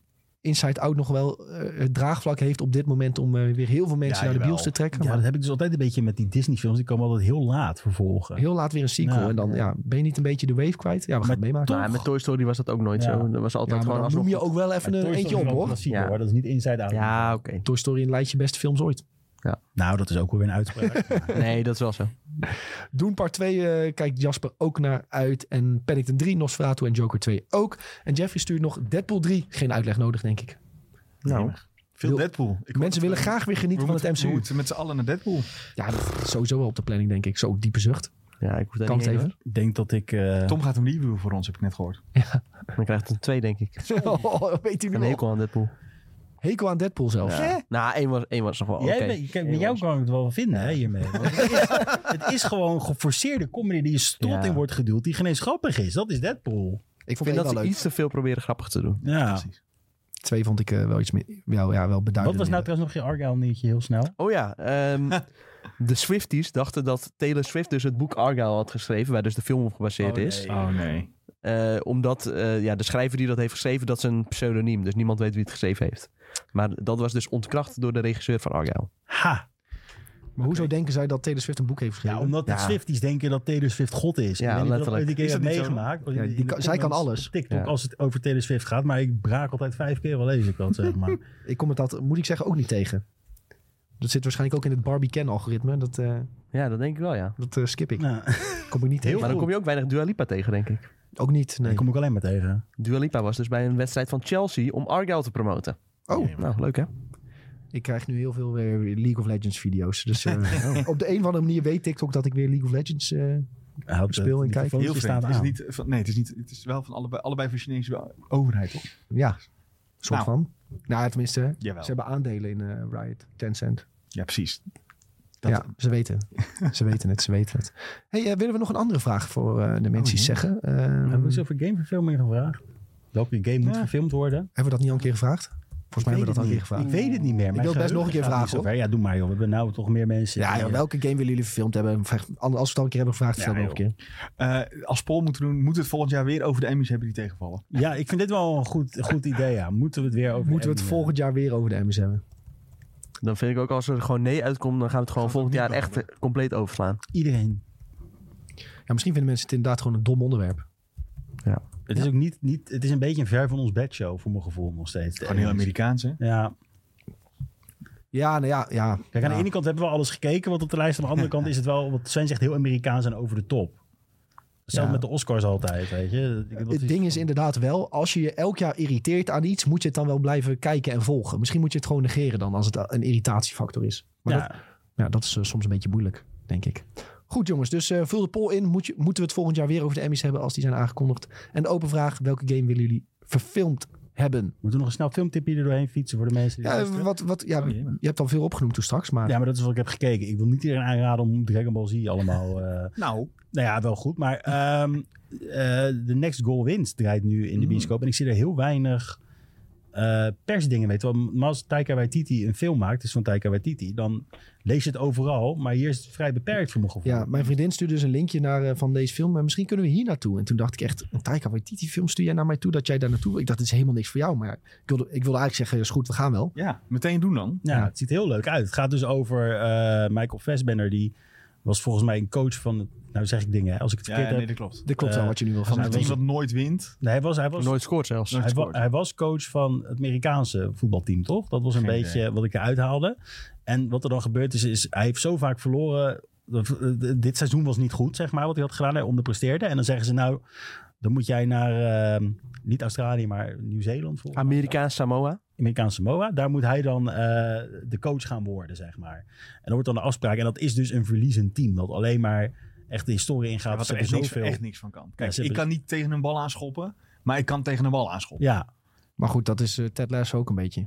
Inside Out nog wel eh, het draagvlak heeft op dit moment om eh, weer heel veel mensen
Ja,
naar de
jawel.
bios te trekken.
Ja,
maar
dat heb ik dus altijd een beetje met die Disney-films. Die komen altijd heel laat vervolgen.
heel laat weer een sequel.
Ja.
En dan ja, ben je niet een beetje de wave kwijt? Ja, we gaan
Maar
het meemaken.
toch-
Maar met Toy Story was dat ook nooit
Ja.
zo. Dat was
Ja,
altijd
maar
gewoon
dan
alsnog...
noem je ook wel even
Maar
een
Toy Story
eentje op,
is wel een
hoor.
klassieker,
Ja.
hoor. Dat is niet Inside Out.
Ja, oké.
Toy Story een lijstje beste films ooit.
Nou, dat is ook wel weer een uitspraak. Maar
Nee, dat is wel zo.
Doen part 2 eh, kijkt Jasper ook naar uit. En Paddington 3, Nosferatu en Joker 2 ook. En Jeffrey stuurt nog Deadpool 3. Geen uitleg nodig, denk ik.
Nou,
Veel
Wil-
Deadpool. Ik
Mensen willen graag weer
we
genieten van
moeten-
het
We
MCU.
moeten met z'n allen naar Deadpool.
Ja, dat is sowieso wel op de planning, denk ik. Zo diepe zucht.
ja, ik hoef daar
Kan
niet
het
heen,
even.
Ik denk dat ik... eh,
Tom gaat hem reviewen voor ons, heb ik net gehoord.
hoor. Dan krijgt het een twee, denk ik.
Oh, weet u nu
Een
hekel.
hekel aan Deadpool.
hekel aan Deadpool zelfs.
Ja. Nou, één was, één was nog wel oké.
Jij bent- kijk, met
Eén
jou
was-
kan ik het wel vinden hè, hiermee. Want Het is, het is gewoon geforceerde comedy die je strot
Ja.
in wordt geduwd. Die geen eens grappig is. Dat is Deadpool.
Ik
Ik
vond
vind
het
dat
wel
ze
leuk.
iets te veel proberen grappig te doen.
Ja.
Precies.
Twee vond ik eh, wel iets meer, wel, ja, wel
Wat
beduidend.
was
minder.
nou trouwens nog je Argyle-nieuwtje heel snel?
Oh ja, ehm, de Swifties dachten dat Taylor Swift dus het boek Argyle had geschreven, waar dus de film op gebaseerd
Oh,
is.
nee.
Oh nee.
Eh, omdat eh, ja, de schrijver die dat heeft geschreven, dat is een pseudoniem. Dus niemand weet wie het geschreven heeft. Maar dat was dus ontkracht door de regisseur van Argyle.
Ha!
Maar hoezo denken zij dat Taylor Swift een boek heeft
Ja,
geschreven?
omdat de
Ja.
Swifties denken dat Taylor Swift God is.
Ja,
ik weet niet of dat
letterlijk.
ooit een keer
Is
heb
dat niet zo?
meegemaakt. want
Ja,
in de-
die
in de
kan- zij kan
comments
alles.
op TikTok
Ja.
als het over Taylor Swift gaat. Maar ik braak altijd vijf keer wel lees ik dat, zeg maar.
Ik kom het dat, moet ik zeggen, ook niet tegen. Dat zit waarschijnlijk ook in het Barbie Ken-algoritme. Dat, eh,
Ja, dat denk ik wel, ja.
dat eh, skip ik.
Nou,
Kom ik niet
Heel
tegen.
Maar dan kom je ook weinig Dua Lipa tegen, denk ik.
Ook niet,
Daar
nee.
kom ik alleen maar tegen.
Dua Lipa was dus bij een wedstrijd van Chelsea om Argyle te promoten.
Oh,
Nou, leuk hè?
Ik krijg nu heel veel weer League of Legends video's. Dus eh, op de een of andere manier weet TikTok dat ik weer League of Legends... eh,
Hij had, eh,
Speel en
die
kijk.
telefoontje
Heel
staat
vreemd. Is
aan.
het niet, van, nee, het is, niet, het is wel van allebei, allebei van Chinese overheid, toch?
ja, soort
Nou.
van. Nou, tenminste,
Jawel.
ze hebben aandelen in eh, Riot, Tencent.
Ja, precies. Dat-
ja, ze weten. ze weten het, ze weten het. hey, eh, willen we nog een andere vraag voor eh,
Oh,
de mensen die zeggen? Ehm,
Hebben we
hebben
eens over gameverfilming gevraagd? Welke game moet
Ja.
verfilmd worden?
we dat niet al een keer gevraagd? Volgens mij hebben we dat al een keer
Ik
gevraagd.
weet het niet meer.
wil het best nog een keer vragen, hoor.
Hoor. Ja, doe maar joh. We hebben nou toch meer mensen.
Ja, ja, welke game willen jullie verfilmd hebben? Vraag- Als we het al een keer hebben gevraagd,
Ja,
vertel dan nog een keer.
Eh, als Paul moeten doen, moet het volgend jaar weer over de Emmys hebben die tegenvallen.
Ja, ik vind dit wel een goed, goed idee. Ja. Moeten we het weer over... eh,
Moeten we het
en,
volgend jaar weer over de Emmys hebben?
Dan vind ik ook als er gewoon nee uitkomt, dan gaan we het gewoon
Gaan we
volgend jaar
niet
echt eh, compleet overslaan.
eh, Iedereen.
Ja, misschien vinden mensen het inderdaad gewoon een dom onderwerp.
Het is ook niet, niet... Het is een beetje een ver van ons bedshow, voor mijn gevoel nog steeds. Eh,
Gewoon heel Amerikaans, hè?
Ja.
Ja, nou ja, ja.
Kijk, aan
Ja.
de ene kant hebben we alles gekeken. Want op de lijst aan de andere kant is het wel... Wat Sven zegt, heel Amerikaans en over de top. Zelfs
Ja.
met de Oscars altijd, weet je. Ik- dat
Het ding is inderdaad wel, als je je elk jaar irriteert aan iets, moet je het dan wel blijven kijken en volgen. Misschien moet je het gewoon negeren dan, als het een irritatiefactor is. Maar
Ja,
dat, ja, dat is eh, soms een beetje moeilijk, denk ik. Goed jongens, dus eh, vul de poll in. Moet je, moeten we het volgend jaar weer over de Emmys hebben als die zijn aangekondigd? En de open vraag, welke game willen jullie verfilmd hebben?
Moeten we nog een snel filmtipje er doorheen fietsen voor de mensen die
Ja,
luisteren?
wat, wat, ja,
Oh, jee, maar-
je hebt al veel opgenoemd toen straks, maar...
Ja, maar dat is wat ik heb gekeken. Ik wil niet iedereen aanraden om Dragon Ball Z allemaal... eh,
Nou,
nou ja, wel goed. Maar ehm, eh, de Next Goal Wint draait nu in de
Mm.
bioscoop. En ik zie er heel weinig eh, persdingen mee. Terwijl als Taika Waititi een film maakt, dus van Taika Waititi... dan lees je het overal. Maar hier is het vrij beperkt voor mijn gevoel.
Ja, mijn vriendin stuurde dus een linkje naar, eh, van deze film. Maar misschien kunnen we hier naartoe. En toen dacht ik echt, een Taika Waititi film stuur jij naar mij toe dat jij daar naartoe wil? Ik dacht, dit is helemaal niks voor jou. Maar ik wilde, ik wilde eigenlijk zeggen, is goed, we gaan wel.
ja, meteen doen dan.
Ja,
Ja.
Nou, het ziet er heel leuk uit. Het gaat dus over eh, Michael Fassbender. Die was volgens mij een coach van... het- Nou zeg ik dingen, hè, als ik het
Ja,
verkeerd heb.
nee, dat klopt.
Dat klopt wel
Eh,
wat je nu wil
Van
gaan
een
hij was-
team dat nooit wint.
Nee, hij was... Hij was
Nooit scoort zelfs.
Nooit
Hij, wa-
gescoord.
hij was coach van het Amerikaanse voetbalteam, toch? Dat was een
Geen
beetje wat ik eruit haalde. En wat er dan gebeurd is, is hij heeft zo vaak verloren. Dat- eh, Dit seizoen was niet goed, zeg maar, wat hij had gedaan. Hij onderpresteerde. En dan zeggen ze, nou, dan moet jij naar, ehm, niet Australië, maar Nieuw-Zeeland. volgens mij.
Amerikaans Samoa.
Amerikaanse MOA. Daar moet hij dan eh, de coach gaan worden, zeg maar. En dan wordt dan de afspraak. En dat is dus een verliezend team. Dat alleen maar echt de historie ingaat.
wat
Ze
er echt
hebben
niks,
zoveel-
echt niks van kan. Kijk,
ze
ik
hebben-
kan niet tegen een bal aanschoppen, maar ik kan tegen een bal aanschoppen.
Ja,
Maar goed, dat is eh, Ted Lasso ook een beetje.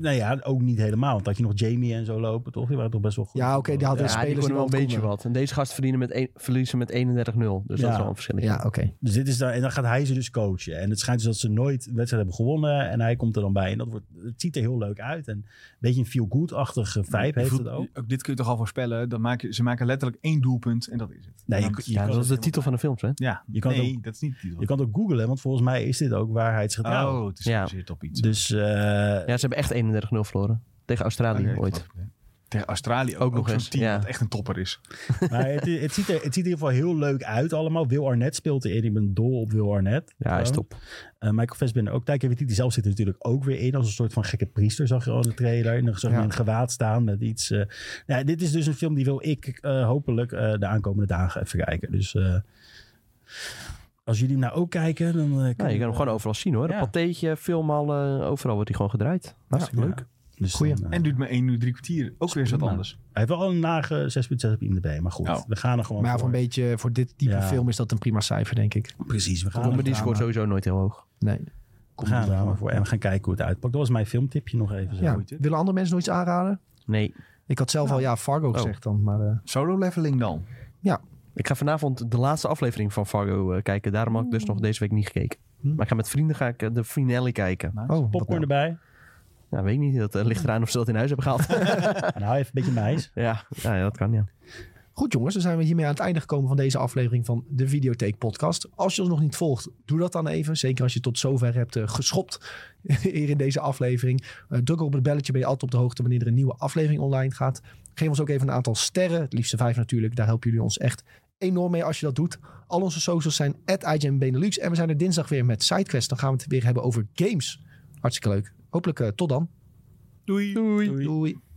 nou ja, ook niet helemaal. Want had je nog Jamie en zo lopen, toch? Die waren toch best wel goed.
Ja, oké, die hadden-
Ja,
de
ja, die
spelers
konden wel
die wel
een beetje
konden.
wat. En deze gast verdienen met een, verliezen met 31-0. Dus dat
Ja.
is wel een verschil.
Ja, oké.
Dus dit is dan, en dan gaat hij ze dus coachen. En het schijnt dus dat ze nooit een wedstrijd hebben gewonnen. En hij komt er dan bij. En dat wordt, het ziet er heel leuk uit. En een beetje een feel-good-achtige vibe heeft het ook.
dit kun je toch al voorspellen. Dan maak je, ze maken letterlijk één doelpunt en dat is het.
Nee,
Dan-
je- je
Ja,
kan
dat is de
het-
titel van de film, hè?
ja,
je kan het
nee, dat is niet de titel.
Je kan het ook googlen, want volgens mij is dit ook waar hij het is gedaan.
oh, het is
Ja.
gebaseerd op iets.
Dus eh,
Ja, ze hebben echt 31-0 verloren. Tegen Australië
Oké,
ooit.
Ah, klopt, ja. Tegen Australië ook,
Ook nog
nog zo'n
eens,
team
ja.
dat echt een topper is.
maar het, het, ziet er, het ziet er in ieder geval heel leuk uit allemaal. Wil Arnett speelt erin. Ik ben dol op Wil Arnett.
Ja, is
Zo.
top.
Eh, Michael Fassbender ook. Taika Waititi zelf zit er natuurlijk ook weer in. Als een soort van gekke priester zag je al in de trailer. En dan zag je
Ja.
een gewaad staan met iets. eh. Nou, dit is dus een film die wil ik eh, hopelijk eh, de aankomende dagen even kijken. Dus eh, als jullie hem nou ook kijken, dan... eh,
Nou, je kan hem gewoon overal zien, hoor.
Ja.
Een patheetje, film al, eh, overal wordt hij gewoon gedraaid. Hartstikke
Ja.
leuk.
dus
Goeie.
dan, eh,
En duurt maar 1 uur drie kwartier. Ook weer eens wat
prima.
anders.
Hij heeft wel een lage 6.6 op IMDb. Maar goed,
Nou.
Oh.
we gaan er gewoon
Maar ja, voor
voor.
een beetje, eh, voor dit type
Ja.
film is dat een prima cijfer, denk ik.
Precies, we gaan er
Comedy
drama-
scoort sowieso nooit heel hoog.
Nee.
we gaan er drama voor. En we gaan kijken hoe het uitpakt. Dat was mijn filmtipje nog even. Zo.
Ja.
goed, hè?
Willen andere mensen nog iets aanraden?
Nee.
Ik had zelf al, ja, Fargo gezegd dan. Maar eh,
Solo leveling dan.
Ik ga vanavond de laatste aflevering van Fargo eh, kijken. Daarom had ik dus nog deze week niet gekeken. Maar ik ga met vrienden ga ik, eh, de finale kijken.
Nice.
oh, wat
Popcorn
nou?
erbij.
Nou, weet ik niet. Dat eh, ligt eraan of ze dat in huis hebben gehaald.
En hou Nou, even een beetje meis.
ja, ja, dat kan, ja.
Goed jongens, dan zijn we hiermee aan het einde gekomen van deze aflevering van de Videotheek Podcast. Als je ons nog niet volgt, doe dat dan even. Zeker als je tot zover hebt eh, geschopt hier in deze aflevering. Eh, druk op het belletje, ben je altijd op de hoogte wanneer er een nieuwe aflevering online gaat. Geef ons ook even een aantal sterren, het liefste vijf natuurlijk. Daar helpen jullie ons echt enorm mee als je dat doet. Al onze socials zijn at Benelux. En we zijn er dinsdag weer met SideQuest. Dan gaan we het weer hebben over games. Hartstikke leuk. Hopelijk eh, tot dan.
Doei.
Doei.